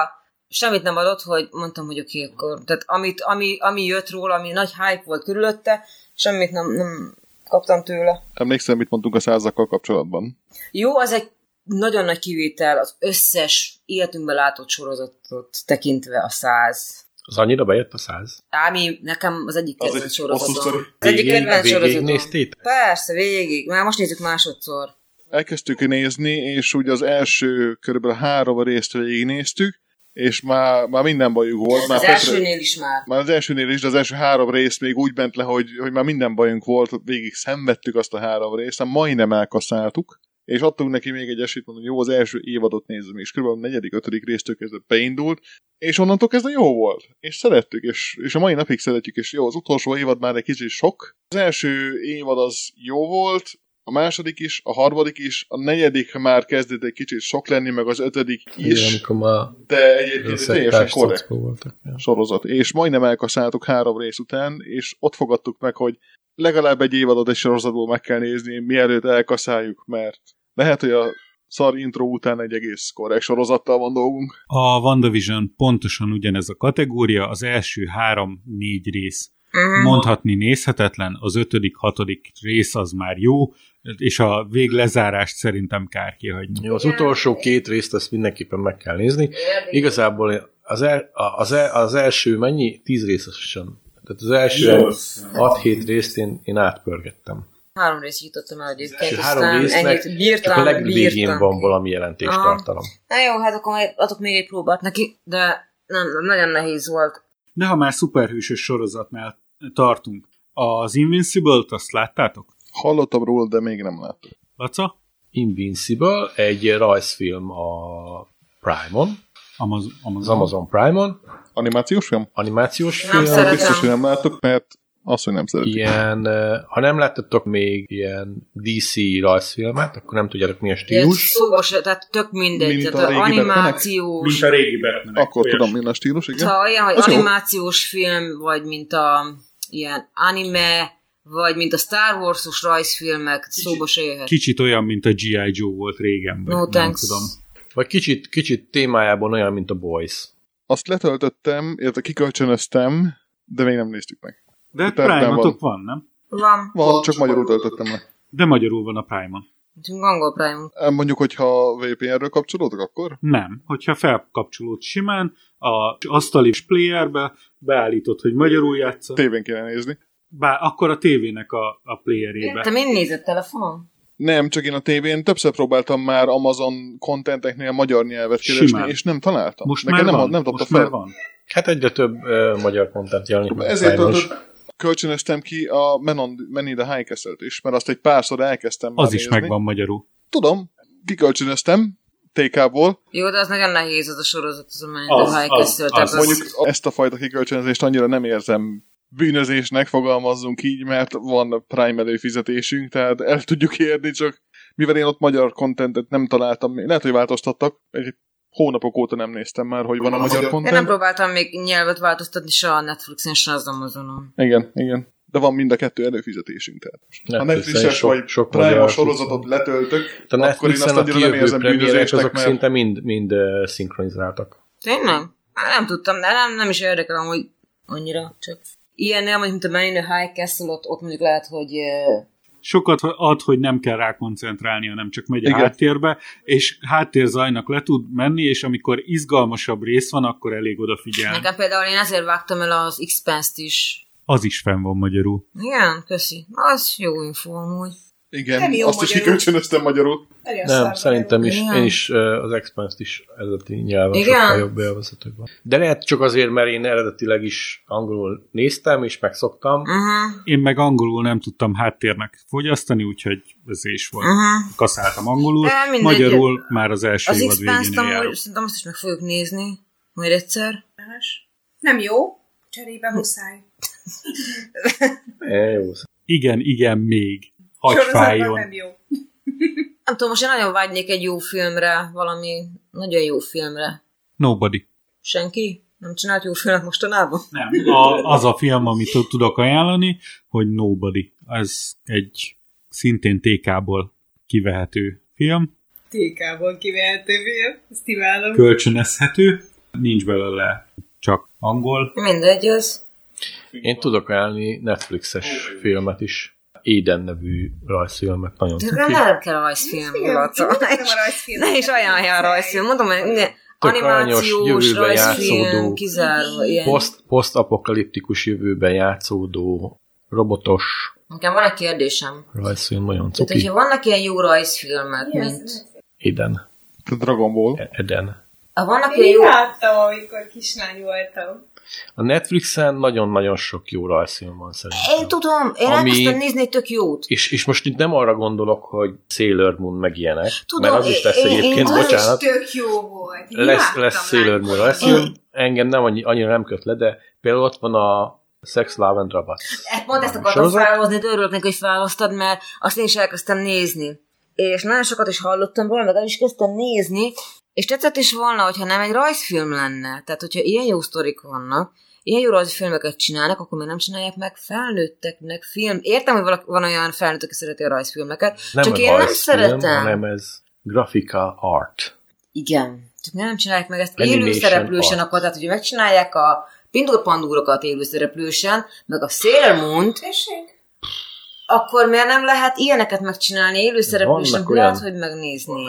semmit nem adott, hogy mondtam, hogy oké, akkor, tehát amit, ami, ami jött róla, ami nagy hype volt körülötte, semmit nem, nem kaptam tőle. Emlékszem, mit mondtunk a százakkal kapcsolatban. Jó, az egy nagyon nagy kivétel az összes életünkben látott sorozatot tekintve a száz. Az annyira bejött a száz? Ami nekem az egyik kedvenc sorozatom. sztori. Az egyik kedvenc végig sorozatom. néztétek? Persze, végig. Már most nézzük másodszor. Elkezdtük nézni, és ugye az első körülbelül három részt végignéztük, és már, már minden bajuk volt. Már Az Petre- elsőnél is már. Már az elsőnél is, de az első három rész még úgy ment le, hogy, hogy már minden bajunk volt, végig szenvedtük azt a három részt, aztán majdnem elkaszáltuk, és adtunk neki még egy esélyt, mondom, jó, az első évadot nézzük, és kb. a negyedik, ötödik résztől kezdve beindult, és onnantól kezdve jó volt, és szerettük, és, és a mai napig szeretjük, és jó, az utolsó évad már egy kicsit sok. Az első évad az jó volt, a második is, a harmadik is, a negyedik már kezdett egy kicsit sok lenni, meg az ötödik Igen, is, amikor már de egyébként teljesen összektás korrekt szockó voltak. ja. sorozat, és majdnem elkaszáltuk három rész után, és ott fogadtuk meg, hogy legalább egy évadot egy sorozatból meg kell nézni, mielőtt elkaszáljuk, mert lehet, hogy a szar intro után egy egész korrekt sorozattal van dolgunk. A WandaVision pontosan ugyanez a kategória, az első három-négy rész Mhm. mondhatni nézhetetlen, az ötödik, hatodik rész az már jó, és a véglezárást szerintem kár kihagyni. Jó, az utolsó két részt ezt mindenképpen meg kell nézni. Igazából az, el, a- az, el, az első mennyi? Tíz részesen. Tehát az első 6-7 részt én, én átpörgettem. Három rész jutottam el És egyébként, a három aztán ennyit résznek csak bírtam, a legvégén bírtam. van valami jelentéstartalom. Na jó, hát akkor majd adok még egy próbát neki, de nem, nem, nagyon nehéz volt. De ha már szuperhősös sorozatnál tartunk, az Invincible-t azt láttátok? Hallottam róla, de még nem láttam. Laca? Invincible, egy rajzfilm a Prime-on, Amaz- az Amazon. Amazon Prime-on, Animációs film? animációs Nem film. szeretem. Biztos, hogy nem láttuk, mert Azt, hogy nem szeretik. Ilyen, eh, ha nem láttatok még ilyen DC rajzfilmet, akkor nem tudjátok mi a Ez stílus. szóval, se- tehát tök mindegy, Mint a tehát régi animációs, Mint a régi Batman. Akkor tudom, mi a stílus, igen. Ha olyan, hogy Az jó. animációs film, vagy mint a ilyen anime, vagy mint a Star Wars-os rajzfilmek, szóba se jöhet. Kicsit olyan, mint a G.I. Joe volt régen. vagy No nem thanks. Tudom. Vagy kicsit, kicsit témájában olyan, mint a Boys. Azt letöltöttem, illetve kikölcsönöztem, de még nem néztük meg. De Utána prime van. van. van, nem? Van. Van, csak magyarul töltöttem le. De magyarul van a prime Nekünk angol prime Mondjuk, hogyha VPN-ről kapcsolódok, akkor? Nem. Hogyha felkapcsolód simán, a asztali playerbe beállítod, hogy magyarul játszol, Tévén kéne nézni. bár akkor a tévének a, a playerébe. Te mind nézett telefonon? Nem, csak én a tévén többször próbáltam már Amazon kontenteknél magyar nyelvet keresni, Simán. és nem találtam. Most Nekem már nem, van. nem dobta Most fel. már van. Hát egyre több ö, magyar kontent jelenik meg. Ezért sajnos. töltött Kölcsönöztem ki a Men, on, Men in the High Castle-t is, mert azt egy párszor elkezdtem már Az is nézni. megvan magyarul. Tudom, kikölcsönöztem TK-ból. Jó, de az nagyon nehéz az a sorozat, az a Az, mennyire az, hajkészült. az. Mondjuk ezt a fajta kikölcsönözést annyira nem érzem bűnözésnek, fogalmazzunk így, mert van Prime előfizetésünk, tehát el tudjuk érni, csak mivel én ott magyar kontentet nem találtam, még- lehet, hogy változtattak, egy hónapok óta nem néztem már, hogy van a Van a magyar magyar- Én nem kontent. próbáltam még nyelvet változtatni se a Netflixen, se az Amazonon. Igen, igen. De van mind a kettő előfizetésünk, tehát. Ha Netflixen Netflixes vagy Prime magyar- sorozatot letöltök, A akkor én azt Netflixen a annyira nem kijövő érzem premierek bűnözésnek, azok mert- szinte mind, mind ö, szinkronizáltak. Tényleg? Á, Nem tudtam, de nem, nem is érdekel amúgy annyira, csak... Ilyen nem, mint a Man in the High Castle, ott, ott mondjuk lehet, hogy eh, Sokat ad, hogy nem kell rá koncentrálni, hanem csak megy a Igen. háttérbe, és háttérzajnak le tud menni, és amikor izgalmasabb rész van, akkor elég odafigyelni. Nekem például én ezért vágtam el az Expense-t is. Az is fenn van magyarul. Igen, köszi. Az jó info amúgy. Nem Igen, jó azt is magyarul. kikölcsönöztem magyarul. Nagyon Nem, szar szerintem is, Igen. én is ö, az Expanse-t is eredeti nyelven Igen? sokkal jobb élvezetőbb van. De lehet csak azért, mert én eredetileg is angolul néztem, és megszoktam. Uh-huh, Én meg angolul nem tudtam háttérnek fogyasztani, úgyhogy ez is volt. uh-huh. Kaszáltam angolul, Nem, mindegy. magyarul már az első Az évad Expense-t végén amúgy járok. szerintem azt is meg fogjuk nézni. Majd egyszer. Más. Nem jó, cserébe muszáj. E, jó. Igen, igen, még. Hagy Sorozatban fájjon. nem jó. Nem tudom, most én nagyon vágynék egy jó filmre, valami nagyon jó filmre. Nobody. Senki? Nem csinált jó filmet mostanában? Nem, a, az a film, amit tud- tudok ajánlani, hogy Nobody. Ez egy szintén TK-ból kivehető film, TK-ból kivehető film, ezt imádom. kölcsönözhető, nincs belőle csak angol. Mindegy, az. Én tudok állni Netflixes filmet is. Éden nevű rajzfilmet nagyon De tudok. nem, nem kell rajzfilm, Igen, Laca. nem [LAUGHS] akarom a rajzfilmet. Ne is ajánlja a rajzfilm. Mondom, hogy minden Tök aranyos, animációs jövőbe rajzfilm, játszódó. kizárva ilyen. Poszt, posztapokaliptikus jövőben játszódó robotos Nekem van egy kérdésem. rajzfilm, nagyon Tehát, cuki. hogyha vannak ilyen jó rajzfilmek, Igen, mint... ezt- Éden. Dragon Ball. Eden. Ha vannak ilyen Én jó... láttam, amikor kislány voltam. A Netflixen nagyon-nagyon sok jó rajzfilm van szerintem. Én tudom, én Ami- elkezdtem nézni egy tök jót. És, és most itt nem arra gondolok, hogy Sailor Moon meg ilyenek, Tudom, Tudom, mert az is lesz én- én- egyébként, én- Az is bocsánat, tök jó volt. lesz, lesz Sailor Moon lesz, Én- engem nem annyi, annyira nem köt le, de például ott van a Sex, Love and Robots. E, Pont ezt akartam Sorozat? felhozni, de örülök neki, hogy felhoztad, mert azt én is elkezdtem nézni. És nagyon sokat is hallottam róla, meg el is kezdtem nézni, és tetszett is volna, hogyha nem egy rajzfilm lenne. Tehát, hogyha ilyen jó sztorik vannak, ilyen jó rajzfilmeket csinálnak, akkor miért nem csinálják meg felnőtteknek film. Értem, hogy valaki, van olyan felnőtt, aki szereti a rajzfilmeket, Nem csak egy én nem rajzfilm, szeretem. hanem ez grafika art. Igen. Csak nem csinálják meg ezt Animation élő szereplősen, art. akkor tehát, hogy megcsinálják a pindurpandúrokat élő szereplősen, meg a Sailor Moon-t, Tessék? akkor miért nem lehet ilyeneket megcsinálni élő szereplősen, Vannak olyan- lehet, hogy megnézni.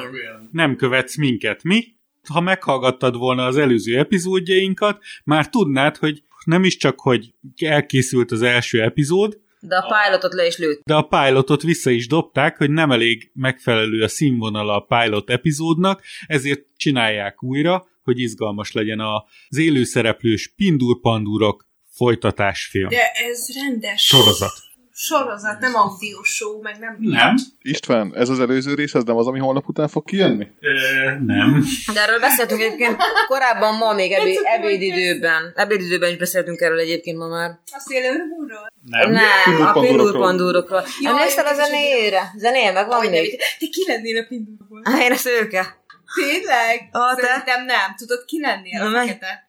Nem követsz minket, mi? Ha meghallgattad volna az előző epizódjainkat, már tudnád, hogy nem is csak, hogy elkészült az első epizód, De a pilotot le is lőtt. de a pilotot vissza is dobták, hogy nem elég megfelelő a színvonala a pilot epizódnak, ezért csinálják újra, hogy izgalmas legyen az élőszereplős Pindur Pandurok folytatásfilm. De ez rendes. Sorozat. sorozat, nem audio show, meg nem... Nem. István, ez az előző rész, ez nem az, ami holnap után fog kijönni? Ö, nem. De erről beszéltünk egyébként korábban ma még ebé, ebédidőben. Ebédidőben is beszéltünk erről egyébként ma már. A szélőrhúról. Nem. Nem, a Pindurpandúrokról. pindurpandúrokról. Jaj, Emlékszel a ez is zenére? Zenéje meg van Hogy nem, még? te ki lennél a pindulból? Á, Én a szőke. Tényleg? Ó, te? Szerintem nem. Tudod, ki lennél Na, a menj. fekete?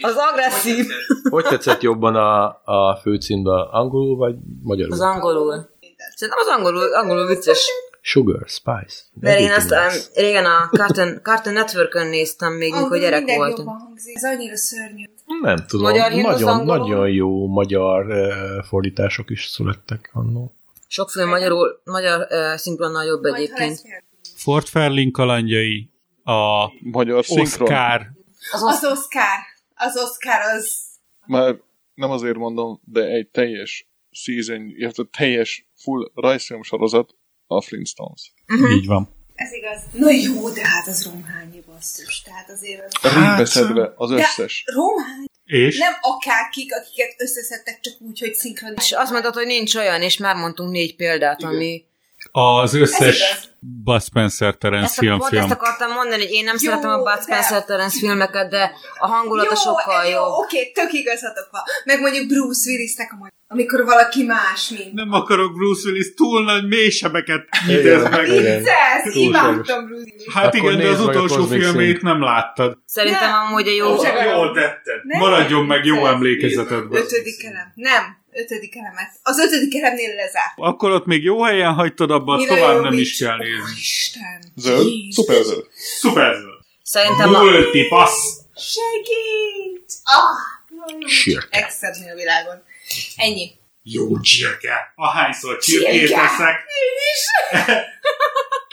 Az agresszív. Hogy tetszett jobban a, a főcímben? Angolul vagy magyarul? Az angolul. Szerintem az angolul, angolul vicces. Sugar, spice. Mert én azt everything um, else. régen a Cartoon, Cartoon Networkön néztem még, mikor Angolul gyerek minden voltam. jobban hangzik. Ez annyira szörnyű. Nem tudom, Magyar himnusz nagyon, angolul? nagyon jó magyar uh, fordítások is születtek annó. Sok film magyarul, magyar uh, szinkronnal jobb Majd, ha lesz egyébként. ilyen. Fort Ferling kalandjai, a Magyar szinkron. Oscar, Az Az az Oscar. Az Oscar az... Már nem azért mondom, de egy teljes season, illetve teljes full rajzfilm sorozat a Flintstones. Mhm. így van. Ez igaz. Na jó, de hát az romhányi basszus. Tehát azért az... Ríbeszedve az összes. Romhány? És? Nem akárkik, akiket összeszedtek csak úgy, hogy szinkron. És azt mondtad, hogy nincs olyan, és már mondtunk négy példát, Igen. ami... Az összes Ez igaz. Bud Spencer Terence Ezt, a- film pont film. ezt akartam mondani, hogy én nem Jó, szeretem a de- Bud Spencer Terence filmeket, de a hangulata sokkal ez jobb. Oké, tök igazatok van. Meg mondjuk Bruce Willisnek a majd, amikor valaki más, mint. Nem akarok Bruce Willis, túl nagy mélysebeket Igen. nyitesz meg. Igen. Vicces! Túl Imádtam Bruce Willis. Hát Akkor igen, de nézd az meg a utolsó Cosmic filmét Sync. nem láttad. Szerintem Nem. amúgy a jó... Csak- Jól tetted. Nem. Maradjon meg jó emlékezetedben. Ötödik elem. Nem, ötödik elemet. Az ötödik elemnél lezárt. Akkor ott még jó helyen hagytad, abban Mila Hát tovább nem Jovovich. is kell Ó, nézni. Isten! Zöld? Jézus. Szuper zöld. Szuper! Szerintem a... Multi passz! Segít! Ah! Csirke. Excepni a világon. Ennyi. Jó csirke! Ahányszor csirkét Csirke. eszek, Én [LAUGHS] is!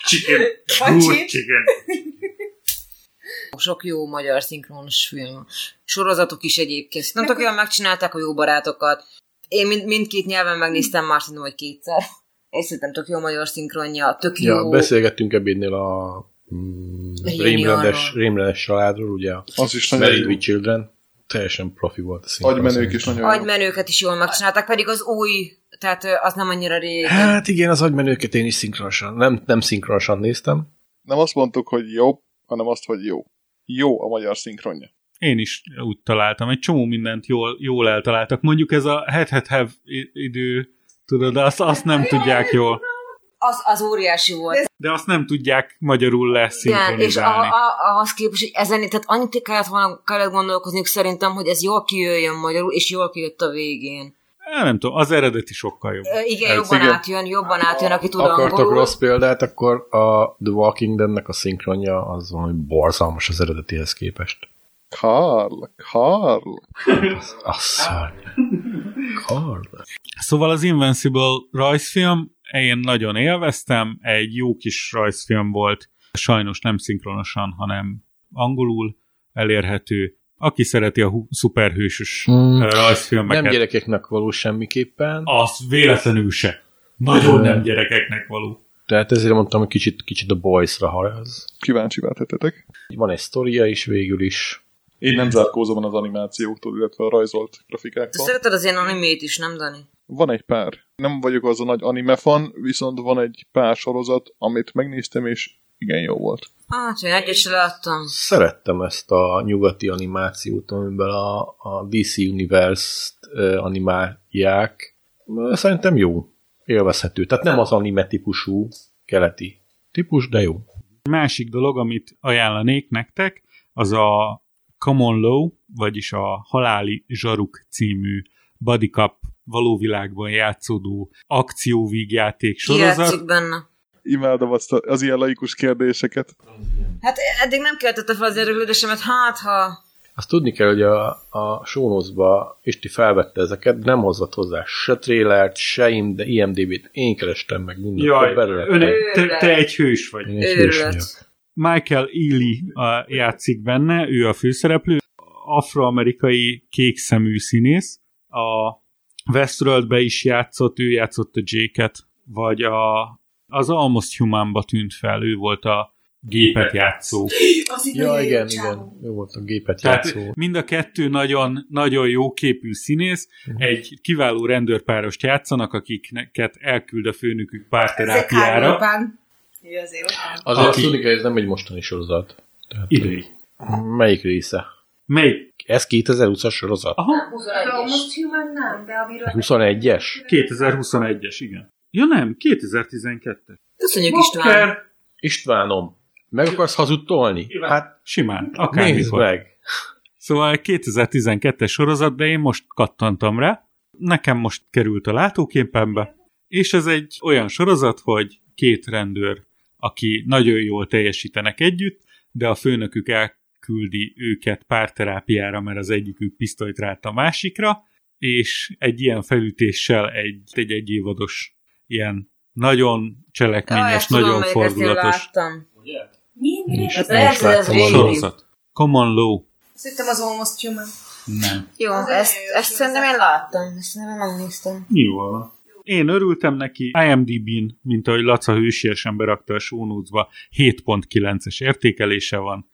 chicken, Kacsi. good chicken. Sok jó magyar szinkronos film. Sorozatok is egyébként. Nem tök jól megcsinálták a jó barátokat. Én mind, mindkét nyelven megnéztem már szerintem, hogy kétszer. És szerintem tök jó magyar szinkronja, tök jó. Ja, beszélgettünk ebédnél a mm, Rémlandról. rémrendes, rémrendes családról, ugye a Az is nagyon Married jó. with Children. Teljesen profi volt a szinkron. Agymenők is szerintem. nagyon jó. Agymenőket is jól megcsinálták, pedig az új, tehát ö, az nem annyira régi. Hát igen, az agymenőket én is szinkronosan, nem, nem szinkronosan néztem. Nem azt mondtuk, hogy jobb, hanem azt, hogy jó. Jó a magyar szinkronja. Én is úgy találtam, egy csomó mindent jól, jól eltaláltak. Mondjuk ez a Head Head Have i- idő, tudod, azt, azt nem tudják jól. Az, az óriási volt. De azt nem tudják magyarul Igen, és a, leszinkronizálni. a, ahhoz képest, hogy ezen, tehát annyit kellett volna kellett gondolkozniuk szerintem, hogy ez jól kijöjjön magyarul, és jól kijött a végén. Á, Nem tudom, az eredeti sokkal jobb. Ö, Igen, Hát jobban igen. átjön, jobban átjön, aki tud Akartok angolul. rossz példát, akkor a The Walking Deadnek a szinkronja az valami borzalmas az eredetihez képest. Karl, Karl. Azt szárny. Karl. Szóval az Invincible rajzfilm, én nagyon élveztem, egy jó kis rajzfilm volt, sajnos nem szinkronosan, hanem angolul elérhető. Aki szereti a hu- szuperhősös Hmm. ö, rajzfilmeket, Nem gyerekeknek való semmiképpen, az véletlenül se. Nagyon Ö. nem gyerekeknek való. tehát ezért mondtam, hogy kicsit, kicsit a boys-ra haragz. Kíváncsi tettetek. Van egy sztoria is végül is. Én nem zárkózom az animációktól, illetve a rajzolt Te grafikáktól. szereted az én animét is, nem Dani? Van egy pár. Nem vagyok az a nagy anime fan, viszont van egy pár sorozat, amit megnéztem, és igen jó volt. Hát, én egyet se láttam. Szerettem ezt a nyugati animációt, amiben a, a DC Universe-t ö, animálják. Ö, Szerintem jó, élvezhető. Tehát nem az anime típusú keleti típus, de jó. Másik dolog, amit ajánlanék nektek, az a Common Law, vagyis a Haláli Zsaruk című Buddy Cup valóvilágban játszódó akcióvígjáték Ki játszik sorozat. benne? Imádom azt a- az ilyen laikus kérdéseket. Hát eddig nem keltette fel az érdeklődésemet, hát ha... Azt tudni kell, hogy a, a sónozba Isti felvette ezeket, de nem hozott hozzá se trélert, se im- de IMDB-t. Én kerestem meg mindent. Jaj, belőle. öne, te, te egy hős vagy. Én egy hős vagyok. Őrület. Michael Ealy a, játszik benne, ő a főszereplő, afroamerikai kékszemű színész, a Westworldbe is játszott, ő játszott a Jake-et, vagy a, az Almost Humanba tűnt fel, ő volt a gépet játszó. Az így Ja, nagyon jó igen, csávó. igen. Jó volt a gépet játszó. Tehát mind a kettő nagyon, nagyon jó képű színész, egy kiváló rendőrpárost játszanak, akiket elküld a főnökük Ez a Kyle párterápiára. Urban. Ő azért ott van. Azért Aki- Aki... tudni kell, ez nem egy mostani sorozat. Tehát, Idei. Melyik része? Melyik? Ez 2020-as sorozat? Aha, Almost Human nem, de amiről... 21-es? 2021-es, igen. Ja nem, 2012-es. Köszönjük István. Akár, Istvánom, meg akarsz hazudtolni? Hát hát simán, nézd akármikor. meg. Szóval egy 2012-es sorozat, de én most kattantam rá. Nekem most került a látóképembe, és ez egy olyan sorozat, hogy két rendőr, aki nagyon jól teljesítenek együtt, de a főnökük elküldi őket párterápiára, mert az egyikük pisztolyt rált a másikra, és egy ilyen felütéssel egy, egy egyévados ilyen nagyon Jaj, cselekményes, ezt tudom, nagyon melyik, ezt én fordulatos láttam. Mindre. Nincs. Hát Én lehet, is hogy ez láttam a régi. sorozat. Common Law. Szerintem az Almost Human. Nem. Jó, Az ezt, nagyon jó ezt sorozat. szerintem én láttam. Ezt szerintem én megnéztem. Jó van. Én örültem neki, IMDb-n, mint ahogy Laca hősiesen berakta a sónócba, 7.9-es értékelése van.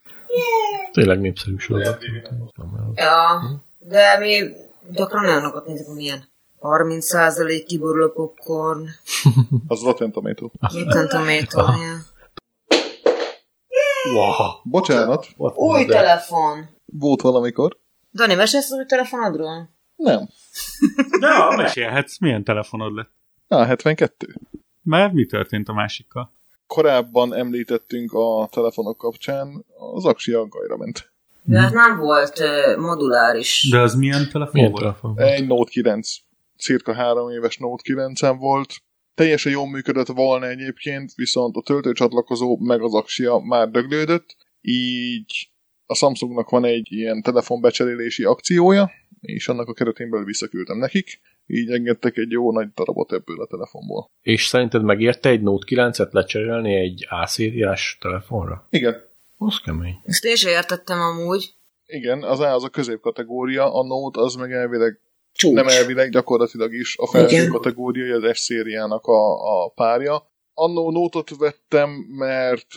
Tényleg népszerű sorozat. Ja, de mi gyakran olyanokat nézünk, milyen 30% kiboruló popcorn, Az Rotten Tomato. Rotten Tomato, ja. Wow. Bocsánat, Új telefon. volt valamikor. Dani, mesélsz az új telefonodról? Nem. De ha mesélhetsz, milyen telefonod lett? Á, 72. Mert mi történt a másikkal? Korábban említettünk a telefonok kapcsán, az aksi aggajra ment. De ez nem volt ö, moduláris. De az milyen telefon Milyen volt? telefon? volt? Egy Note 9, cirka három éves Note 9 volt. Teljesen jól működött volna egyébként, viszont a töltőcsatlakozó meg az aksia már döglődött, így a Samsungnak van egy ilyen telefonbecserélési akciója, és annak a keretén belül visszaküldtem nekik, így engedtek egy jó nagy darabot ebből a telefonból. És szerinted megérte egy Note 9-et lecserélni egy A-szériás telefonra? Igen, Az kemény. Ezt én sem értettem amúgy. igen, az A az a középkategória, a Note az meg elvileg Csúcs. nem elvileg, gyakorlatilag is a felső Igen. kategóriai az S-szériának a, a párja. Annó nótot vettem, mert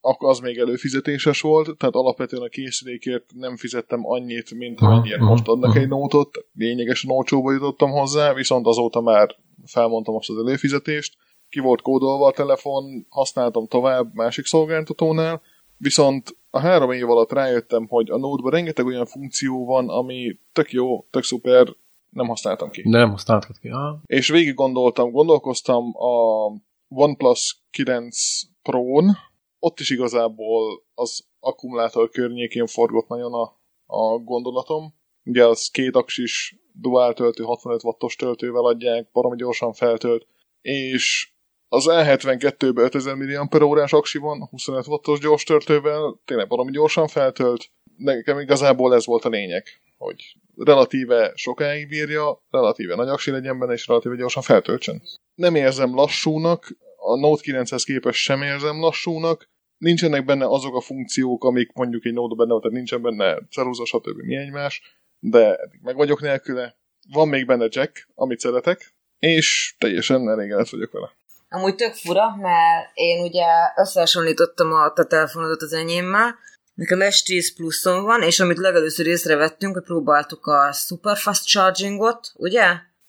ak- az még előfizetéses volt, tehát alapvetően a készülékért nem fizettem annyit, mint Aha, amiért aha, most adnak aha. egy nótot. Lényegesen olcsóba jutottam hozzá, viszont azóta már felmondtam azt az előfizetést. Ki volt kódolva a telefon, használtam tovább másik szolgáltatónál, viszont a három év alatt rájöttem, hogy a Node-ban rengeteg olyan funkció van, ami tök jó, tök szuper, nem használtam ki. De nem használtad ki. Ah, És végig gondoltam, gondolkoztam a OnePlus 9 Pro-n, ott is igazából az akkumulátor környékén forgott nagyon a, a gondolatom. Ugye az két aksis dual töltő, 65 wattos töltővel adják, baromi gyorsan feltölt, és az E E72-be 5000 mAh-órás aksi van, 25 wattos gyors töltővel, tényleg baromi gyorsan feltölt. Nekem igazából ez volt a lényeg, hogy relatíve sokáig bírja, relatíve nagy aksi legyen benne, és relatíve gyorsan feltöltsön. Nem érzem lassúnak, a Note 9-hez képest sem érzem lassúnak, nincsenek benne azok a funkciók, amik mondjuk egy Note benne volt, tehát nincsen benne ceruza, stb. mi egymás, de eddig meg vagyok nélküle. Van még benne jack, amit szeretek, és teljesen elégedett vagyok vele. Amúgy tök fura, mert én ugye összehasonlítottam a te telefonodat az enyémmel, nekem S10 pluszom van, és amit legelőször észrevettünk, hogy próbáltuk a superfast chargingot, ugye?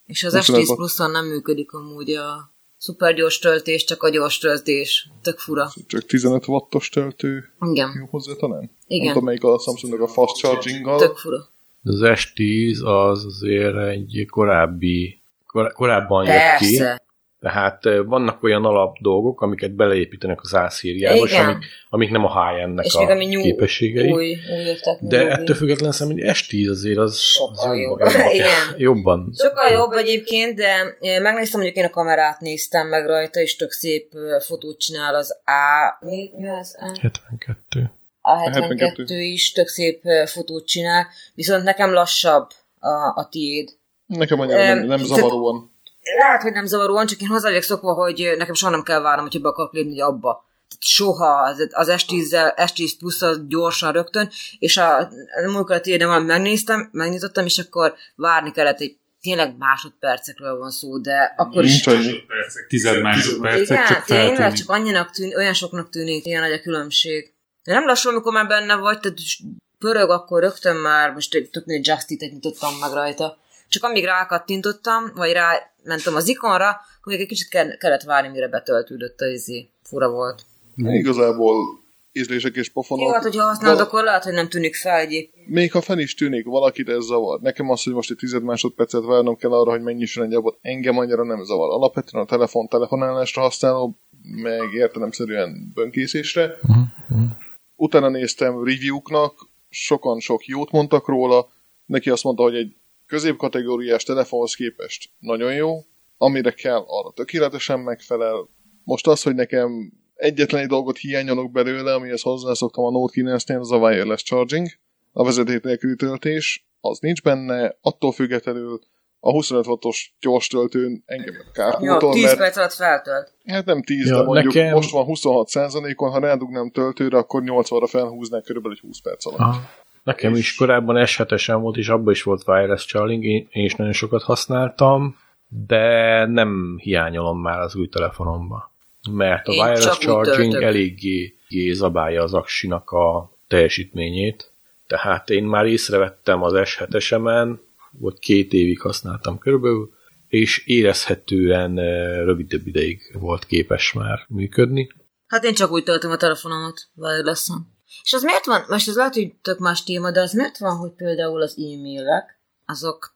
És az Micsoda S10 az? pluszon nem működik amúgy a szupergyors töltés, csak a gyors töltés. Tök fura. Csak 15 wattos töltő Igen, jó hozzá talán? Nem tudom, igen. melyik a Samsungnak a fast charging Tök fura. Az S10 az azért egy korábbi, kor- korábban jött ki. Persze. Tehát eh, vannak olyan alap dolgok, amiket beleépítenek az ászériába, és Igen. amik, amik nem a high-endnek És a még ami nyúl, képességei. Új, új de technológia. ettől függetlenül szerintem egy S10 azért az, az Sokkal jobb. önmagában- [LAUGHS] Igen. jobban. Sokkal jobb egyébként, de eh, megnéztem, mondjuk én a kamerát néztem meg rajta, és tök szép eh, fotót csinál az A... Mi mi az A? 72. A 72. 72 is tök szép eh, fotót csinál, viszont nekem lassabb a, a tiéd. Nekem annyira nem, nem Em, zavaróan. Lehet, hogy nem zavaróan, csak én hozzá vagyok szokva, hogy eh, nekem soha nem kell várnom, hogyha be akarok lépni hogy abba. Tehát soha az, az S10-zel, S10 plusz gyorsan rögtön, és a, a múltkor a tiéden valamit megnéztem, megnyitottam, és akkor várni kellett egy tényleg másodpercekről van szó, de akkor is... Nincs annyi. Másodpercek, tized másodpercek, Igen, csak tényleg feltűnik. csak annyinak tűnik, olyan soknak tűnik, ilyen nagy a különbség. De nem lassul, amikor már benne vagy, tehát is pörög, akkor rögtön már, most egy- tök mindegy Justit nyitottam meg rajta. Csak amíg rákattintottam, vagy rámentem az ikonra, akkor még egy kicsit kell- kellett várni, mire betöltődött a izé. Fura volt. Igazából ízlések és Jó, pofonok. hát hogyha használod, de akkor lehet, hogy nem tűnik fel egyéb. Még ha fenn is tűnik, valakit ez zavar. Nekem az, hogy most egy tized másodpercet várnom kell arra, hogy mennyisön egy abot, engem annyira nem zavar. Alapvetően a telefon telefonálásra használom, meg értelemszerűen bönkészésre. Utána néztem review-knak, sokan sok jót mondtak róla, neki azt mondta, hogy egy középkategóriás telefonhoz képest nagyon jó, amire kell, arra tökéletesen megfelel. Most az, hogy nekem egyetlen egy dolgot hiányolok belőle, amihez hozzászoktam a Note 9-nél, az a wireless charging a vezeték nélküli töltés, az nincs benne, attól függetlenül a 25 wattos gyors töltőn engem Jó, kárpótol, 10 mert perc alatt feltölt. hát nem 10, Ja, de mondjuk nekem- most van 26%-on, ha rádugnám töltőre, akkor 80-ra felhúznák körülbelül egy 20 perc alatt. Aha. Nekem is korábban s volt, és abban is volt wireless charging, én, én is nagyon sokat használtam, de nem hiányolom már az új telefonomba. Mert a Én wireless csak úgy charging töltök. eléggé eléggé zabálja az aksinak a teljesítményét, tehát én már észrevettem az S7-esemen, vagy két évig használtam körülbelül, és érezhetően eh, rövidebb ideig volt képes már működni. Hát én csak úgy töltöm a telefonomat, wireless-en. És az miért van, most ez lehet, hogy tök más téma, de az miért van, hogy például az e-mailek, azok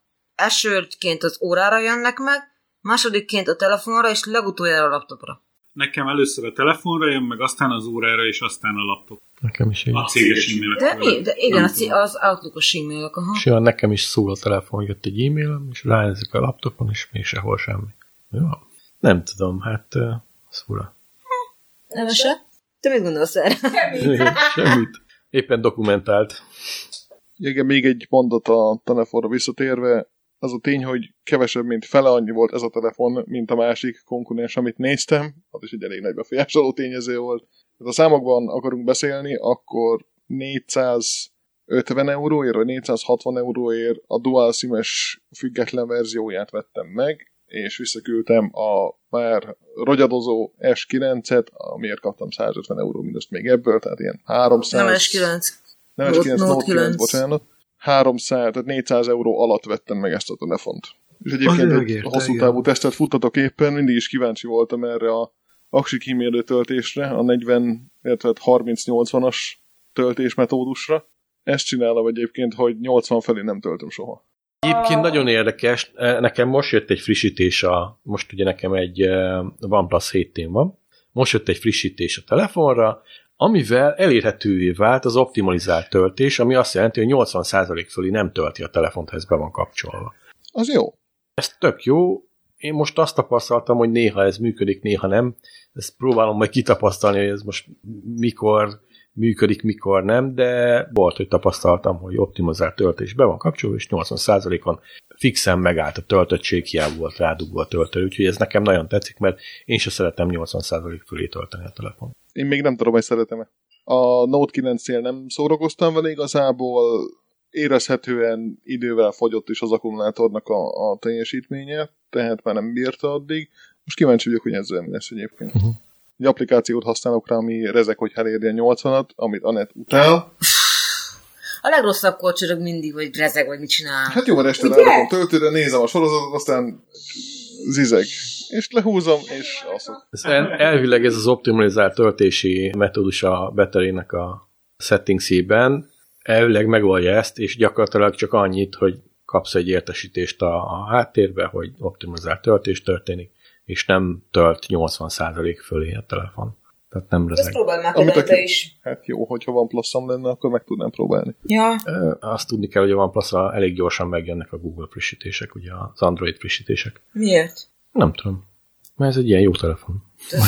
elsőként az órára jönnek meg, másodikként a telefonra, és legutoljára a laptopra. Nekem először a telefonra jön, meg aztán az órára, és aztán a laptop. Nekem is így. A céges e-mailek. De, mi? de igen, Nem az, tudom. az outlook e-mailek, aha. És olyan nekem is szól a telefon, jött egy e-mailem, és ránézik a laptopon, és még sehol semmi. Ja. Nem tudom, hát ö, szúra. Nem se? Te mit gondolsz erre? [LAUGHS] Semmit. Éppen dokumentált. Igen, még egy mondat a telefonra visszatérve, az a tény, hogy kevesebb, mint fele annyi volt ez a telefon, mint a másik konkurens, amit néztem, az is egy elég nagy befolyásoló tényező volt. Tehát a számokban akarunk beszélni, akkor 450 euróért, vagy 460 euróért a dual SIM-es független verzióját vettem meg, és visszaküldtem a már rogyadozó S9-et, amiért kaptam 150 euró mindezt még ebből, tehát ilyen 300... Nem S9. Nem, Note Note- 9, Note Note 9, 9. bocsánat. 300, tehát 400 euró alatt vettem meg ezt a telefont. És egyébként Azért egy megérte, hosszú igen. távú tesztet futtatok éppen, mindig is kíváncsi voltam erre a aksi kímélő töltésre, a 40, illetve hát 30-80-as töltésmetódusra. Ezt csinálom egyébként, hogy 80 felé nem töltöm soha. Egyébként nagyon érdekes, eh, nekem most jött egy frissítés, a, most ugye nekem egy eh, OnePlus 7 van, most jött egy frissítés a telefonra, amivel elérhetővé vált az optimalizált töltés, ami azt jelenti, hogy 80% fölé nem tölti a telefont, ha ez be van kapcsolva. Az jó. ez tök jó. Én most azt tapasztaltam, hogy néha ez működik, néha nem. Ezt próbálom majd kitapasztalni, hogy ez most mikor működik, mikor nem, de volt, hogy tapasztaltam, hogy optimizált töltés be van kapcsolva, és 80%-on fixen megállt a töltöttség, hiába volt rádugva a töltő, úgyhogy ez nekem nagyon tetszik, mert én se szeretem 80% fölé tölteni a telefon. Én még nem tudom, hogy szeretem-e. A Note 9-nél nem szórakoztam vele igazából, érezhetően idővel fogyott is az akkumulátornak a, a teljesítménye, tehát már nem bírta addig. Most kíváncsi vagyok, hogy ezzel mi lesz egyébként. Uh-huh. Egy applikációt használok rá, ami rezek, hogy eléri a 80-at, amit Anett utál. A legrosszabb korcsorog mindig, hogy rezeg, vagy mit csinál. Hát jó, mert este ráadom töltőre, nézem a sorozatot, aztán zizeg. És lehúzom, és alszok. Ez el, elvileg ez az optimalizált töltési metódus a beterének a settingsében, elvileg megoldja ezt, és gyakorlatilag csak annyit, hogy kapsz egy értesítést a, a háttérbe, hogy optimalizált töltés történik, és nem tölt 80% fölé a telefon. Tehát nem Ezt rezeg. próbálj már Amit kedden te aki- is. Hát jó, hogyha van pluszom lenne, akkor meg tudnám próbálni. Ja, Ö, Azt tudni kell, hogy a oneplus elég gyorsan megjönnek a Google frissítések, ugye az Android frissítések. miért? Nem tudom. Mert ez egy ilyen jó telefon.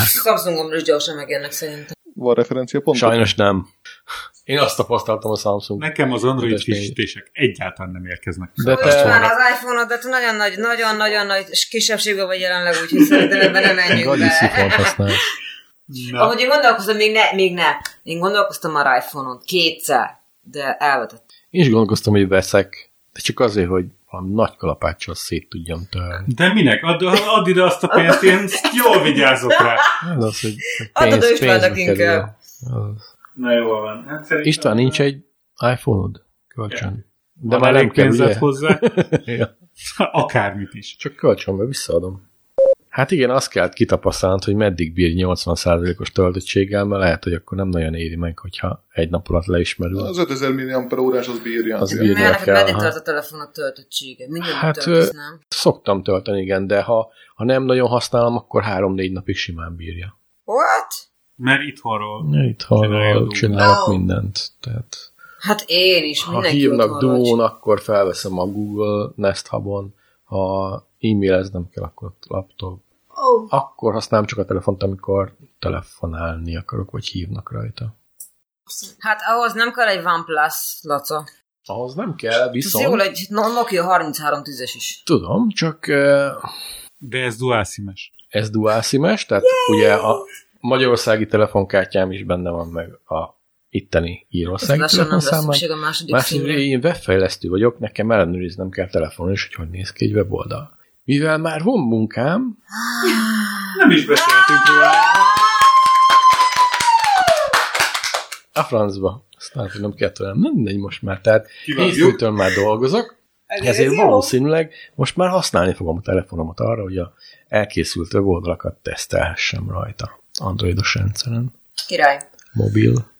Samsungomra is gyorsan megjönnek szerintem. Van referencia pont? Sajnos nem. Én azt tapasztaltam a Samsung. Nekem az Android Ötös négy. frissítések egyáltalán nem érkeznek. De Most te, már az iPhone-od, de te nagyon nagy, nagyon, nagyon nagy kisebbségben vagy jelenleg, úgyhogy szerintem ebben nem menjünk Gagyi be. szifont használsz. Na, Ahogy én gondolkoztam, még ne, még ne. Én gondolkoztam már iPhone-on kétszer, de elvetett. Én is gondolkoztam, hogy veszek, de csak azért, hogy valami nagy kalapáccsal szét tudjam törni. De minek? Add, add ide azt a pénzt, én jól vigyázok rá. Ez Hát az, hogy Adod pénz, Istvánnak pénzbe kerül. inkább. Az. Na jól van. Hát szerintem- István, nincs egy iPhone-od? Kölcsön. De Ha már nem elég kell, pénzed ugye? [LAUGHS] hozzá, Ja. akármit is. Csak kölcsön, mert visszaadom. Hát igen, azt kell kitapasztalnod, hogy meddig bír 80%-os töltöttséggel, mert lehet, hogy akkor nem nagyon éri meg, hogyha egy nap alatt leismerül. Az 5000 milliamper órás az bírja. Az Az bírja. bírja. Írják Mert neked el, meddig aha. tart a telefonok töltöttsége? Mindent Hát, hát, töltesz, nem? Szoktam tölteni, igen, de ha, ha nem nagyon használom, akkor 3-4 napig simán bírja. What? Mert itthonról. Itt Csinálja a Doom. hallom, csinálok Wow. mindent. Tehát, Hát én is, ha mindenki hívnak otthonról Dún, csinál. akkor felveszem a Google Nest Hub-on, ha e-maileznem kell, akkor laptop. Ó, Akkor használom csak a telefont, amikor telefonálni akarok, vagy hívnak rajta. Hát ahhoz nem kell egy OnePlus, Laca. Ahhoz nem kell, Ez jól viszont... egy No- Nokia 3310-es is. Tudom, csak eh, De ez dual SIM-es. ez dual SIM-es, tehát ugye a magyarországi telefonkártyám is benne van meg a itteni Ezt írországi lassan nem lesz telefonszámban. szükség a második Másrészt filmre. én webfejlesztő vagyok, nekem ellenőriznem kell telefonon is, hogy hogy néz ki egy weboldal. Mivel már van munkám, Nem is beszéltünk róla. a francba, azt látom, nem kell tőlem, nem mindegy most már, tehát Kivágjuk. hétfőtől már dolgozok, ez- ez ezért jó. valószínűleg most már használni fogom a telefonomat arra, hogy a elkészült weboldalakat tesztelhessem rajta. Androidos rendszeren, Király. mobilban.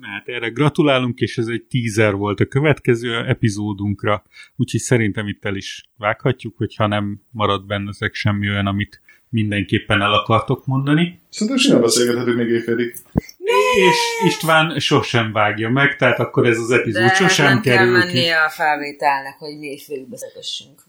Hát erre gratulálunk, és ez egy teaser volt a következő epizódunkra, úgyhogy szerintem itt el is vághatjuk, hogyha nem marad bennetek semmi olyan, amit mindenképpen el akartok mondani. Szerintem simán beszélgethetünk még éjfélig. És István sosem vágja meg, tehát akkor ez az epizód De hát sosem nem kell kerül ki. mennie a felvételnek, hogy mi félbe beszélgessünk.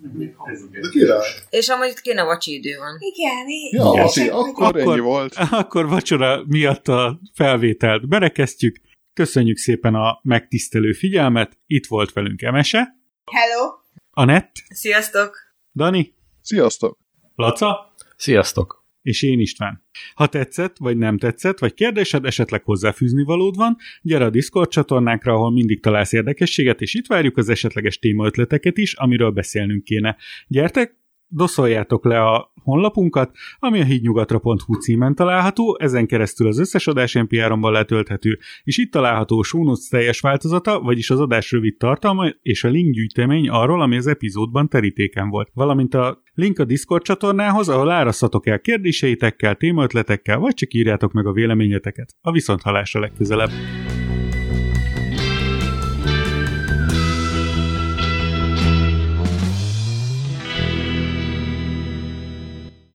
De király. És amúgy itt kéne vacsi idő van. igen, igen. Ja, Igen. Laci, akkor, Akkor- akkor ennyi volt. Akkor vacsora miatt a felvételt berekeztjük. Köszönjük szépen a megtisztelő figyelmet. Itt volt velünk Emese, Hello! Anett, Sziasztok! Dani, Sziasztok! Laca, Sziasztok! és én István. Ha tetszett, vagy nem tetszett, vagy kérdésed, esetleg hozzáfűzni valód van, gyere a Discord csatornánkra, ahol mindig találsz érdekességet, és itt várjuk az esetleges témaötleteket is, amiről beszélnünk kéne. Gyertek, doszoljátok le a honlapunkat, ami a hídnyugatra.hu címen található, ezen keresztül az összes adás NPR-omban letölthető, és itt található a show notes teljes változata, vagyis az adás rövid tartalma és a link gyűjtemény arról, ami az epizódban terítéken volt, valamint a link a Discord csatornához, ahol árasztatok el kérdéseitekkel, témaötletekkel, vagy csak írjátok meg a véleményeteket. A viszonthallásra legközelebb!